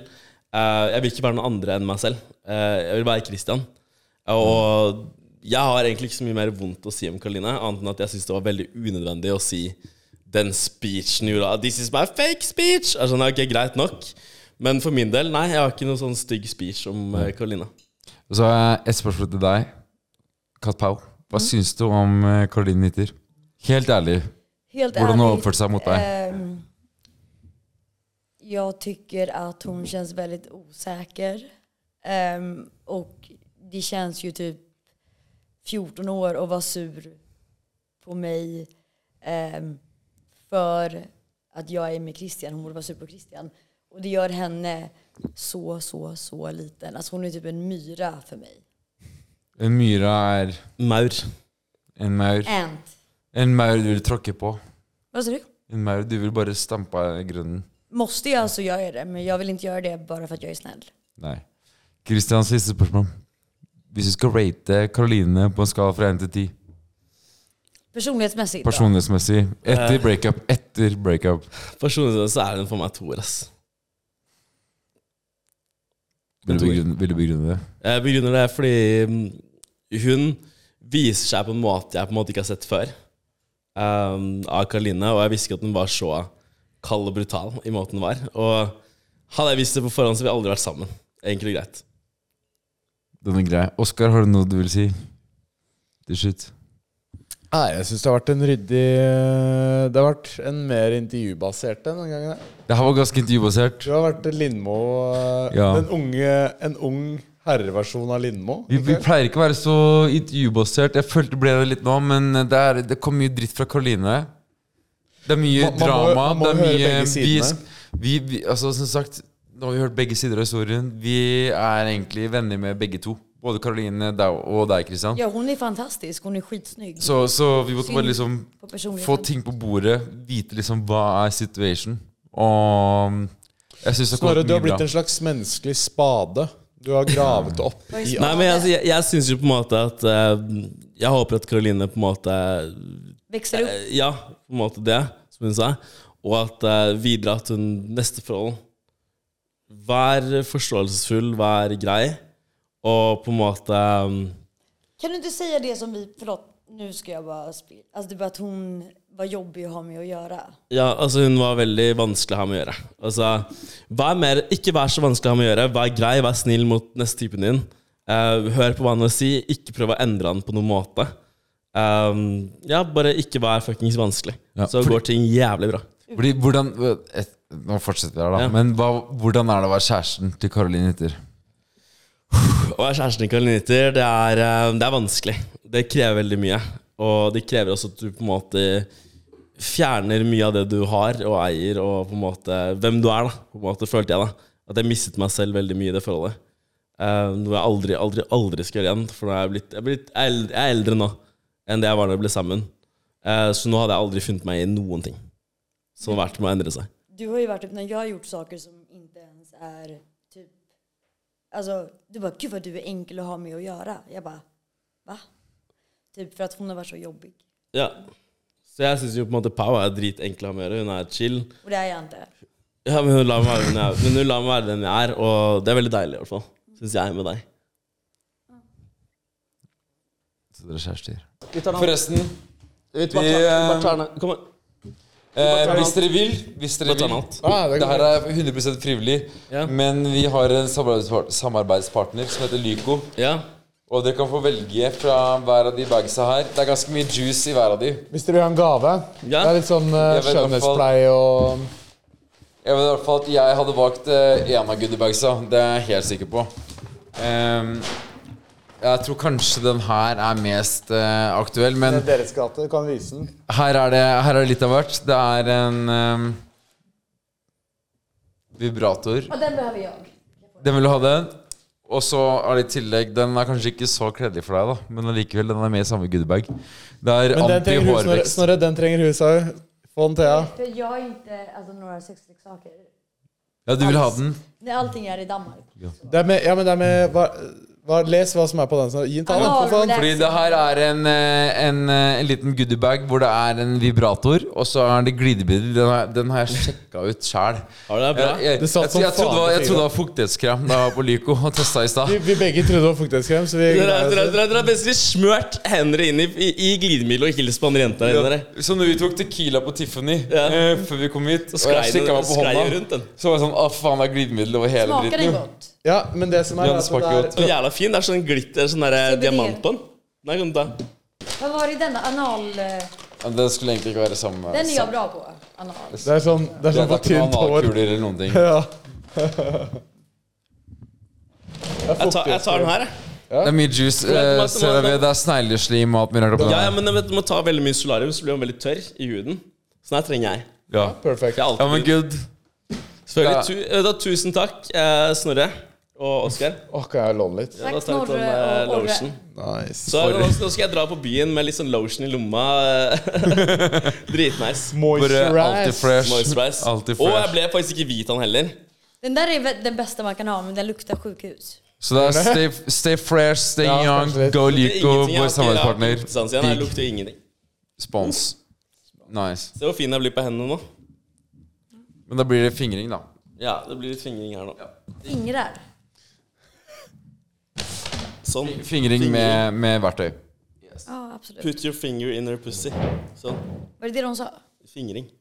E: Eh, jeg vil ikke være noen andre enn meg selv. Eh, jeg vil være Christian. Og jeg har egentlig ikke så mye mer vondt å si om Karoline, annet enn at jeg syns det var veldig unødvendig å si den speechen hun gjorde. Ah, This is my fake speech! Altså, nei, ok, greit nok. Men for min del, nei, jeg har ikke noen sånn stygg speech om eh, Karoline.
D: Og så har jeg et spørsmål til deg, Kat Pau. Hva syns du om eh, Caroline Nitter? Helt ærlig,
G: Helt
D: hvordan hun har
G: ärligt.
D: oppført seg mot deg?
G: Ehm, jag tycker att hon känns väldigt osäker. Ehm, och det känns ju typ 14 år och vara sur på mig ehm, för att jag är med Christian, hon borde vara sur på Christian. Och det gör henne så, så, så liten. Alltså hon är typ en myra för mig.
D: En myra er
E: Maur.
D: en maur.
G: Ant.
D: En maur du vil tråkke på.
G: Vad sa du?
D: En maur du vil bare stampe av grunnen.
G: Måste jag så gör jag det, men jag vill inte göra det bara för att jag är snäll.
D: Nei. Kristians siste spørsmål. Hvis du skal rate Karoline på en skala fra 1 til 10,
G: Personlighetsmässigt. då.
D: personlighetsmessig, etter breakup, etter breakup
E: Personlig så er den for meg toer, ass.
D: Vil du begrunne, vil du begrunne det?
E: Jeg begrunner det fordi mm, hun viser seg på en måte jeg på en måte ikke har sett før ehm, av Karoline, og jeg visste ikke at hun var så kald og brutal i måten hun var. Og hadde jeg visst det på forhånd, så ville vi aldri vært sammen. Enkelt og greit.
D: Den er grei. Oskar, har du noe du vil si? Til slutt.
F: Nei, jeg syns det har vært en ryddig Det har vært en mer intervjubasert en den gangen.
D: Det her var ganske intervjubasert.
F: Du har vært Lindmo eh,
D: Ja.
F: den unge, En ung herreversjon av Lindmo.
D: Vi, vi
F: ikke?
D: pleier ikke å være så intervjubasert. Jeg følte det ble det litt nå, men det, er, det kom mye dritt fra Karoline. Det er mye
F: Man- man må-
D: drama.
F: man må
D: det
F: høre
D: er mye
F: begge
D: vi,
F: sidene.
D: vi, vi, altså, Som sagt, nå har vi hørt begge sider av historien. Vi er egentlig venner med begge to. Både Karoline deg og deg, Kristian.
G: Ja, hon är fantastisk. Hon är skitsnygg.
D: Så, så vi måtte bare liksom
G: på
D: få
G: personligheten.
D: ting på bordet. Vite liksom hva er situation. Og mm, jeg syns det kom
F: Snorre, du
D: mye
F: har blitt
D: bra.
F: en slags menneskelig spade. Du har gravet det opp i
E: Nei, men altså, jeg, jeg, jeg syns jo på en måte at eh, Jeg håper at Karoline på en måte
G: Växer upp.
E: eh, Ja, på en måte det, som hun sa. Og at eh, videre at hun neste forhold Vær forståelsesfull, vær grei, og på en måte eh,
G: Kan du inte säga det som vi, förlåt, nu ska jag bara spela. Alltså det är bara att hon var jobbig att ha med att göra.
E: Ja, altså hun var veldig vanskelig å ha med å gjøre. Altså, vær mer, ikke vær så vanskelig å ha med å gjøre. Vær grei, vær snill mot neste typen din. Eh, hør på hva han har å si, ikke prøv å endre han på noen måte. Um, ja, bare ikke vær fuckings vanskelig.
D: Ja,
E: så
D: fordi-
E: går ting jævlig bra.
D: Fordi, hvordan, eh, et, nå fortsetter vi her, da.
E: Ja.
D: Men hva, hvordan er det å være kjæresten til Karoline Hytter?
E: Å være kjæresten til Karoliniter, det er, eh, det er vanskelig. Det krever veldig mye. Og det krever også at du på en måte fjerner mye av det du har og eier, og på en måte hvem du er, da. På en måte følte jeg da. At jeg mistet meg selv veldig mye i det forholdet. Eh, noe jeg aldri, aldri, aldri skal gjøre igjen. For nå er jeg, blitt, jeg, er blitt, jeg er eld- jeg er eldre nå enn det jeg var da vi ble sammen. Eh, så nå hadde jeg aldri funnet meg i noen ting. Som har vært med å endre seg.
G: Du har ju varit uppe när jag har gjort saker som inte ens är typ... Alltså, du bara, gud vad du är enkel att ha med att göra. Jag bara, va? Typ för att hon har varit så jobbig.
E: Ja. Så jeg syns jo på en måte Pau er dritenkel å ha med å gjøre. Hun er chill.
G: Och det är jag inte.
E: Ja, men hun lar meg være den jeg er. Men hun lar meg være den jeg er, og det er veldig deilig, i hvert fall. Syns jeg med deg.
D: Så dere er kjærester.
E: Forresten
D: Vi, eh,
E: Kom an.
D: eh, hvis dere vil, hvis dere
E: Bare ta
D: vil
E: den alt.
F: Ja, det
D: Det
F: kan
D: her er 100 frivillig,
E: Ja.
D: men vi har en samarbeidspart- samarbeidspartner som heter Lyco.
E: Ja.
D: Og dere kan få velge fra hver av de bagsa her. Det er ganske mye juice i hver av de.
F: Hvis dere vil ha en gave Det
E: Ja.
F: er litt sånn eh,
D: Jeg vet i hvert fall-
F: skjønnhetspleie og
D: Jeg vet i hvert fall at jeg hadde valgt én av goodiebagsa. Det er jeg helt sikker på. Ehm, jeg tror kanskje den her er mest eh, aktuell, men
F: Det er Deres gate, du kan vise den.
D: Her er det, her er det litt av hvert. Det er en ehm, vibrator.
G: Ja, den behöver jag.
D: Den vil du ha, den. Og så er det i tillegg Den er kanskje ikke så kledelig for deg, da men allikevel, den er med i samme goodiebag. Det er
F: Men den trenger hus, Snorre.
D: anti-hårvekst.
F: Snorre, den trenger hus òg. Få den, Thea.
G: För jag har inte alltså, några sexleksaker.
D: Ja, du vil ha den?
G: När allting är i Danmark.
F: Det er med, ja, men det er med hva, hva, Les hva som er på den. Snorre. Gi den til han, da, for faen.
D: Fordi det her er en, eh, en, eh, en liten goodiebag hvor det er en vibrator, og så er det glidebilder. Den, er- den har jeg sjekka ut sjæl.
E: Har du det bra?
D: Jeg, jeg,
F: Det
D: jeg,
F: satt som
D: jeg, trodde det var-
F: faen på
D: jeg trodde det var fuktighetskrem da jeg var på Lyco og testa i stad.
F: Vi, vi begge trodde det var fuktighetskrem, så vi
E: Dere
F: greier
E: dere-
F: oss.
E: dere- dere har plutselig smurt hendene inn i, i, i glidemiddel og ikke hilst på andre jenter der inne. dere.
D: Ja. Så når vi tok Tequila på Tiffany
E: Ja.
D: eh, før vi kom hit, og
E: sklei
D: jeg sjekka
E: den-
D: meg på
E: sklei
D: hånda,
E: jo rundt den.
D: så var jeg sånn Å, faen, det er glidemiddel over hele
G: Smakar den
D: dritten. jo.
G: gott?
F: Ja, men det som er,
D: Ja,
F: er
D: det
F: at
D: smaker
F: det er
D: godt.
E: Så jævla fin. Det er sånn glitter, sånn der eh,
G: CBD.
E: diamant på den. Nei, kan du ta.
G: Vad var det i denna? Anal... eh,
D: Ja, Det skulle egentlig ikke være samme
G: Den är jeg bra på. Anal.
F: Det er sånn, det er
D: Det
F: sånn
D: er
F: for
D: ikke
F: tynt
D: noen
F: hår.
D: analkuler eller noen ting.
F: Ja.
E: Jeg tar, jeg tar den her, jeg.
D: Det er mye juice.
E: det
D: Eh,
E: må-
D: ser dere, det er snegleslim og alt mulig rart oppi
E: Ja, ja,
D: der.
E: men du må ta veldig mye solarium, så blir man veldig tørr i huden. Sånn her trenger jeg.
D: Ja,
F: Perfekt.
E: Det er
D: ja
E: alltid
D: men good.
E: Selvfølgelig. Tu, eh, da, tusen takk, eh, Snorre og Oskar.
F: Åh, kan jeg låne litt?
E: Ja, da
G: Takk,
E: tar vi på den
G: Snorre
E: eh,
G: og Åre.
E: lotionen.
A: Nice.
E: Så nå skal nå skal jeg dra på byen med litt sånn lotion i lomma. Dritnice.
D: Bare alltid fresh.
E: Moisturize.
D: Alltid
E: Og jeg
D: fresh.
E: ble faktisk ikke hvit, han heller.
G: Den där är väl den bästa man kan ha, men den luktar sjukhus.
D: Så det er stay, stay fresh, stay
F: Ja,
D: young,
F: kanskje litt.
D: go
E: Det er
D: Lyco,
E: ingenting, jeg har
D: vår
E: ikke- Jeg har
D: samarbeidspartner.
E: ikke luktesans igjen, jeg lukter jo ingenting.
D: Spons. Nice.
E: Se hvor fin jeg blir på hendene nå.
D: Men da blir det fingring, da.
E: Ja, det blir litt fingring her nå.
G: Fingrar.
E: Sånn.
D: Fingring med, med verktøy.
G: Ja, absolut.
E: Put your finger in her pussy. Sånn.
G: Var det det de sa?
E: Fingring.